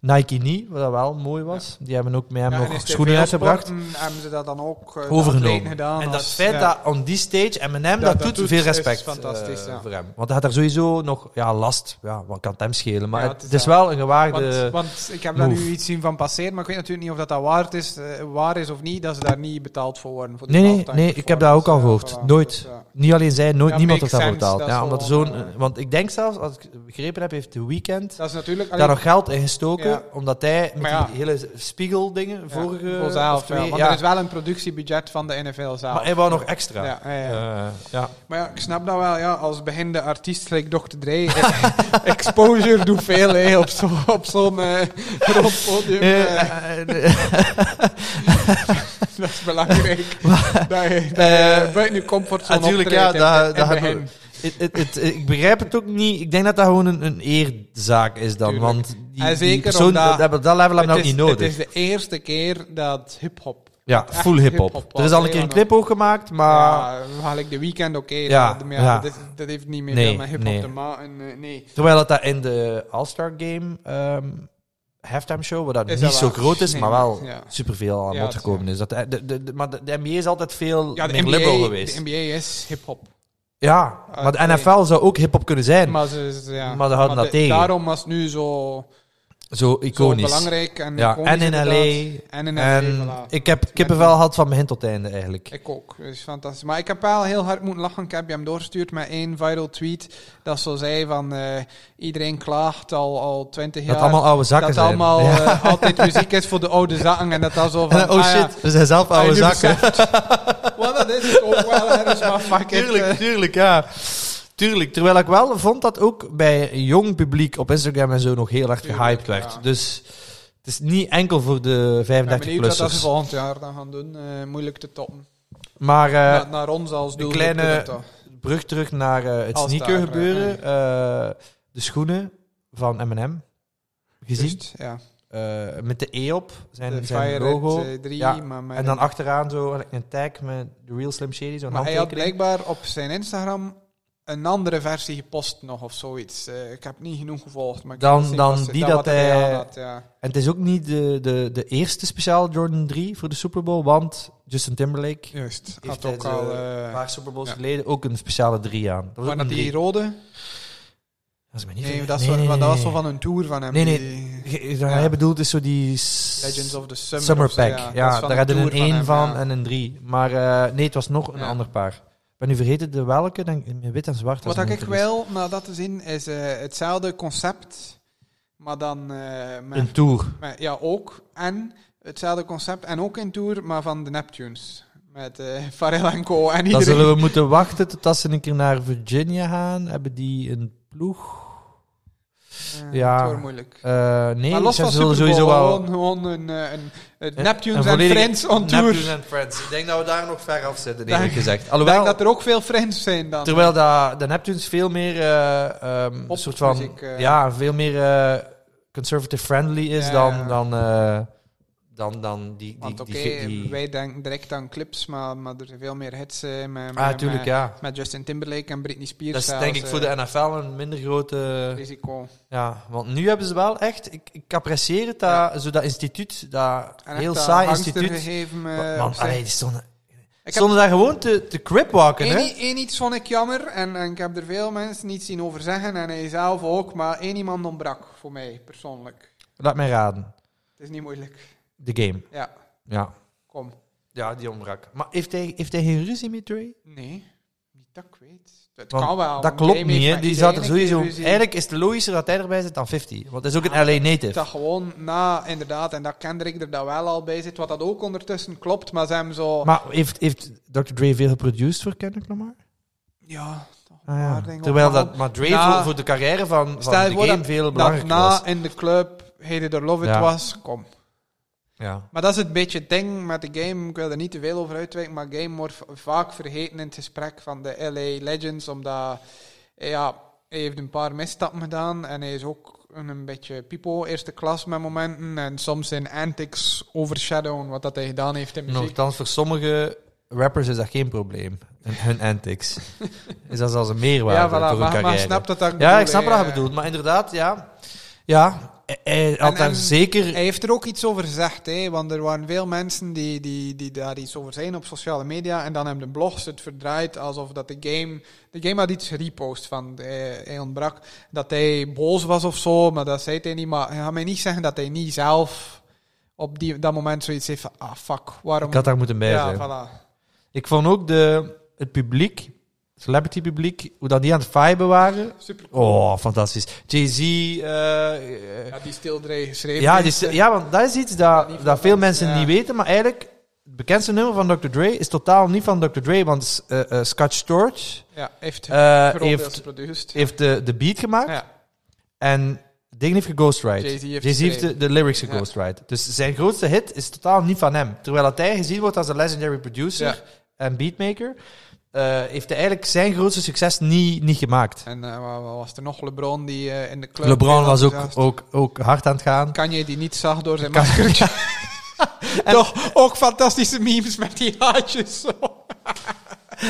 [SPEAKER 1] Nike niet, wat dat wel mooi was. Die hebben ook met hem
[SPEAKER 2] Ja, en in
[SPEAKER 1] nog
[SPEAKER 2] de
[SPEAKER 1] schoenen
[SPEAKER 2] veel
[SPEAKER 1] uitgebracht.
[SPEAKER 2] sporten mm, Hebben ze dat dan ook eh, de atleten
[SPEAKER 1] Overgenomen.
[SPEAKER 2] gedaan?
[SPEAKER 1] en dat
[SPEAKER 2] als-
[SPEAKER 1] feit
[SPEAKER 2] ja.
[SPEAKER 1] dat on die stage Eminem dat,
[SPEAKER 2] dat
[SPEAKER 1] doet,
[SPEAKER 2] doet,
[SPEAKER 1] veel
[SPEAKER 2] is
[SPEAKER 1] respect
[SPEAKER 2] fantastisch,
[SPEAKER 1] eh,
[SPEAKER 2] ja.
[SPEAKER 1] voor hem. Want hij had daar sowieso nog ja, last. Ja, wat kan het hem schelen? Maar
[SPEAKER 2] Ja,
[SPEAKER 1] het,
[SPEAKER 2] het is
[SPEAKER 1] is
[SPEAKER 2] dat.
[SPEAKER 1] wel een gewaagde...
[SPEAKER 2] Want, want ik heb daar
[SPEAKER 1] move.
[SPEAKER 2] nu iets zien van passeren, maar ik weet natuurlijk niet of dat, dat waard is, eh, waar is of niet, dat ze daar niet betaald voor worden. Voor die
[SPEAKER 1] Nee, nee,
[SPEAKER 2] halftime
[SPEAKER 1] nee, ik heb dat ook al
[SPEAKER 2] performance. Ja,
[SPEAKER 1] gehoord. Nooit.
[SPEAKER 2] dus, ja.
[SPEAKER 1] Niet alleen zij, nooit
[SPEAKER 2] Ja,
[SPEAKER 1] niemand heeft
[SPEAKER 2] makes
[SPEAKER 1] daarvoor
[SPEAKER 2] sense,
[SPEAKER 1] betaald.
[SPEAKER 2] dat is
[SPEAKER 1] Ja,
[SPEAKER 2] wel
[SPEAKER 1] omdat
[SPEAKER 2] wel,
[SPEAKER 1] zo'n,
[SPEAKER 2] eh,
[SPEAKER 1] want ik denk zelfs, als ik begrepen heb, heeft The Weeknd
[SPEAKER 2] Dat is natuurlijk...
[SPEAKER 1] daar
[SPEAKER 2] alleen-
[SPEAKER 1] nog geld in gestoken,
[SPEAKER 2] Ja.
[SPEAKER 1] omdat hij met
[SPEAKER 2] Maar ja.
[SPEAKER 1] die hele spiegeldingen,
[SPEAKER 2] Ja,
[SPEAKER 1] vorige...
[SPEAKER 2] voor zelf,
[SPEAKER 1] of twee-
[SPEAKER 2] ja, want
[SPEAKER 1] ja.
[SPEAKER 2] er is wel een productiebudget van de NFL zelf.
[SPEAKER 1] Maar hij wou nog extra.
[SPEAKER 2] ja, ja, ja.
[SPEAKER 1] Eh, ja.
[SPEAKER 2] Maar ja, ik snap dat wel. Ja, als beginnende artiest, like Dr. Dre, eh, exposure doet veel hè, op zo'n op zo'n eh, groot podium. eh,
[SPEAKER 1] Eh, eh, eh,
[SPEAKER 2] dat is belangrijk. dat je dat
[SPEAKER 1] Eh,
[SPEAKER 2] je buiten je comfortzone
[SPEAKER 1] natuurlijk, ja,
[SPEAKER 2] optreedt in-
[SPEAKER 1] dat-
[SPEAKER 2] in
[SPEAKER 1] dat
[SPEAKER 2] het
[SPEAKER 1] hebben we-
[SPEAKER 2] begin.
[SPEAKER 1] het- het- het- ik begrijp het ook niet. Ik denk dat dat gewoon een, een eerzaak is dan.
[SPEAKER 2] Tuurlijk.
[SPEAKER 1] Want die,
[SPEAKER 2] En
[SPEAKER 1] die
[SPEAKER 2] zeker
[SPEAKER 1] persoon,
[SPEAKER 2] omdat-
[SPEAKER 1] dat, dat level hebben we
[SPEAKER 2] Het
[SPEAKER 1] ook
[SPEAKER 2] is-
[SPEAKER 1] niet nodig.
[SPEAKER 2] Het is de eerste keer dat hip-hop.
[SPEAKER 1] ja,
[SPEAKER 2] echt
[SPEAKER 1] full hip-hop.
[SPEAKER 2] hiphop
[SPEAKER 1] er
[SPEAKER 2] was,
[SPEAKER 1] is al
[SPEAKER 2] hè,
[SPEAKER 1] een keer een
[SPEAKER 2] want-
[SPEAKER 1] clip ook gemaakt, maar...
[SPEAKER 2] Maar haal ik de weekend oké.
[SPEAKER 1] Ja,
[SPEAKER 2] dat- maar ja,
[SPEAKER 1] ja.
[SPEAKER 2] Dat, is- dat heeft niet meer
[SPEAKER 1] Nee,
[SPEAKER 2] veel met hip-hop
[SPEAKER 1] nee.
[SPEAKER 2] te maken. eh, nee.
[SPEAKER 1] Terwijl dat, dat in de All-Star Game ehm halftime show, waar dat
[SPEAKER 2] Is
[SPEAKER 1] niet
[SPEAKER 2] dat
[SPEAKER 1] zo
[SPEAKER 2] waar?
[SPEAKER 1] groot is,
[SPEAKER 2] Nee,
[SPEAKER 1] maar wel
[SPEAKER 2] ja.
[SPEAKER 1] superveel aan
[SPEAKER 2] Ja,
[SPEAKER 1] bod
[SPEAKER 2] dat is
[SPEAKER 1] gekomen is. Dat, de, de- de- maar de, de NBA is altijd veel
[SPEAKER 2] Ja, de
[SPEAKER 1] meer
[SPEAKER 2] NBA,
[SPEAKER 1] liberal geweest.
[SPEAKER 2] de NBA is hip-hop.
[SPEAKER 1] ja,
[SPEAKER 2] Ah,
[SPEAKER 1] maar de
[SPEAKER 2] nee.
[SPEAKER 1] NFL zou ook hip-hop kunnen zijn.
[SPEAKER 2] Maar ze, ze- ja.
[SPEAKER 1] Maar ze houden dat
[SPEAKER 2] de-
[SPEAKER 1] tegen.
[SPEAKER 2] Daarom was het nu zo,
[SPEAKER 1] zo
[SPEAKER 2] zo
[SPEAKER 1] iconisch.
[SPEAKER 2] belangrijk. En,
[SPEAKER 1] ja,
[SPEAKER 2] iconisch
[SPEAKER 1] en in
[SPEAKER 2] inderdaad.
[SPEAKER 1] LA.
[SPEAKER 2] En in LA,
[SPEAKER 1] En
[SPEAKER 2] voilà.
[SPEAKER 1] ik heb kippenvel gehad van begin tot einde eigenlijk.
[SPEAKER 2] Ik ook. Dat is fantastisch. Maar ik heb wel heel hard moeten lachen. Ik heb je hem doorgestuurd met één viral tweet. Dat zo zei van eh, iedereen klaagt al, al 20 jaar.
[SPEAKER 1] dat allemaal oude zakken
[SPEAKER 2] dat
[SPEAKER 1] zijn.
[SPEAKER 2] allemaal
[SPEAKER 1] Ja.
[SPEAKER 2] eh, altijd muziek is voor de oude zakken. En dat dat zo van...
[SPEAKER 1] En, oh
[SPEAKER 2] ah ja,
[SPEAKER 1] shit, we zijn zelf
[SPEAKER 2] ah,
[SPEAKER 1] oude
[SPEAKER 2] nu
[SPEAKER 1] zakken.
[SPEAKER 2] beseft. Want dat is het ook wel ergens, maar fuck it, eh.
[SPEAKER 1] Tuurlijk, tuurlijk, ja. Tuurlijk, terwijl ik wel vond dat ook bij een jong publiek op Instagram en zo nog heel erg
[SPEAKER 2] Tuurlijk,
[SPEAKER 1] gehyped werd.
[SPEAKER 2] ja.
[SPEAKER 1] Dus het is niet enkel voor de
[SPEAKER 2] Ik ben benieuwd wat dat ze
[SPEAKER 1] 35-plussers.
[SPEAKER 2] volgend jaar dan gaan doen. Eh, moeilijk te toppen.
[SPEAKER 1] Maar eh,
[SPEAKER 2] Na- naar ons als
[SPEAKER 1] de
[SPEAKER 2] doel.
[SPEAKER 1] kleine- brug terug naar eh, het
[SPEAKER 2] Als
[SPEAKER 1] sneaker
[SPEAKER 2] daar,
[SPEAKER 1] gebeuren. eh, de schoenen van M&M. Gezien.
[SPEAKER 2] Ja.
[SPEAKER 1] Eh, met de E op, zijn,
[SPEAKER 2] De eh,
[SPEAKER 1] zijn
[SPEAKER 2] Fire
[SPEAKER 1] logo.
[SPEAKER 2] Red 3,
[SPEAKER 1] Ja,
[SPEAKER 2] maar met
[SPEAKER 1] en dan achteraan zo een tag met de Real Slim Shady, zo'n
[SPEAKER 2] Maar hij had
[SPEAKER 1] handtekening.
[SPEAKER 2] blijkbaar op zijn Instagram een andere versie gepost nog of zoiets. Eh, ik heb niet genoeg gevolgd, maar ik
[SPEAKER 1] Dan-
[SPEAKER 2] heb gezien
[SPEAKER 1] dan
[SPEAKER 2] wat-
[SPEAKER 1] die
[SPEAKER 2] dat
[SPEAKER 1] dat
[SPEAKER 2] wat hij
[SPEAKER 1] hij- eh,
[SPEAKER 2] aan had, ja.
[SPEAKER 1] En het is ook niet de, de, de eerste speciale Jordan 3 voor de Super Bowl, want Justin Timberlake
[SPEAKER 2] Juist,
[SPEAKER 1] heeft
[SPEAKER 2] had
[SPEAKER 1] hij
[SPEAKER 2] ook al...
[SPEAKER 1] de-
[SPEAKER 2] eh,
[SPEAKER 1] een paar Super Bowls
[SPEAKER 2] ja.
[SPEAKER 1] geleden ook een speciale 3 aan. Dat was
[SPEAKER 2] waren
[SPEAKER 1] ook
[SPEAKER 2] dat
[SPEAKER 1] een
[SPEAKER 2] die
[SPEAKER 1] drie.
[SPEAKER 2] rode?
[SPEAKER 1] Dat is me niet
[SPEAKER 2] Nee,
[SPEAKER 1] ver-
[SPEAKER 2] dat, is
[SPEAKER 1] nee,
[SPEAKER 2] wel-
[SPEAKER 1] nee,
[SPEAKER 2] maar dat was
[SPEAKER 1] nee.
[SPEAKER 2] wel van een tour van hem.
[SPEAKER 1] Nee, nee.
[SPEAKER 2] die-
[SPEAKER 1] Ge-
[SPEAKER 2] Ja.
[SPEAKER 1] Hij bedoelt dus zo die s-
[SPEAKER 2] Legends of the Summer.
[SPEAKER 1] Summer
[SPEAKER 2] of zo,
[SPEAKER 1] Pack.
[SPEAKER 2] dat
[SPEAKER 1] Ja,
[SPEAKER 2] is van
[SPEAKER 1] daar hadden
[SPEAKER 2] tour
[SPEAKER 1] een 1 van,
[SPEAKER 2] hem, ja.
[SPEAKER 1] en een 3. Maar eh, nee, het was nog een
[SPEAKER 2] Ja.
[SPEAKER 1] ander paar. Ik ben nu vergeten de welke, denk, in wit en zwart.
[SPEAKER 2] Wat
[SPEAKER 1] als
[SPEAKER 2] dat ik
[SPEAKER 1] me niet vergis.
[SPEAKER 2] wil, maar dat te zien, is eh, hetzelfde concept, maar dan eh,
[SPEAKER 1] Een
[SPEAKER 2] met,
[SPEAKER 1] tour.
[SPEAKER 2] met- ja, ook, en hetzelfde concept, en ook in tour, maar van de Neptunes. Met eh Pharrell en Co. en
[SPEAKER 1] Dan
[SPEAKER 2] iedereen.
[SPEAKER 1] zullen we moeten wachten totdat ze een keer naar Virginia gaan. Hebben die een ploeg?
[SPEAKER 2] Eh,
[SPEAKER 1] ja.
[SPEAKER 2] het wordt moeilijk.
[SPEAKER 1] Eh, nee,
[SPEAKER 2] maar los
[SPEAKER 1] ze
[SPEAKER 2] van
[SPEAKER 1] zullen
[SPEAKER 2] Super Bowl,
[SPEAKER 1] sowieso wel...
[SPEAKER 2] gewoon, gewoon een, eh, een, een
[SPEAKER 1] Een-
[SPEAKER 2] Neptunes
[SPEAKER 1] een
[SPEAKER 2] en
[SPEAKER 1] volledige
[SPEAKER 2] Friends on tour.
[SPEAKER 1] Neptunes and Friends. Ik denk dat we daar nog ver af zitten, eerlijk
[SPEAKER 2] Dank-
[SPEAKER 1] gezegd.
[SPEAKER 2] Ik denk
[SPEAKER 1] Alhoewel,
[SPEAKER 2] dat er ook veel Friends zijn dan.
[SPEAKER 1] terwijl dat, de Neptunes veel meer eh, ehm, een soort van...
[SPEAKER 2] Popmuziek, eh.
[SPEAKER 1] ja, veel meer eh, conservative-friendly is
[SPEAKER 2] Ja, ja.
[SPEAKER 1] dan, dan, eh, dan, dan die... die,
[SPEAKER 2] Want oké,
[SPEAKER 1] die, die,
[SPEAKER 2] wij denken direct aan clips, maar, maar er zijn veel meer hits eh, met, met,
[SPEAKER 1] ah, tuurlijk,
[SPEAKER 2] met-
[SPEAKER 1] ja.
[SPEAKER 2] met Justin Timberlake en Britney Spears.
[SPEAKER 1] Dat is
[SPEAKER 2] zelfs,
[SPEAKER 1] denk ik voor
[SPEAKER 2] eh,
[SPEAKER 1] de NFL een minder grote...
[SPEAKER 2] risico.
[SPEAKER 1] Ja, want nu hebben ze wel echt... Ik, ik apprecieer het, dat, zo dat instituut, dat heel
[SPEAKER 2] En echt dat
[SPEAKER 1] saai
[SPEAKER 2] angsten
[SPEAKER 1] instituut...
[SPEAKER 2] Gegeven, eh,
[SPEAKER 1] Wa- Man,
[SPEAKER 2] op zich.
[SPEAKER 1] allee, die stonden,
[SPEAKER 2] ik heb
[SPEAKER 1] stonden daar gewoon te, te cripwalken,
[SPEAKER 2] één,
[SPEAKER 1] hè?
[SPEAKER 2] i- één iets vond ik jammer en, en ik heb er veel mensen niet zien over zeggen en hij zelf ook, maar één iemand ontbrak voor mij persoonlijk.
[SPEAKER 1] Laat mij raden.
[SPEAKER 2] Het is niet moeilijk.
[SPEAKER 1] De game,
[SPEAKER 2] Ja,
[SPEAKER 1] ja.
[SPEAKER 2] kom.
[SPEAKER 1] Ja, die ontbrak. Maar heeft hij, heeft hij geen ruzie met Dre?
[SPEAKER 2] Nee, niet dat ik weet. Het
[SPEAKER 1] Want
[SPEAKER 2] kan wel.
[SPEAKER 1] dat
[SPEAKER 2] want
[SPEAKER 1] klopt
[SPEAKER 2] Jamie
[SPEAKER 1] niet,
[SPEAKER 2] heeft
[SPEAKER 1] hè?
[SPEAKER 2] met
[SPEAKER 1] Die
[SPEAKER 2] iedereen
[SPEAKER 1] zat er
[SPEAKER 2] een keer
[SPEAKER 1] sowieso...
[SPEAKER 2] ruzie. Ah,
[SPEAKER 1] Eigenlijk is het logischer dat hij erbij zit dan 50. Want hij is ook een LA native.
[SPEAKER 2] Dat gewoon na, inderdaad, en dat Kendrick er dan wel al bij zit, wat dat ook ondertussen klopt, maar ze hebben zo...
[SPEAKER 1] Maar heeft, heeft Dr. Dre veel geproduced voor Kendrick Lamar?
[SPEAKER 2] ja, toch een
[SPEAKER 1] Ah, ja.
[SPEAKER 2] paar dingen
[SPEAKER 1] Terwijl
[SPEAKER 2] opgehaald.
[SPEAKER 1] dat... Maar Dre
[SPEAKER 2] Ja.
[SPEAKER 1] voor, voor de carrière van, van
[SPEAKER 2] Nou, Stel je
[SPEAKER 1] de
[SPEAKER 2] voor
[SPEAKER 1] game
[SPEAKER 2] dat-
[SPEAKER 1] veel
[SPEAKER 2] dat
[SPEAKER 1] belangrijker
[SPEAKER 2] na
[SPEAKER 1] was.
[SPEAKER 2] in de club Heden de Love It
[SPEAKER 1] Ja.
[SPEAKER 2] was, kom.
[SPEAKER 1] Ja.
[SPEAKER 2] Maar dat is het beetje het ding met de game. Ik wil er niet te veel over uitwijken, maar game wordt v- vaak vergeten in het gesprek van de LA Legends, omdat eh, ja, hij heeft een paar misstappen gedaan en hij is ook een, een beetje pipo, eerste klas met momenten en soms zijn antics overshadowen wat dat hij gedaan heeft in muziek.
[SPEAKER 1] Nochtans, voor sommige rappers is dat geen probleem. Hun, hun antics. is dat zelfs een meerwaarde
[SPEAKER 2] ja,
[SPEAKER 1] voor
[SPEAKER 2] voilà,
[SPEAKER 1] hun
[SPEAKER 2] maar, maar
[SPEAKER 1] carrière.
[SPEAKER 2] snap dat dat
[SPEAKER 1] ja, ik snap wat
[SPEAKER 2] eh,
[SPEAKER 1] je bedoelt. Maar inderdaad, ja. Ja, hij- hij had daar
[SPEAKER 2] en-
[SPEAKER 1] zeker...
[SPEAKER 2] Hij heeft er ook iets over gezegd, hè, want er waren veel mensen die, die, die daar iets over zijn op sociale media. En dan hebben de blogs het verdraaid alsof dat de game. De game had iets gerepost van. eh, hij ontbrak dat hij boos was of zo, maar dat zei hij niet. Maar hij gaat mij niet zeggen dat hij niet zelf op die, dat moment zoiets heeft van: ah fuck, waarom.
[SPEAKER 1] Ik had daar moeten bij
[SPEAKER 2] ja,
[SPEAKER 1] zijn.
[SPEAKER 2] voilà.
[SPEAKER 1] Ik vond ook de, het publiek, celebrity publiek, hoe dat die aan het viben waren.
[SPEAKER 2] Super
[SPEAKER 1] Oh, fantastisch. Jay-Z. eh, eh,
[SPEAKER 2] Ja, die Stildre geschreven.
[SPEAKER 1] ja,
[SPEAKER 2] heeft,
[SPEAKER 1] die-
[SPEAKER 2] eh,
[SPEAKER 1] ja, want dat is iets
[SPEAKER 2] niet
[SPEAKER 1] dat,
[SPEAKER 2] van
[SPEAKER 1] dat veel
[SPEAKER 2] ons,
[SPEAKER 1] mensen
[SPEAKER 2] ja.
[SPEAKER 1] niet weten. Maar eigenlijk, het bekendste nummer van Dr. Dre is totaal niet van Dr. Dre. Want eh eh, Scott Storch
[SPEAKER 2] ja, heeft
[SPEAKER 1] eh,
[SPEAKER 2] heeft,
[SPEAKER 1] heeft,
[SPEAKER 2] produced.
[SPEAKER 1] heeft de, de beat gemaakt.
[SPEAKER 2] ja,
[SPEAKER 1] En het ding heeft geghostwrite.
[SPEAKER 2] Jay-Z heeft
[SPEAKER 1] Jay-Z heeft de,
[SPEAKER 2] geschreven.
[SPEAKER 1] de lyrics
[SPEAKER 2] Ja.
[SPEAKER 1] geghostwrite. Dus zijn grootste hit is totaal niet van hem. Terwijl dat hij gezien wordt als een legendary producer
[SPEAKER 2] Ja.
[SPEAKER 1] en beatmaker, eh, heeft hij eigenlijk zijn grootste succes niet, niet gemaakt.
[SPEAKER 2] en eh, wa- wa- was er nog LeBron die eh, in de club.
[SPEAKER 1] LeBron
[SPEAKER 2] heel
[SPEAKER 1] was ook,
[SPEAKER 2] enthousiast-
[SPEAKER 1] ook, ook hard aan het gaan.
[SPEAKER 2] Kanye die niet zag door zijn
[SPEAKER 1] Kan-
[SPEAKER 2] maskertje. en toch ook fantastische memes met die haartjes. Zo.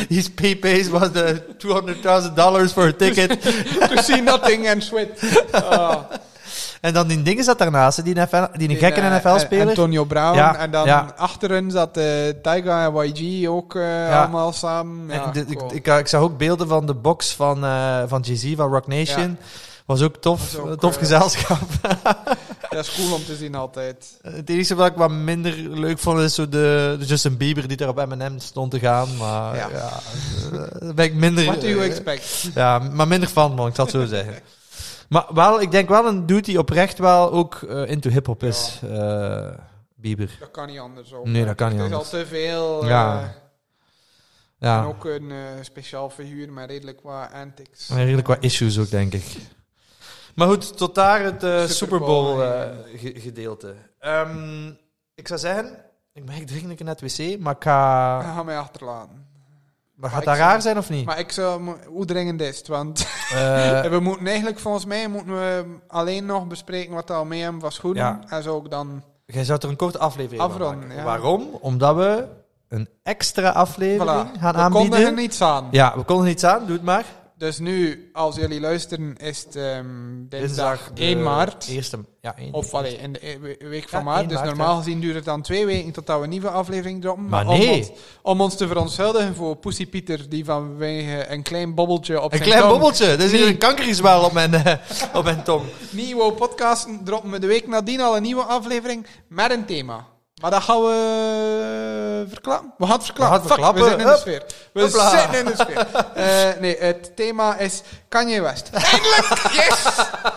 [SPEAKER 1] His pay pays was de $200.000 for a ticket.
[SPEAKER 2] To see nothing and sweat. Ah.
[SPEAKER 1] en dan die dingen zat daarnaast, hè, die, NFL, die een
[SPEAKER 2] Die,
[SPEAKER 1] gekke
[SPEAKER 2] eh, eh,
[SPEAKER 1] NFL-speler.
[SPEAKER 2] Antonio Brown.
[SPEAKER 1] Ja,
[SPEAKER 2] en dan
[SPEAKER 1] ja.
[SPEAKER 2] achterin zat eh Tyga en YG ook eh,
[SPEAKER 1] Ja.
[SPEAKER 2] allemaal samen. Ja,
[SPEAKER 1] En de- ik,
[SPEAKER 2] cool.
[SPEAKER 1] ik, ik zag ook beelden van de box van, eh, van Jay-Z, van Rock Nation. Was ook tof,
[SPEAKER 2] Was ook,
[SPEAKER 1] tof
[SPEAKER 2] eh,
[SPEAKER 1] gezelschap.
[SPEAKER 2] Dat is cool om te zien altijd.
[SPEAKER 1] Eh, Het enige wat ik wat minder leuk vond is zo de, de Justin Bieber die daar op M&M stond te gaan. Maar ja,
[SPEAKER 2] Ja.
[SPEAKER 1] eh, daar ben ik minder...
[SPEAKER 2] What do you
[SPEAKER 1] eh,
[SPEAKER 2] expect?
[SPEAKER 1] Ja, maar minder van, man. Ik zal het zo zeggen. Maar wel, ik denk wel een dude die oprecht wel ook eh, into hip-hop is. eh, Bieber.
[SPEAKER 2] Dat kan niet anders. Ook.
[SPEAKER 1] Nee, dat kan niet
[SPEAKER 2] Het is al
[SPEAKER 1] anders.
[SPEAKER 2] te veel. eh,
[SPEAKER 1] Ja.
[SPEAKER 2] En
[SPEAKER 1] Ja,
[SPEAKER 2] ook een eh, speciaal figuur met redelijk wat antics.
[SPEAKER 1] en redelijk wat issues ook, denk ik. Maar goed, tot daar het eh,
[SPEAKER 2] Super
[SPEAKER 1] Super Bowl
[SPEAKER 2] Bowl,
[SPEAKER 1] eh, ge- gedeelte. Ehm, ik zou zeggen, ik merk dringend naar het wc, maar ik ga...
[SPEAKER 2] Dat gaan mij achterlaten.
[SPEAKER 1] Maar
[SPEAKER 2] Ah, Maar
[SPEAKER 1] gaat
[SPEAKER 2] ik
[SPEAKER 1] dat
[SPEAKER 2] zou-
[SPEAKER 1] raar zijn of niet?
[SPEAKER 2] Maar ik zou... mo- Hoe dringend is het? Want...
[SPEAKER 1] Eh,
[SPEAKER 2] En we moeten eigenlijk, volgens mij, moeten we alleen nog bespreken wat we al mee hebben was goed.
[SPEAKER 1] Ja.
[SPEAKER 2] En zo ook dan.
[SPEAKER 1] Jij zou er een korte aflevering van
[SPEAKER 2] Afronden,
[SPEAKER 1] maken.
[SPEAKER 2] ja.
[SPEAKER 1] Waarom? Omdat we een extra aflevering
[SPEAKER 2] Voilà.
[SPEAKER 1] gaan
[SPEAKER 2] we konden
[SPEAKER 1] aanbieden.
[SPEAKER 2] er niets aan.
[SPEAKER 1] Ja, we konden er niets aan, doe het maar.
[SPEAKER 2] Dus nu, als jullie luisteren, is het ehm, dinsdag
[SPEAKER 1] de
[SPEAKER 2] 1 maart.
[SPEAKER 1] Eerste, ja, één-
[SPEAKER 2] Of allee, in de e- we- week van
[SPEAKER 1] Ja,
[SPEAKER 2] maart.
[SPEAKER 1] één
[SPEAKER 2] Dus
[SPEAKER 1] maart,
[SPEAKER 2] normaal gezien duurt het dan twee weken tot we een nieuwe aflevering droppen.
[SPEAKER 1] Maar
[SPEAKER 2] om
[SPEAKER 1] nee.
[SPEAKER 2] ons, om ons te verontschuldigen voor Pussy Pieter, die vanwege een klein bobbeltje op
[SPEAKER 1] Een
[SPEAKER 2] zijn
[SPEAKER 1] klein
[SPEAKER 2] tong
[SPEAKER 1] bobbeltje. Er zit
[SPEAKER 2] Nee.
[SPEAKER 1] een kankerizwaal op mijn, eh, op mijn tong.
[SPEAKER 2] Nieuwe podcasten droppen we de week nadien al een nieuwe aflevering met een thema. Maar dat gaan we verklappen. We gaan het verklappen.
[SPEAKER 1] We gaan het
[SPEAKER 2] Fuck, We zitten in de
[SPEAKER 1] verklappen.
[SPEAKER 2] sfeer. We
[SPEAKER 1] Hopla.
[SPEAKER 2] zitten in de sfeer. Eh, nee, het thema is Kanye West. Eindelijk!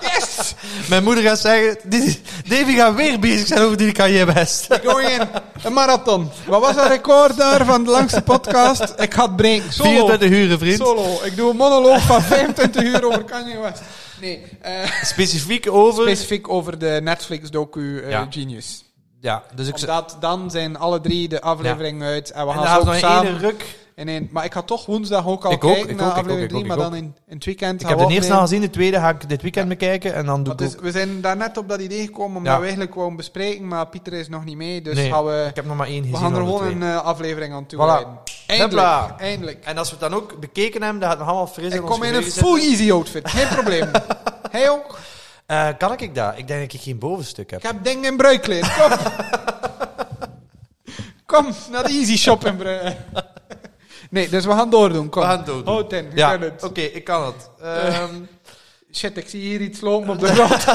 [SPEAKER 2] Yes! Yes!
[SPEAKER 1] Mijn moeder gaat zeggen, "Dit- Davy gaat weer bezig zijn over die Kanye West.
[SPEAKER 2] Going in. Een marathon. Wat was dat record daar van de langste podcast? Ik ga het breken. Solo.
[SPEAKER 1] 24 uur, vriend.
[SPEAKER 2] Solo. Ik doe een monoloog van 25 uur over Kanye West. Nee, eh,
[SPEAKER 1] Specifiek over...
[SPEAKER 2] specifiek over de Netflix-docu eh,
[SPEAKER 1] Ja.
[SPEAKER 2] Genius.
[SPEAKER 1] ja, dus ik... En
[SPEAKER 2] Omdat dan zijn alle drie de afleveringen uit en we
[SPEAKER 1] dan
[SPEAKER 2] gaan ze
[SPEAKER 1] gaan we
[SPEAKER 2] ook
[SPEAKER 1] nog een
[SPEAKER 2] samen
[SPEAKER 1] ene ruk.
[SPEAKER 2] in één- Maar ik ga toch woensdag ook al
[SPEAKER 1] Ik ook,
[SPEAKER 2] kijken
[SPEAKER 1] ik
[SPEAKER 2] naar
[SPEAKER 1] ook, ik ook,
[SPEAKER 2] aflevering
[SPEAKER 1] ik
[SPEAKER 2] 3,
[SPEAKER 1] ook,
[SPEAKER 2] maar
[SPEAKER 1] ik
[SPEAKER 2] dan in, in het weekend
[SPEAKER 1] Ik
[SPEAKER 2] gaan
[SPEAKER 1] heb
[SPEAKER 2] we
[SPEAKER 1] de eerste al
[SPEAKER 2] opnemen.
[SPEAKER 1] gezien, de tweede ga ik dit weekend bekijken. En dan doe
[SPEAKER 2] Want
[SPEAKER 1] ik
[SPEAKER 2] het is-
[SPEAKER 1] ook...
[SPEAKER 2] we zijn daar net op dat idee gekomen, omdat
[SPEAKER 1] Ja.
[SPEAKER 2] we eigenlijk gewoon bespreken, maar Pieter is nog niet mee, dus
[SPEAKER 1] Nee,
[SPEAKER 2] gaan we,
[SPEAKER 1] Ik heb nog maar één
[SPEAKER 2] we
[SPEAKER 1] gezien
[SPEAKER 2] gaan er
[SPEAKER 1] van de
[SPEAKER 2] gewoon
[SPEAKER 1] twee.
[SPEAKER 2] een eh, aflevering aan toe
[SPEAKER 1] Voilà.
[SPEAKER 2] wijden. Eindelijk,
[SPEAKER 1] Hopla.
[SPEAKER 2] eindelijk.
[SPEAKER 1] En als we het dan ook bekeken hebben, dan gaat het nog allemaal fris
[SPEAKER 2] Ik
[SPEAKER 1] ons
[SPEAKER 2] kom in een
[SPEAKER 1] geheugen zitten.
[SPEAKER 2] full easy outfit, geen probleem. Hij ook?
[SPEAKER 1] Eh, kan ik dat? Ik denk dat ik geen bovenstuk heb.
[SPEAKER 2] Ik heb dingen in bruikleed, kom. kom, naar de easy shop in Brui. Nee, dus we gaan doordoen, kom.
[SPEAKER 1] We gaan doordoen.
[SPEAKER 2] Houd in, je
[SPEAKER 1] Ja,
[SPEAKER 2] kan
[SPEAKER 1] oké,
[SPEAKER 2] het. Eh.
[SPEAKER 1] ik kan het. Ehm,
[SPEAKER 2] Shit, ik zie hier iets lopen op de grond.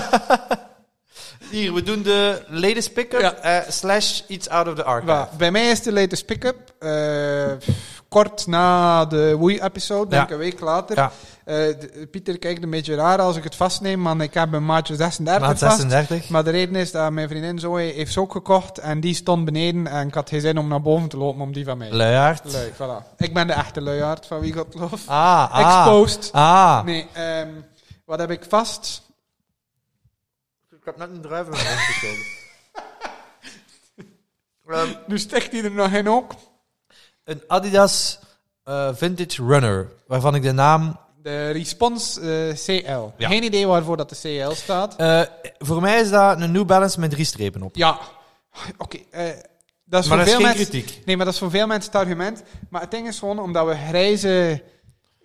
[SPEAKER 1] hier, we doen de ladies pick-up
[SPEAKER 2] Ja.
[SPEAKER 1] eh, slash iets out of the archive.
[SPEAKER 2] Wa- Bij mij is de latest pick-up. eh, kort na de Woei-episode, denk
[SPEAKER 1] Ja.
[SPEAKER 2] een week later.
[SPEAKER 1] Ja.
[SPEAKER 2] Eh, de- Pieter kijkt een beetje raar als ik het vastneem, want ik heb een maatje 36
[SPEAKER 1] Maat
[SPEAKER 2] vast.
[SPEAKER 1] 36.
[SPEAKER 2] Maar de reden is dat mijn vriendin Zoe heeft ze ook gekocht en die stond beneden en ik had geen zin om naar boven te lopen om die van mij.
[SPEAKER 1] Luiaard.
[SPEAKER 2] Lui, voilà. Ik ben de echte luiaard van wie God looft.
[SPEAKER 1] Ah, ah.
[SPEAKER 2] Exposed.
[SPEAKER 1] Ah.
[SPEAKER 2] Nee, ehm, wat heb ik vast?
[SPEAKER 1] Ik heb net een druif in mijn mond gekomen. Ehm,
[SPEAKER 2] Nu steekt hij er nog in ook.
[SPEAKER 1] een Adidas eh, Vintage Runner, waarvan ik de naam...
[SPEAKER 2] De Response eh, CL.
[SPEAKER 1] Ja.
[SPEAKER 2] Geen idee waarvoor dat de CL staat.
[SPEAKER 1] eh, voor mij is dat een New Balance met drie strepen op.
[SPEAKER 2] Ja, oké. eh, dat is
[SPEAKER 1] maar
[SPEAKER 2] voor
[SPEAKER 1] dat is
[SPEAKER 2] veel
[SPEAKER 1] geen
[SPEAKER 2] mensen.
[SPEAKER 1] kritiek.
[SPEAKER 2] Nee, maar dat is voor veel mensen het argument. Maar het ding is gewoon omdat we grijze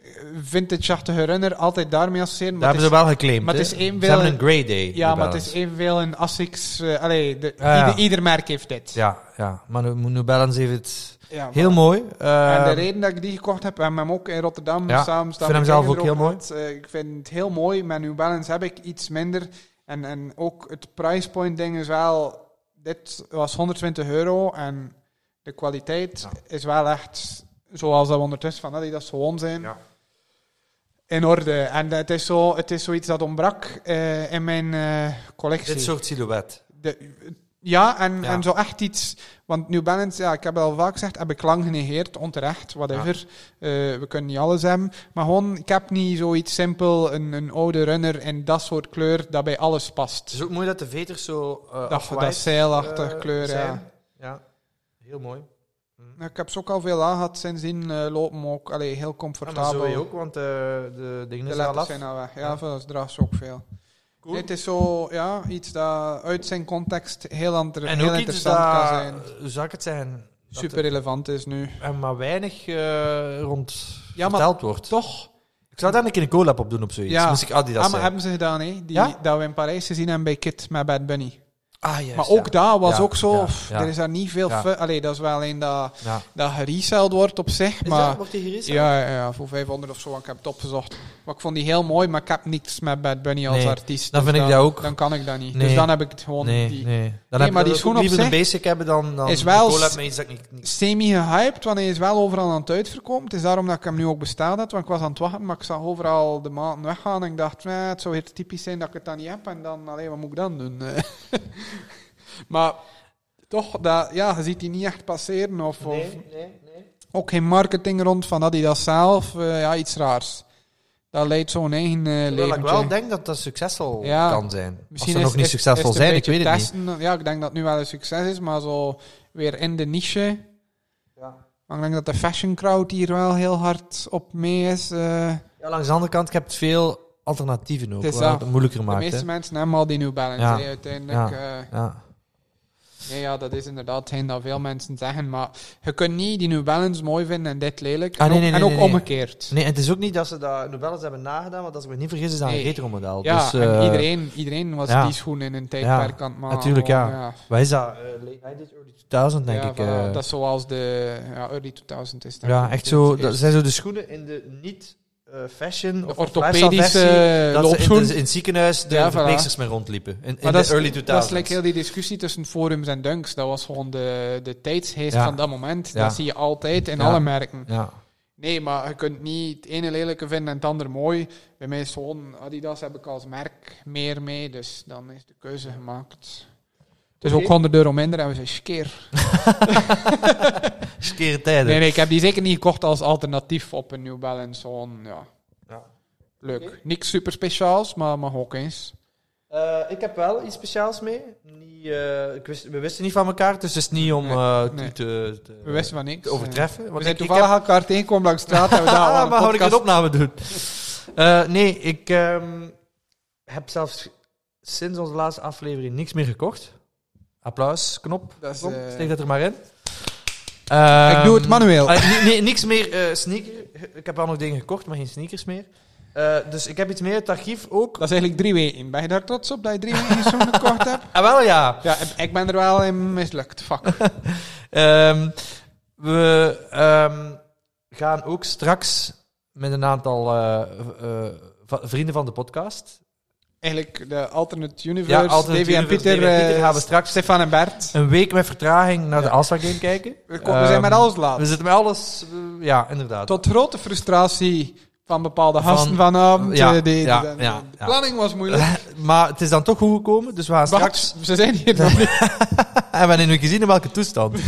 [SPEAKER 2] eh, vintage-achtige runner altijd daarmee associëren.
[SPEAKER 1] Dat
[SPEAKER 2] Maar
[SPEAKER 1] hebben ze
[SPEAKER 2] het is-
[SPEAKER 1] wel geclaimd.
[SPEAKER 2] maar het
[SPEAKER 1] hè.
[SPEAKER 2] is één
[SPEAKER 1] ze
[SPEAKER 2] wel-
[SPEAKER 1] hebben een Grey Day.
[SPEAKER 2] ja,
[SPEAKER 1] New
[SPEAKER 2] maar het
[SPEAKER 1] Balance.
[SPEAKER 2] is evenveel een Asics. eh, allee, de-
[SPEAKER 1] Ja, ja.
[SPEAKER 2] ieder, ieder merk heeft dit.
[SPEAKER 1] Ja, ja. maar New New Balance heeft het
[SPEAKER 2] Ja,
[SPEAKER 1] heel mooi. Eh,
[SPEAKER 2] en de reden dat ik die gekocht heb, we hebben hem ook in Rotterdam
[SPEAKER 1] Ja,
[SPEAKER 2] samen staan.
[SPEAKER 1] ik vind hem
[SPEAKER 2] bekijken
[SPEAKER 1] zelf ook heel
[SPEAKER 2] erop.
[SPEAKER 1] mooi.
[SPEAKER 2] Het, eh, ik vind het heel mooi. Met New Balance heb ik iets minder. En, en ook het price point ding is wel... Dit was 120 euro en de kwaliteit is wel echt... Zoals dat we ondertussen van Adidas gewoon zijn.
[SPEAKER 1] Ja.
[SPEAKER 2] In orde. En het is, zo, het is zoiets dat ontbrak eh, in mijn eh, collectie.
[SPEAKER 1] dit soort silhouet.
[SPEAKER 2] De, ja, en,
[SPEAKER 1] Ja.
[SPEAKER 2] en zo echt iets. Want New Balance, ja, ik heb het al vaak gezegd, heb ik lang genegeerd, onterecht, whatever. Eh, we kunnen niet alles hebben. Maar gewoon, ik heb niet zoiets simpel, een, een oude runner in dat soort kleur dat bij alles
[SPEAKER 1] Het
[SPEAKER 2] past.
[SPEAKER 1] is ook mooi dat de veters zo eh
[SPEAKER 2] Dat, dat zeilachtige kleur, ja.
[SPEAKER 1] ja. Ja, heel mooi.
[SPEAKER 2] Ik heb ze ook al veel aangehad sindsien, eh, lopen me ook allee, heel
[SPEAKER 1] Ja, Ah, maar
[SPEAKER 2] comfortabel.
[SPEAKER 1] zo ook, want eh, de dingen
[SPEAKER 2] de
[SPEAKER 1] is al
[SPEAKER 2] letters
[SPEAKER 1] af.
[SPEAKER 2] zijn al weg. Ja,
[SPEAKER 1] Ja.
[SPEAKER 2] voor dat draagt ze ook veel.
[SPEAKER 1] Cool.
[SPEAKER 2] Nee, het is zo, ja, iets dat uit zijn context heel, ander,
[SPEAKER 1] En
[SPEAKER 2] heel
[SPEAKER 1] ook iets
[SPEAKER 2] interessant
[SPEAKER 1] dat,
[SPEAKER 2] kan zijn.
[SPEAKER 1] hoe zou ik het zeggen, dat
[SPEAKER 2] Super relevant is nu.
[SPEAKER 1] er maar weinig eh, rond
[SPEAKER 2] Ja, maar-
[SPEAKER 1] verteld wordt.
[SPEAKER 2] Toch?
[SPEAKER 1] Ik zou daar een keer een collab op doen op zoiets.
[SPEAKER 2] Ja.
[SPEAKER 1] Moest ik Adidas
[SPEAKER 2] ah, maar
[SPEAKER 1] zijn.
[SPEAKER 2] hebben ze gedaan, hè? Die,
[SPEAKER 1] Ja?
[SPEAKER 2] Dat we in Parijs gezien hebben bij Kid met Bad Bunny.
[SPEAKER 1] Ah, juist,
[SPEAKER 2] maar ook
[SPEAKER 1] ja.
[SPEAKER 2] daar was
[SPEAKER 1] Ja,
[SPEAKER 2] ook zo.
[SPEAKER 1] ja,
[SPEAKER 2] pff,
[SPEAKER 1] ja.
[SPEAKER 2] Er is daar niet veel.
[SPEAKER 1] Ja.
[SPEAKER 2] fu- Allee, dat is wel alleen dat,
[SPEAKER 1] Ja.
[SPEAKER 2] dat gereseld wordt op zich. maar
[SPEAKER 1] wordt die gerist?
[SPEAKER 2] ja, ja, ja, voor 500 of zo. want Ik heb het opgezocht. Maar ik vond die heel mooi, maar ik heb niks met Bad Bunny als
[SPEAKER 1] Nee,
[SPEAKER 2] artiest.
[SPEAKER 1] dan
[SPEAKER 2] dus
[SPEAKER 1] vind ik dat ook.
[SPEAKER 2] Dan kan ik dat niet.
[SPEAKER 1] Nee.
[SPEAKER 2] Dus dan heb ik het gewoon.
[SPEAKER 1] Nee,
[SPEAKER 2] die
[SPEAKER 1] nee. Dan heb
[SPEAKER 2] maar
[SPEAKER 1] ik
[SPEAKER 2] die
[SPEAKER 1] dat ook
[SPEAKER 2] schoen op
[SPEAKER 1] liever een
[SPEAKER 2] zich
[SPEAKER 1] basic hebben dan, dan
[SPEAKER 2] is wel
[SPEAKER 1] een collab
[SPEAKER 2] s-
[SPEAKER 1] met iets dat ik niet... niet-
[SPEAKER 2] Semi-gehyped, want hij is wel overal aan het uitverkomen. Het is daarom dat ik hem nu ook besteld had. Want ik was aan het wachten, maar ik zag overal de maanden weggaan. En ik dacht, eh, het zou heel typisch zijn dat ik het dan niet heb. En dan, alleen wat moet ik dan doen? maar toch, dat, ja, je ziet die niet echt passeren. Of, of
[SPEAKER 1] nee, nee.
[SPEAKER 2] ook geen marketing rond van Adidas zelf. Eh, ja, iets raars. Dat leidt zo'n eigen eh
[SPEAKER 1] Terwijl ik wel
[SPEAKER 2] leventje.
[SPEAKER 1] denk dat dat succesvol
[SPEAKER 2] Ja.
[SPEAKER 1] kan zijn. Misschien Als ze nog niet succesvol
[SPEAKER 2] is het
[SPEAKER 1] zijn,
[SPEAKER 2] een
[SPEAKER 1] ik weet
[SPEAKER 2] beetje
[SPEAKER 1] het niet.
[SPEAKER 2] testen. Ja, ik denk dat het nu wel een succes is, maar zo weer in de niche.
[SPEAKER 1] Ja.
[SPEAKER 2] Maar ik denk dat de fashion crowd hier wel heel hard op mee is. eh.
[SPEAKER 1] Ja, langs de andere kant, je hebt veel alternatieven ook,
[SPEAKER 2] Het is
[SPEAKER 1] wat
[SPEAKER 2] dat.
[SPEAKER 1] het moeilijker
[SPEAKER 2] de
[SPEAKER 1] maakt.
[SPEAKER 2] meeste
[SPEAKER 1] hè.
[SPEAKER 2] mensen hebben al die New Balance
[SPEAKER 1] Ja.
[SPEAKER 2] hè, uiteindelijk. eh.
[SPEAKER 1] Ja.
[SPEAKER 2] Nee, ja, dat is inderdaad hetgeen dat veel mensen zeggen. Maar je kunt niet die New Balance mooi vinden en dit lelijk.
[SPEAKER 1] Ah,
[SPEAKER 2] en
[SPEAKER 1] nee,
[SPEAKER 2] ook,
[SPEAKER 1] nee,
[SPEAKER 2] en
[SPEAKER 1] nee,
[SPEAKER 2] ook
[SPEAKER 1] nee, nee.
[SPEAKER 2] omgekeerd.
[SPEAKER 1] Nee, het is ook niet dat ze dat Nobelles hebben nagedaan, want als ik me niet vergis is dat een
[SPEAKER 2] Nee.
[SPEAKER 1] retromodel.
[SPEAKER 2] Ja,
[SPEAKER 1] dus,
[SPEAKER 2] en
[SPEAKER 1] eh,
[SPEAKER 2] iedereen, iedereen was
[SPEAKER 1] ja.
[SPEAKER 2] die schoen in een tijdperk aan het maken.
[SPEAKER 1] natuurlijk, ja.
[SPEAKER 2] gewoon, ja.
[SPEAKER 1] Wat is dat? Eh, late 90s, early 2000 denk
[SPEAKER 2] Ja,
[SPEAKER 1] ik.
[SPEAKER 2] voilà,
[SPEAKER 1] eh.
[SPEAKER 2] dat is zoals de ja, early 2000 is. denk
[SPEAKER 1] ja,
[SPEAKER 2] ik.
[SPEAKER 1] echt zo.
[SPEAKER 2] Het
[SPEAKER 1] Dat
[SPEAKER 2] is
[SPEAKER 1] zijn zo de schoenen in de niet eh, fashion
[SPEAKER 2] De
[SPEAKER 1] of
[SPEAKER 2] orthopedische
[SPEAKER 1] lifestyle versie,
[SPEAKER 2] eh,
[SPEAKER 1] dat ze in,
[SPEAKER 2] loopschoen.
[SPEAKER 1] de- in het ziekenhuis de
[SPEAKER 2] Ja, voilà.
[SPEAKER 1] verpleegsters mee rondliepen. In, in
[SPEAKER 2] Maar
[SPEAKER 1] de
[SPEAKER 2] dat is,
[SPEAKER 1] early
[SPEAKER 2] dat is
[SPEAKER 1] 2000s.
[SPEAKER 2] like heel die discussie tussen forums en dunks. Dat was gewoon de, de tijdsgeest
[SPEAKER 1] Ja.
[SPEAKER 2] van dat moment.
[SPEAKER 1] Ja.
[SPEAKER 2] Dat zie je altijd in
[SPEAKER 1] Ja.
[SPEAKER 2] alle merken.
[SPEAKER 1] ja.
[SPEAKER 2] Nee, maar je kunt niet het ene lelijke vinden en het andere mooi. Bij mij is gewoon Adidas heb ik als merk meer mee, dus dan is de keuze gemaakt. Het is
[SPEAKER 1] Oké.
[SPEAKER 2] ook 100 euro minder en we zijn skeer.
[SPEAKER 1] Skere tijden.
[SPEAKER 2] Nee, nee, ik heb die zeker niet gekocht als alternatief op een New Balance. Gewoon, ja.
[SPEAKER 1] Ja.
[SPEAKER 2] Leuk.
[SPEAKER 1] Oké.
[SPEAKER 2] Niks super speciaals, maar mag ook eens.
[SPEAKER 1] Eh, ik heb wel iets speciaals mee. Niet, eh, ik wist, we wisten niet van elkaar, dus het is niet om eh, te-
[SPEAKER 2] nee.
[SPEAKER 1] te, te,
[SPEAKER 2] We wisten van niks. Eh,
[SPEAKER 1] te overtreffen.
[SPEAKER 2] We
[SPEAKER 1] Want
[SPEAKER 2] zijn
[SPEAKER 1] ik- ik
[SPEAKER 2] toevallig elkaar tegengekomen langs de straat. en we dachten, we
[SPEAKER 1] Ah,
[SPEAKER 2] gaan een
[SPEAKER 1] maar hou ik een
[SPEAKER 2] podcast-
[SPEAKER 1] opname doen. Eh, nee, ik ehm, heb zelfs sinds onze laatste aflevering niks meer gekocht. Applaus, knop.
[SPEAKER 2] Dat is,
[SPEAKER 1] Kom,
[SPEAKER 2] eh,
[SPEAKER 1] Steek dat er maar in. Ehm,
[SPEAKER 2] Ik doe het manueel.
[SPEAKER 1] eh, ni- ni- niks meer eh sneaker. Ik heb wel nog dingen gekocht, maar geen sneakers meer. Eh, dus ik heb iets meer uit het archief ook.
[SPEAKER 2] Dat is eigenlijk drie weken. Ben je daar trots op dat je drie weken zo'n kort hebt?
[SPEAKER 1] Ah, wel ja.
[SPEAKER 2] Ja, ik- ik ben er wel in mislukt. Fuck.
[SPEAKER 1] Ehm, we ehm, gaan ook straks met een aantal eh, eh, va- vrienden van de podcast.
[SPEAKER 2] Eigenlijk de Alternate Universe,
[SPEAKER 1] Alternate
[SPEAKER 2] Davy en
[SPEAKER 1] Universe,
[SPEAKER 2] Pieter,
[SPEAKER 1] Davy en Pieter
[SPEAKER 2] eh,
[SPEAKER 1] gaan we straks-
[SPEAKER 2] Stefan en Bert.
[SPEAKER 1] Een week met vertraging naar de
[SPEAKER 2] Ja.
[SPEAKER 1] Alstar Game kijken.
[SPEAKER 2] We, komen- we zijn met
[SPEAKER 1] Ehm,
[SPEAKER 2] alles laat.
[SPEAKER 1] We zitten met alles, eh, ja, inderdaad.
[SPEAKER 2] Tot grote frustratie van bepaalde
[SPEAKER 1] Van-
[SPEAKER 2] gasten vanavond.
[SPEAKER 1] ja,
[SPEAKER 2] eh, die- die-
[SPEAKER 1] ja,
[SPEAKER 2] de, de
[SPEAKER 1] ja, ja.
[SPEAKER 2] planning was moeilijk.
[SPEAKER 1] maar het is dan toch goed gekomen, dus we gaan
[SPEAKER 2] Bart,
[SPEAKER 1] straks...
[SPEAKER 2] ze zijn hier nog niet.
[SPEAKER 1] En Eh, we hebben nu gezien in welke toestand.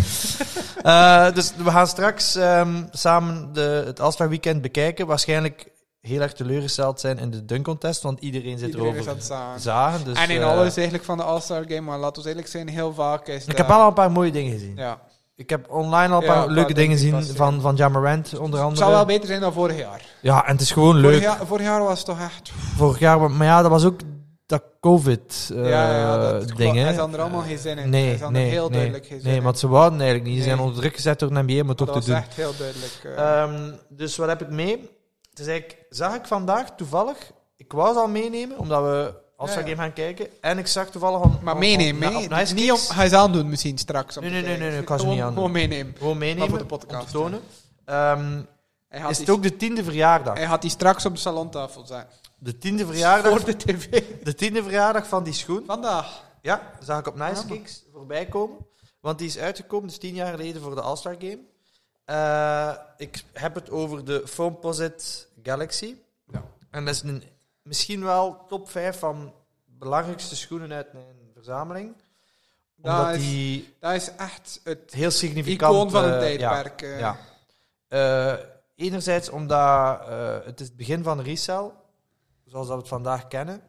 [SPEAKER 1] Eh, dus we gaan straks ehm, samen de, het Alstar Weekend bekijken. Waarschijnlijk heel erg teleurgesteld zijn in de dunk contest, want iedereen zit
[SPEAKER 2] Iedereen is
[SPEAKER 1] erover
[SPEAKER 2] aan het zagen.
[SPEAKER 1] zagen. Dus,
[SPEAKER 2] en in
[SPEAKER 1] eh,
[SPEAKER 2] alles eigenlijk van de All-Star Game, maar laten we eerlijk zijn, heel vaak is
[SPEAKER 1] Ik
[SPEAKER 2] dat-
[SPEAKER 1] heb wel al een paar mooie dingen gezien.
[SPEAKER 2] eh, Ja.
[SPEAKER 1] Ik heb online al een
[SPEAKER 2] Ja,
[SPEAKER 1] paar
[SPEAKER 2] een paar
[SPEAKER 1] leuke dingen
[SPEAKER 2] dingen
[SPEAKER 1] gezien
[SPEAKER 2] gepasseerd.
[SPEAKER 1] van, van Jamarant, onder
[SPEAKER 2] Het
[SPEAKER 1] andere.
[SPEAKER 2] zou wel beter zijn dan vorig jaar.
[SPEAKER 1] Ja, en het is gewoon
[SPEAKER 2] Vorig
[SPEAKER 1] leuk.
[SPEAKER 2] jaar, vorig jaar was het toch echt...
[SPEAKER 1] Vorig jaar, maar- maar ja, dat was ook dat COVID-ding.
[SPEAKER 2] ja, ja, dat klopt.
[SPEAKER 1] Eh, dingen.
[SPEAKER 2] Hij had er allemaal geen zin in.
[SPEAKER 1] nee,
[SPEAKER 2] Hij had er
[SPEAKER 1] nee,
[SPEAKER 2] heel
[SPEAKER 1] nee,
[SPEAKER 2] duidelijk geen zin
[SPEAKER 1] Nee,
[SPEAKER 2] in.
[SPEAKER 1] want ze wouden eigenlijk niet. Ze zijn
[SPEAKER 2] Nee.
[SPEAKER 1] onder druk gezet door de NBA om het
[SPEAKER 2] dat
[SPEAKER 1] ook te
[SPEAKER 2] was
[SPEAKER 1] doen.
[SPEAKER 2] echt heel duidelijk. eh.
[SPEAKER 1] Ehm, dus wat heb ik mee? Het is eigenlijk, zag ik vandaag toevallig, ik wou ze al meenemen, omdat we als we
[SPEAKER 2] Ja, ja.
[SPEAKER 1] game gaan kijken. En ik zag toevallig... Om,
[SPEAKER 2] Maar
[SPEAKER 1] om-
[SPEAKER 2] meenemen,
[SPEAKER 1] om-
[SPEAKER 2] hè?
[SPEAKER 1] op Nice
[SPEAKER 2] niet om,
[SPEAKER 1] Kicks.
[SPEAKER 2] hij is aandoen misschien straks. om
[SPEAKER 1] Nee,
[SPEAKER 2] te
[SPEAKER 1] nee, nee,
[SPEAKER 2] kijken.
[SPEAKER 1] nee, nee, ik kan ze niet
[SPEAKER 2] Gewoon-
[SPEAKER 1] aandoen.
[SPEAKER 2] Gewoon meenemen.
[SPEAKER 1] Gewoon meenemen,
[SPEAKER 2] Maar voor de podcast,
[SPEAKER 1] om te tonen. Ehm,
[SPEAKER 2] Hij had,
[SPEAKER 1] is het
[SPEAKER 2] die,
[SPEAKER 1] ook de tiende verjaardag?
[SPEAKER 2] hij had die straks op de salontafel zijn.
[SPEAKER 1] De tiende verjaardag,
[SPEAKER 2] Voor de tv.
[SPEAKER 1] de tiende verjaardag van die schoen.
[SPEAKER 2] Vandaag.
[SPEAKER 1] Ja, zag ik op Nice
[SPEAKER 2] Ja, maar-
[SPEAKER 1] Kicks voorbij komen. Want die is uitgekomen, dus tien jaar geleden, voor de All-Star Game. Eh, ik heb het over de Foamposite Galaxy.
[SPEAKER 2] Ja.
[SPEAKER 1] En dat is een, misschien wel top 5 van belangrijkste schoenen uit mijn verzameling.
[SPEAKER 2] Ja,
[SPEAKER 1] Omdat
[SPEAKER 2] het is-
[SPEAKER 1] die
[SPEAKER 2] Dat is echt het
[SPEAKER 1] heel significant...
[SPEAKER 2] icoon van
[SPEAKER 1] eh,
[SPEAKER 2] een
[SPEAKER 1] ja,
[SPEAKER 2] tijdperk. eh.
[SPEAKER 1] ja. Eh, enerzijds omdat eh, het is het begin van resell, zoals dat we het vandaag kennen.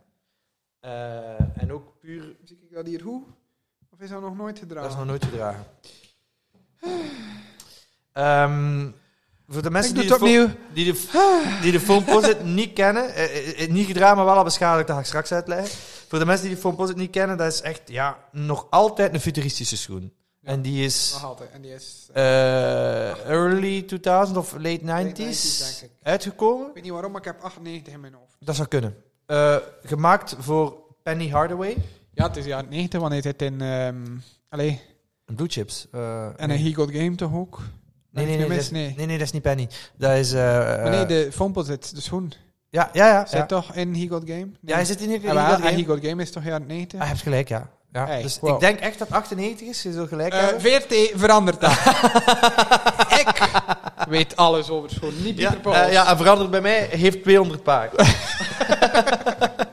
[SPEAKER 1] Eh, en ook puur...
[SPEAKER 2] Zie ik dat hier hoe? Of is dat nog nooit
[SPEAKER 1] Dat is
[SPEAKER 2] gedragen?
[SPEAKER 1] nog nooit gedragen. Ehm, voor de mensen
[SPEAKER 2] Ik
[SPEAKER 1] die
[SPEAKER 2] doe
[SPEAKER 1] de,
[SPEAKER 2] het
[SPEAKER 1] fo-
[SPEAKER 2] opnieuw.
[SPEAKER 1] die de, die de foam posit niet kennen, eh, eh, eh, niet gedragen, maar wel al beschadigd, dat ga ik straks uitleggen. Voor de mensen die de foam posit niet kennen, dat is echt ja, nog altijd een futuristische schoen.
[SPEAKER 2] Ja.
[SPEAKER 1] En die is
[SPEAKER 2] Nog altijd. En die is... eh,
[SPEAKER 1] eh, early 2000 of late 90s,
[SPEAKER 2] denk ik.
[SPEAKER 1] uitgekomen.
[SPEAKER 2] ik weet niet waarom, maar ik heb 98 in mijn hoofd.
[SPEAKER 1] Dat zou kunnen. Eh, gemaakt voor Penny Hardaway.
[SPEAKER 2] Ja, het is jaren 90, want hij zit in... ehm allee,
[SPEAKER 1] Blue Chips. eh,
[SPEAKER 2] en
[SPEAKER 1] nee.
[SPEAKER 2] een He Got Game toch ook?
[SPEAKER 1] Nee, nee,
[SPEAKER 2] Ben ik
[SPEAKER 1] nee,
[SPEAKER 2] nu
[SPEAKER 1] dat
[SPEAKER 2] mis?
[SPEAKER 1] is-
[SPEAKER 2] Nee.
[SPEAKER 1] nee, nee, dat is niet Penny. Dat is... eh,
[SPEAKER 2] Maar Oh, nee,
[SPEAKER 1] eh,
[SPEAKER 2] de Fompel zit, de schoen.
[SPEAKER 1] Ja, ja, ja.
[SPEAKER 2] Zit
[SPEAKER 1] ja.
[SPEAKER 2] toch in He Got Game?
[SPEAKER 1] Ja, hij zit in ieder
[SPEAKER 2] Ja,
[SPEAKER 1] geval.
[SPEAKER 2] maar
[SPEAKER 1] in ieder
[SPEAKER 2] Ah, He
[SPEAKER 1] geval-
[SPEAKER 2] Got Game is toch jaren 90?
[SPEAKER 1] Hij heeft gelijk, ja. ja.
[SPEAKER 2] Hey,
[SPEAKER 1] dus
[SPEAKER 2] wow.
[SPEAKER 1] ik denk echt dat 98 is, je zult gelijk
[SPEAKER 2] Eh
[SPEAKER 1] hebben.
[SPEAKER 2] VRT verandert dat. ik weet alles over schoon. Niet Pieter
[SPEAKER 1] ja,
[SPEAKER 2] Pauls.
[SPEAKER 1] eh, ja, en veranderd bij mij heeft 200 paar.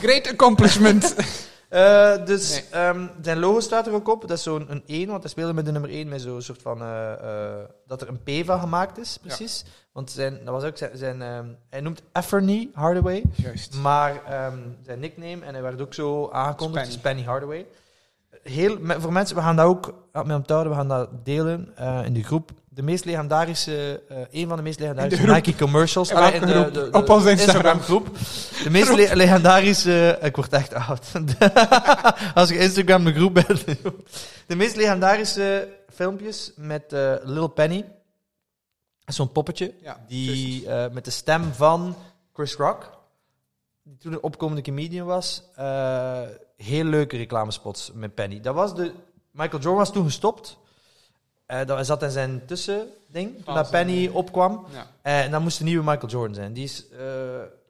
[SPEAKER 2] Great accomplishment.
[SPEAKER 1] Eh, dus
[SPEAKER 2] Nee.
[SPEAKER 1] ehm, zijn logo staat er ook op. Dat is zo'n een 1, want hij speelde met de nummer 1 met zo'n soort van... eh, eh, dat er een P van gemaakt is, precies. Want zijn, dat was ook zijn... zijn ehm, hij noemt Efferny Hardaway.
[SPEAKER 2] Juist.
[SPEAKER 1] Maar ehm, zijn nickname, en hij werd ook zo aangekondigd,
[SPEAKER 2] Spenny.
[SPEAKER 1] is Penny Hardaway. Heel, me- voor mensen, we gaan dat ook, had mij onthouden, we gaan dat delen eh, in de groep. de meest legendarische, eh, een van de meest legendarische
[SPEAKER 2] In de groep.
[SPEAKER 1] Nike commercials.
[SPEAKER 2] In
[SPEAKER 1] Allee,
[SPEAKER 2] welke
[SPEAKER 1] in de,
[SPEAKER 2] groep?
[SPEAKER 1] de- de
[SPEAKER 2] Op onze Instagram.
[SPEAKER 1] groep. De meest le- legendarische, eh, ik word echt oud. Als je Instagram de groep bent. De meest legendarische filmpjes met eh, Lil Penny. Dat is Zo'n poppetje.
[SPEAKER 2] Ja,
[SPEAKER 1] Die eh, met de stem van Chris Rock, die toen een opkomende comedian was, eh, heel leuke reclamespots met Penny. Dat was de, Michael Jordan was toen gestopt. Eh dat hij zat in zijn tussending, toen dat
[SPEAKER 2] Fase,
[SPEAKER 1] Penny opkwam.
[SPEAKER 2] Ja.
[SPEAKER 1] Eh, en dat moest de nieuwe Michael Jordan zijn. Die is, eh,
[SPEAKER 2] Maar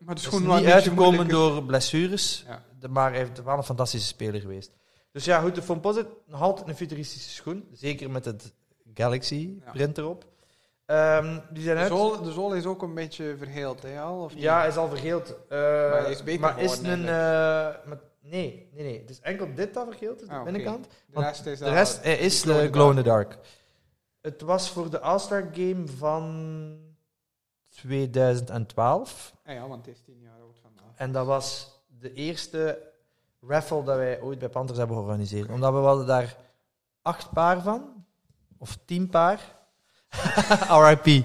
[SPEAKER 2] het is
[SPEAKER 1] is
[SPEAKER 2] gewoon wel een
[SPEAKER 1] niet
[SPEAKER 2] beetje
[SPEAKER 1] uitgekomen
[SPEAKER 2] moeilijker.
[SPEAKER 1] door blessures,
[SPEAKER 2] Ja.
[SPEAKER 1] de- maar hij heeft wel een fantastische speler geweest. Dus ja, goed, de Van Posit, nog altijd een futuristische schoen. Zeker met het Galaxy
[SPEAKER 2] Ja.
[SPEAKER 1] print erop. Ehm, die zijn
[SPEAKER 2] De
[SPEAKER 1] uit.
[SPEAKER 2] zool, de zool is ook een beetje verheeld, hè, al? Of niet?
[SPEAKER 1] Ja, hij is al vergeeld. Eh,
[SPEAKER 2] hij is beter
[SPEAKER 1] maar is
[SPEAKER 2] geworden,
[SPEAKER 1] een, eh, maar- nee, nee, nee. Het is enkel dit dat vergeeld is, de
[SPEAKER 2] Ah, oké.
[SPEAKER 1] binnenkant.
[SPEAKER 2] de
[SPEAKER 1] want
[SPEAKER 2] rest is
[SPEAKER 1] De rest eh, is
[SPEAKER 2] Glow in
[SPEAKER 1] de
[SPEAKER 2] the
[SPEAKER 1] Glow in the Dark. Het was voor de All-Star Game van 2012.
[SPEAKER 2] Ah ja, want het is tien jaar oud vandaag.
[SPEAKER 1] En dat was de eerste raffle dat wij ooit bij Panthers hebben georganiseerd. Omdat we hadden daar acht paar van. Of tien paar. RIP.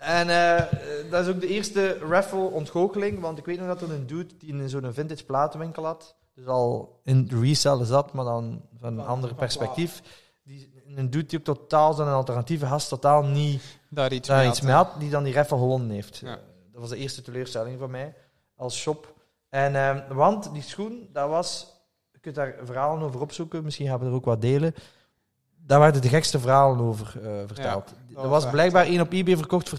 [SPEAKER 1] En eh, dat is ook de eerste raffle ontgoocheling. Want ik weet nog dat er een dude die in zo'n vintage platenwinkel had. Dus al in de resellen zat, maar dan van een
[SPEAKER 2] Van-
[SPEAKER 1] ander
[SPEAKER 2] van
[SPEAKER 1] perspectief. Die, een dude die ook totaal zijn alternatieve gast totaal niet
[SPEAKER 2] Daar iets
[SPEAKER 1] daar
[SPEAKER 2] mee.
[SPEAKER 1] iets mee had, die dan die raffle gewonnen heeft.
[SPEAKER 2] Ja.
[SPEAKER 1] Dat was de eerste teleurstelling van mij als shop. En, ehm, want die schoen, dat was... Je kunt daar verhalen over opzoeken, misschien gaan we er ook wat delen. Daar werden de gekste verhalen over eh, verteld.
[SPEAKER 2] dat
[SPEAKER 1] er
[SPEAKER 2] was
[SPEAKER 1] was
[SPEAKER 2] echt-
[SPEAKER 1] blijkbaar één op eBay verkocht voor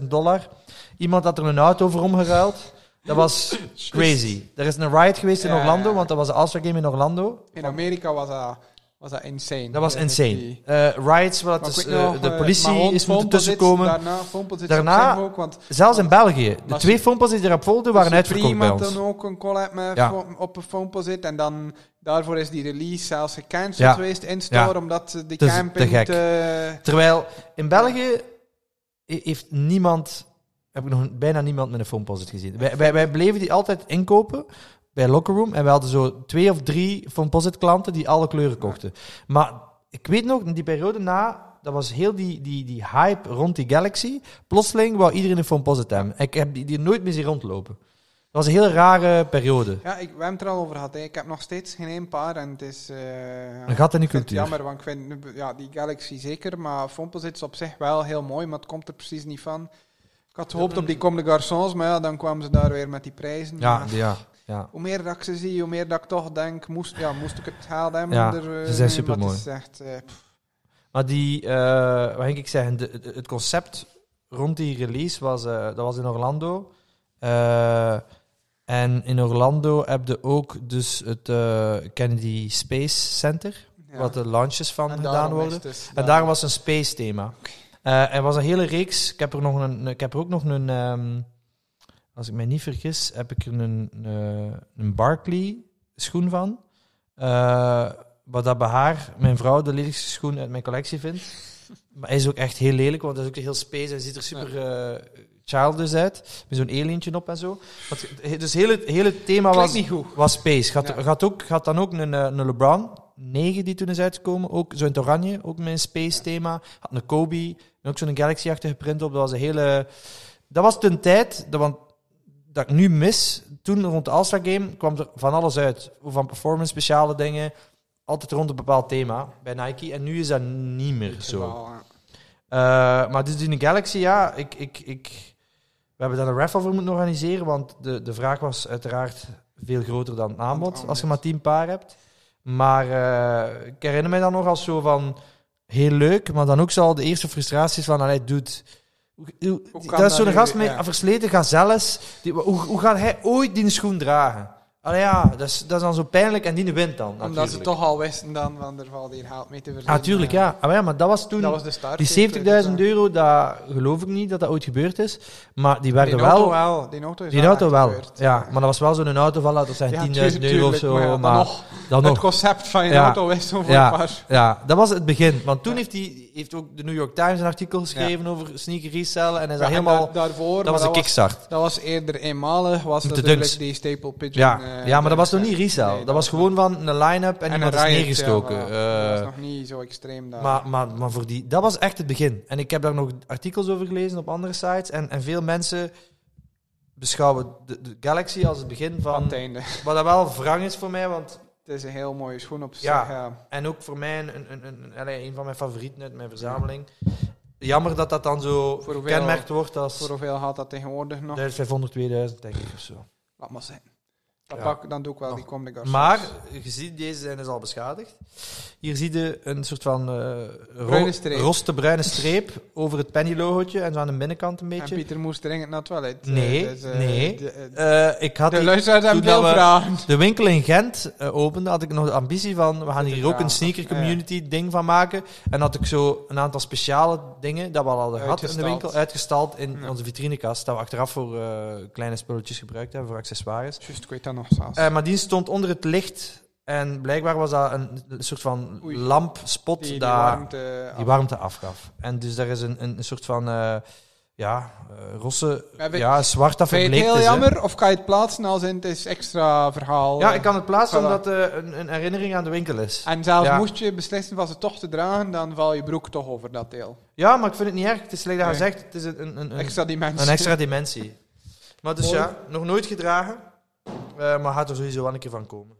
[SPEAKER 1] 70.000 dollar. Iemand had er een auto voor omgeruild. Dat was crazy. Er is een riot geweest in
[SPEAKER 2] Ja,
[SPEAKER 1] Orlando,
[SPEAKER 2] ja.
[SPEAKER 1] want dat was de All-Star Game in Orlando.
[SPEAKER 2] In Amerika was dat, was dat insane.
[SPEAKER 1] Dat was
[SPEAKER 2] Ja,
[SPEAKER 1] insane.
[SPEAKER 2] die-
[SPEAKER 1] Eh riots, waar dat
[SPEAKER 2] Maar ik
[SPEAKER 1] dus,
[SPEAKER 2] weet
[SPEAKER 1] eh,
[SPEAKER 2] nog,
[SPEAKER 1] de
[SPEAKER 2] eh,
[SPEAKER 1] politie
[SPEAKER 2] Mahone
[SPEAKER 1] is moeten
[SPEAKER 2] Fompel zit
[SPEAKER 1] tussenkomen.
[SPEAKER 2] Daarna, Fompel zit
[SPEAKER 1] Daarna-
[SPEAKER 2] daarna ook, want
[SPEAKER 1] Zelfs in België. De
[SPEAKER 2] Was-
[SPEAKER 1] twee foampas die erop volgden waren uitverkocht bij
[SPEAKER 2] Prima
[SPEAKER 1] ons.
[SPEAKER 2] dan ook een collab met
[SPEAKER 1] Ja.
[SPEAKER 2] Fo- op een Fompel zit. En dan daarvoor is die release zelfs gecanceld
[SPEAKER 1] Ja.
[SPEAKER 2] geweest in store,
[SPEAKER 1] Ja.
[SPEAKER 2] omdat ze die
[SPEAKER 1] Te- te
[SPEAKER 2] camping
[SPEAKER 1] gek.
[SPEAKER 2] te-
[SPEAKER 1] Terwijl in België he- heeft niemand, heb ik nog bijna niemand met een foamposit gezien. Wij, wij, wij bleven die altijd inkopen bij Locker Room. En we hadden zo twee of drie foamposit klanten die alle kleuren kochten. Maar ik weet nog, in die periode na, dat was heel die, die, die hype rond die Galaxy. Plotseling wou iedereen een foamposit hebben. Ik heb die, die nooit meer zien rondlopen. Dat was een heel rare periode.
[SPEAKER 2] Ja, ik, we hebben het er al over gehad. hè. Ik heb nog steeds geen één paar en het is... eh,
[SPEAKER 1] Een gat in de
[SPEAKER 2] Ik vind het
[SPEAKER 1] cultuur.
[SPEAKER 2] jammer, want ik vind ja, die Galaxy zeker, maar Fompel is op zich wel heel mooi, maar het komt er precies niet van. Ik had gehoopt op die Comme de Garçons, maar ja, dan kwamen ze daar weer met die prijzen.
[SPEAKER 1] Ja,
[SPEAKER 2] Maar
[SPEAKER 1] ja, ja.
[SPEAKER 2] Hoe meer dat ik ze zie, hoe meer dat ik toch denk, moest, ja, moest ik het halen hebben.
[SPEAKER 1] Ja,
[SPEAKER 2] er,
[SPEAKER 1] ze zijn
[SPEAKER 2] eh, mee, maar
[SPEAKER 1] supermooi.
[SPEAKER 2] het is echt, eh, pff,
[SPEAKER 1] Maar die, eh, wat ging ik zeggen, de- de- het concept rond die release was, eh, dat was in Orlando. Eh, en in Orlando heb je ook dus het eh, Kennedy Space Center,
[SPEAKER 2] ja.
[SPEAKER 1] wat de launches van
[SPEAKER 2] En
[SPEAKER 1] gedaan
[SPEAKER 2] daarom is
[SPEAKER 1] worden.
[SPEAKER 2] het dus
[SPEAKER 1] En daarom was een space thema. Eh, er was een hele reeks. Ik heb er, nog een, ik heb er ook nog een. ehm, als ik mij niet vergis, heb ik er een, eh, een Barclay schoen van. Eh, wat dat bij haar, mijn vrouw, de lelijkste schoen uit mijn collectie vindt. Maar hij is ook echt heel lelijk, want hij is ook heel space. Hij ziet er super eh, childish uit. Met zo'n alientje op en zo. Want, het- dus heel het hele thema
[SPEAKER 2] Klinkt
[SPEAKER 1] was
[SPEAKER 2] niet goed.
[SPEAKER 1] was Space. Gaat,
[SPEAKER 2] Ja.
[SPEAKER 1] gaat, ook, gaat dan ook een, eh, een LeBron 9 die toen is uitgekomen. Ook zo in het oranje, ook met een Space thema. Had een Kobe, en ook zo'n Galaxy-achtige print op. Dat was een hele... Dat was ten tijd, dat, want, dat ik nu mis. Toen rond de All-Star Game kwam er van alles uit. Van performance, speciale dingen. Altijd rond een bepaald thema bij Nike. En nu is dat niet meer
[SPEAKER 2] het
[SPEAKER 1] zo.
[SPEAKER 2] geval, ja.
[SPEAKER 1] Eh, maar dus die Galaxy, ja, ik, ik, ik, we hebben daar een raffle voor moeten organiseren, want de, de vraag was uiteraard veel groter dan het aanbod,
[SPEAKER 2] aanbod.
[SPEAKER 1] als je maar tien paar hebt. Maar eh, ik herinner mij dan nog als zo van, heel leuk, maar dan ook zo al de eerste frustraties van, allee, doet.
[SPEAKER 2] kan
[SPEAKER 1] Dat is
[SPEAKER 2] dat
[SPEAKER 1] zo'n
[SPEAKER 2] nu?
[SPEAKER 1] gast met
[SPEAKER 2] Ja.
[SPEAKER 1] versleten gazelles, die, hoe, hoe gaat hij ooit die schoen dragen? Allee, ja, dat is, dat is dan zo pijnlijk en die wint dan,
[SPEAKER 2] Omdat ze
[SPEAKER 1] natuurlijk.
[SPEAKER 2] toch al wisten dan, van er valt hier haalt mee te verdienen.
[SPEAKER 1] Natuurlijk, ja. Ah, maar ja, maar dat was toen...
[SPEAKER 2] Dat was de start. eh,
[SPEAKER 1] Die 70.000 euro, dat geloof ik niet dat dat ooit gebeurd is. Maar die werden
[SPEAKER 2] Die auto
[SPEAKER 1] wel.
[SPEAKER 2] wel. Die auto, is
[SPEAKER 1] Die auto
[SPEAKER 2] echt
[SPEAKER 1] wel.
[SPEAKER 2] gebeurd.
[SPEAKER 1] Ja, maar dat was wel zo'n auto van, laten we
[SPEAKER 2] Ja,
[SPEAKER 1] zeggen, 10.000
[SPEAKER 2] tuurlijk,
[SPEAKER 1] euro of
[SPEAKER 2] tuurlijk, maar ja,
[SPEAKER 1] zo.
[SPEAKER 2] dan
[SPEAKER 1] Maar
[SPEAKER 2] nog.
[SPEAKER 1] dan
[SPEAKER 2] Het
[SPEAKER 1] Ah, nog.
[SPEAKER 2] concept van je
[SPEAKER 1] Ja.
[SPEAKER 2] auto is zo voor
[SPEAKER 1] Ja.
[SPEAKER 2] een paar.
[SPEAKER 1] Ja, dat was het begin. Want toen
[SPEAKER 2] Ja.
[SPEAKER 1] heeft hij heeft ook de New York Times een artikel geschreven over sneaker resellen. En hij is
[SPEAKER 2] Ja,
[SPEAKER 1] daar
[SPEAKER 2] en
[SPEAKER 1] helemaal...
[SPEAKER 2] daar- daarvoor, maar
[SPEAKER 1] dat was een
[SPEAKER 2] dat, was,
[SPEAKER 1] kickstart.
[SPEAKER 2] dat was eerder eenmalig, was
[SPEAKER 1] Met de dunks.
[SPEAKER 2] natuurlijk die staple pigeon.
[SPEAKER 1] Ja,
[SPEAKER 2] eh,
[SPEAKER 1] ja, maar dat was nog
[SPEAKER 2] dunks,
[SPEAKER 1] niet
[SPEAKER 2] hè.
[SPEAKER 1] resell.
[SPEAKER 2] Nee,
[SPEAKER 1] dat was gewoon van een line-up en,
[SPEAKER 2] een
[SPEAKER 1] iemand is
[SPEAKER 2] riot, ja,
[SPEAKER 1] neergestoken.
[SPEAKER 2] voilà.
[SPEAKER 1] Eh,
[SPEAKER 2] dat was nog niet zo extreem daar.
[SPEAKER 1] Maar, maar, maar voor die, dat was echt het begin. En ik heb daar nog artikels over gelezen op andere sites. En, en veel mensen beschouwen de, de Galaxy als het begin
[SPEAKER 2] Aan
[SPEAKER 1] van.
[SPEAKER 2] het einde.
[SPEAKER 1] Wat dat wel wrang is voor mij. Want,
[SPEAKER 2] Het is een heel mooie schoen op zich. eh,
[SPEAKER 1] Ja.
[SPEAKER 2] Ja.
[SPEAKER 1] en ook voor mij een, een, een, een, allee, een van mijn favorieten uit mijn verzameling. Jammer dat dat dan zo
[SPEAKER 2] Voor hoeveel-
[SPEAKER 1] kenmerkt wordt
[SPEAKER 2] Voor
[SPEAKER 1] als
[SPEAKER 2] hoeveel gaat dat tegenwoordig nog?
[SPEAKER 1] 1500, 2000, denk ik of zo.
[SPEAKER 2] Laat maar zijn. Dan,
[SPEAKER 1] Ja.
[SPEAKER 2] pak, dan doe ik wel
[SPEAKER 1] Nog.
[SPEAKER 2] die Comme des Garçons.
[SPEAKER 1] Maar, je ziet, deze zijn dus al beschadigd. Hier zie je een soort van eh ro-
[SPEAKER 2] Bruine streep.
[SPEAKER 1] roste bruine streep over het penny-logootje en zo aan de binnenkant een
[SPEAKER 2] En
[SPEAKER 1] beetje.
[SPEAKER 2] Pieter moest dringend naar het toilet.
[SPEAKER 1] Nee,
[SPEAKER 2] Eh, dus, eh,
[SPEAKER 1] nee.
[SPEAKER 2] De, eh,
[SPEAKER 1] Eh, ik had
[SPEAKER 2] de
[SPEAKER 1] die-
[SPEAKER 2] luisteraars hebben
[SPEAKER 1] toen dat
[SPEAKER 2] veel
[SPEAKER 1] we-
[SPEAKER 2] vragen.
[SPEAKER 1] de winkel in Gent eh, opende, had ik nog de ambitie van, we gaan hier ook een
[SPEAKER 2] Ja,
[SPEAKER 1] sneaker
[SPEAKER 2] ja.
[SPEAKER 1] community ding van maken. En had ik zo een aantal speciale dingen dat we al hadden gehad in de
[SPEAKER 2] Uitgestald.
[SPEAKER 1] winkel, uitgestald in
[SPEAKER 2] Ja.
[SPEAKER 1] onze vitrinekast, dat we achteraf voor eh, kleine spulletjes gebruikt hebben, voor accessoires.
[SPEAKER 2] Juist, ik weet dat nog zelfs.
[SPEAKER 1] Eh, maar die stond onder het licht en blijkbaar was dat een soort van
[SPEAKER 2] Oei.
[SPEAKER 1] lampspot
[SPEAKER 2] die, die
[SPEAKER 1] daar
[SPEAKER 2] warmte...
[SPEAKER 1] die warmte afgaf. En dus daar is een, een, een soort van, eh, ja, eh, rosse,
[SPEAKER 2] Maar we-
[SPEAKER 1] ja, zwart dat
[SPEAKER 2] Vind je het
[SPEAKER 1] verbleekt
[SPEAKER 2] heel
[SPEAKER 1] is. hè.
[SPEAKER 2] jammer of kan je het plaatsen als in het is extra verhaal?
[SPEAKER 1] Ja,
[SPEAKER 2] eh?
[SPEAKER 1] ik kan het plaatsen
[SPEAKER 2] Voilà.
[SPEAKER 1] omdat eh een, een herinnering aan de winkel is.
[SPEAKER 2] En zelfs
[SPEAKER 1] Ja.
[SPEAKER 2] moest je beslissen van ze toch te dragen, dan val je broek toch over dat deel.
[SPEAKER 1] Ja, maar ik vind het niet erg. Het is slecht dat je
[SPEAKER 2] Nee.
[SPEAKER 1] zegt, het is een, een, een, een-
[SPEAKER 2] Extra dimensie.
[SPEAKER 1] een extra dimensie. Maar dus
[SPEAKER 2] Mooi.
[SPEAKER 1] ja, nog nooit gedragen. Eh, maar gaat er sowieso wel een keer van komen.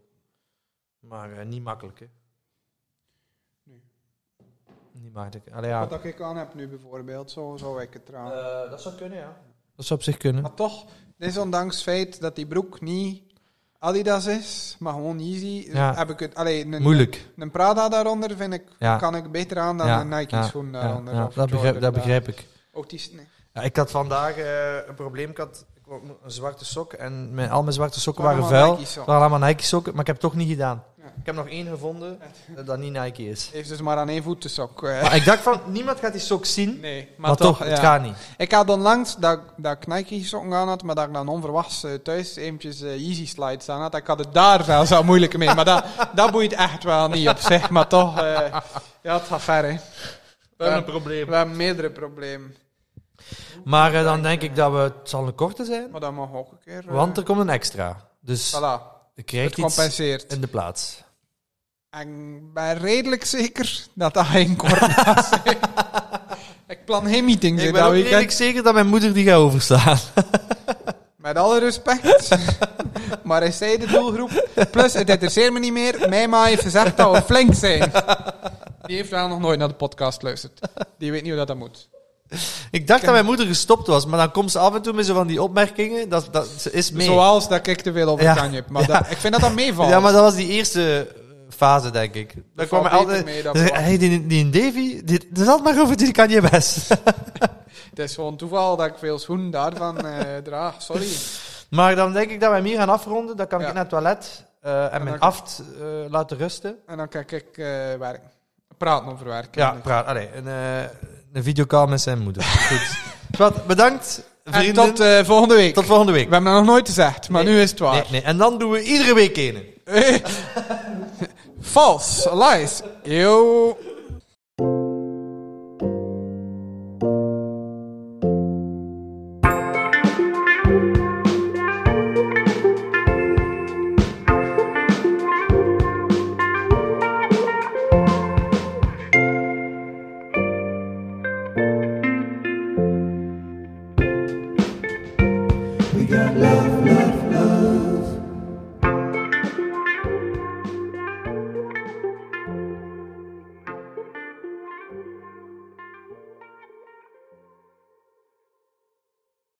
[SPEAKER 1] Maar eh, niet makkelijk, hè.
[SPEAKER 2] Nee.
[SPEAKER 1] Niet makkelijk. Allee, ja.
[SPEAKER 2] Wat ik aan heb nu bijvoorbeeld, zo zou ik het dragen.
[SPEAKER 1] Eh, dat zou kunnen, ja. Dat zou op zich kunnen.
[SPEAKER 2] Maar toch, desondanks het feit dat die broek niet Adidas is, maar gewoon Yeezy,
[SPEAKER 1] Ja.
[SPEAKER 2] heb ik het... Allee, een, eh,
[SPEAKER 1] Moeilijk.
[SPEAKER 2] een Prada daaronder vind ik,
[SPEAKER 1] Ja.
[SPEAKER 2] kan ik beter aan dan
[SPEAKER 1] Ja,
[SPEAKER 2] een Nike
[SPEAKER 1] ja,
[SPEAKER 2] schoen
[SPEAKER 1] Ja,
[SPEAKER 2] daaronder.
[SPEAKER 1] ja,
[SPEAKER 2] of
[SPEAKER 1] dat, begrijp,
[SPEAKER 2] Jordan
[SPEAKER 1] dat
[SPEAKER 2] daar.
[SPEAKER 1] begrijp ik.
[SPEAKER 2] Ook die... nee.
[SPEAKER 1] Ja, ik had vandaag eh, een probleem. Ik had ik wou een zwarte sok en mijn, al mijn zwarte sokken
[SPEAKER 2] Allemaal
[SPEAKER 1] waren vuil.
[SPEAKER 2] Nike's, joh.
[SPEAKER 1] Het waren allemaal Nike sokken, maar ik heb het toch niet gedaan.
[SPEAKER 2] Ja.
[SPEAKER 1] Ik heb nog één gevonden eh, dat niet Nike is.
[SPEAKER 2] Heeft dus maar aan één voet de sok. eh.
[SPEAKER 1] Maar ik dacht van, niemand gaat die sok zien, maar,
[SPEAKER 2] Nee, maar,
[SPEAKER 1] toch, het
[SPEAKER 2] ja.
[SPEAKER 1] gaat niet.
[SPEAKER 2] Ik had onlangs dat, ik- dat ik Nike sokken aan had, maar dat ik dan onverwachts eh, thuis eventjes eh, Yeezy slides aan had. Ik had het daar wel zo moeilijk mee, maar dat, dat boeit echt wel niet op zich. Maar toch, eh, ja, het gaat ver, hè.
[SPEAKER 1] We
[SPEAKER 2] hebben
[SPEAKER 1] hebben
[SPEAKER 2] een
[SPEAKER 1] een probleem.
[SPEAKER 2] We hebben meerdere problemen.
[SPEAKER 1] Maar eh, dan denk ik dat we, het zal een korte zijn,
[SPEAKER 2] Maar dat mag ook een keer. eh,
[SPEAKER 1] want er komt een extra. Dus
[SPEAKER 2] voilà,
[SPEAKER 1] je
[SPEAKER 2] het
[SPEAKER 1] krijgt iets
[SPEAKER 2] compenseert.
[SPEAKER 1] in de plaats.
[SPEAKER 2] En ik ben redelijk zeker dat dat geen kort was. ik plan geen meetings
[SPEAKER 1] Ik
[SPEAKER 2] hè,
[SPEAKER 1] ben
[SPEAKER 2] dat
[SPEAKER 1] ook
[SPEAKER 2] weekend.
[SPEAKER 1] redelijk zeker dat mijn moeder die gaat overslaan.
[SPEAKER 2] Met alle respect. maar is zij de doelgroep? Plus, het interesseert me niet meer. Mijn ma heeft gezegd dat we flink zijn. Die heeft wel nog nooit naar de podcast geluisterd. Die weet niet hoe dat, dat moet.
[SPEAKER 1] Ik dacht dat mijn moeder gestopt was, maar dan komt ze af en toe met zo van die opmerkingen. Dat, dat, ze is mee.
[SPEAKER 2] Zoals dat ik te veel over
[SPEAKER 1] Ja.
[SPEAKER 2] kan heb. Maar
[SPEAKER 1] Ja.
[SPEAKER 2] dat, ik vind dat dat meevalt.
[SPEAKER 1] Ja, maar dat was die eerste eh, fase, denk ik. Daar kwam er
[SPEAKER 2] valt beter
[SPEAKER 1] altijd...
[SPEAKER 2] mee dan
[SPEAKER 1] Dus,
[SPEAKER 2] verwacht.
[SPEAKER 1] hey, die, die Davy, die, dat had maar over die kan je best.
[SPEAKER 2] Het is gewoon toeval dat ik veel schoenen daarvan eh, draag. Sorry.
[SPEAKER 1] maar dan denk ik dat wij hem hier gaan afronden. Dan kan
[SPEAKER 2] Ja.
[SPEAKER 1] ik naar het toilet eh, en
[SPEAKER 2] dan
[SPEAKER 1] mijn
[SPEAKER 2] kan-
[SPEAKER 1] aft eh, laten rusten.
[SPEAKER 2] En dan kijk ik eh werken. Praten over werken.
[SPEAKER 1] Ja, praat. Allee, een, eh, een videocall met zijn moeder. Goed. Wat, bedankt, vrienden.
[SPEAKER 2] en tot eh, volgende week.
[SPEAKER 1] Tot volgende
[SPEAKER 2] We
[SPEAKER 1] week.
[SPEAKER 2] hebben dat nog nooit gezegd, maar
[SPEAKER 1] Nee.
[SPEAKER 2] nu is het waar.
[SPEAKER 1] Nee, nee. En dan doen we iedere week een.
[SPEAKER 2] Vals. Lies. Yo.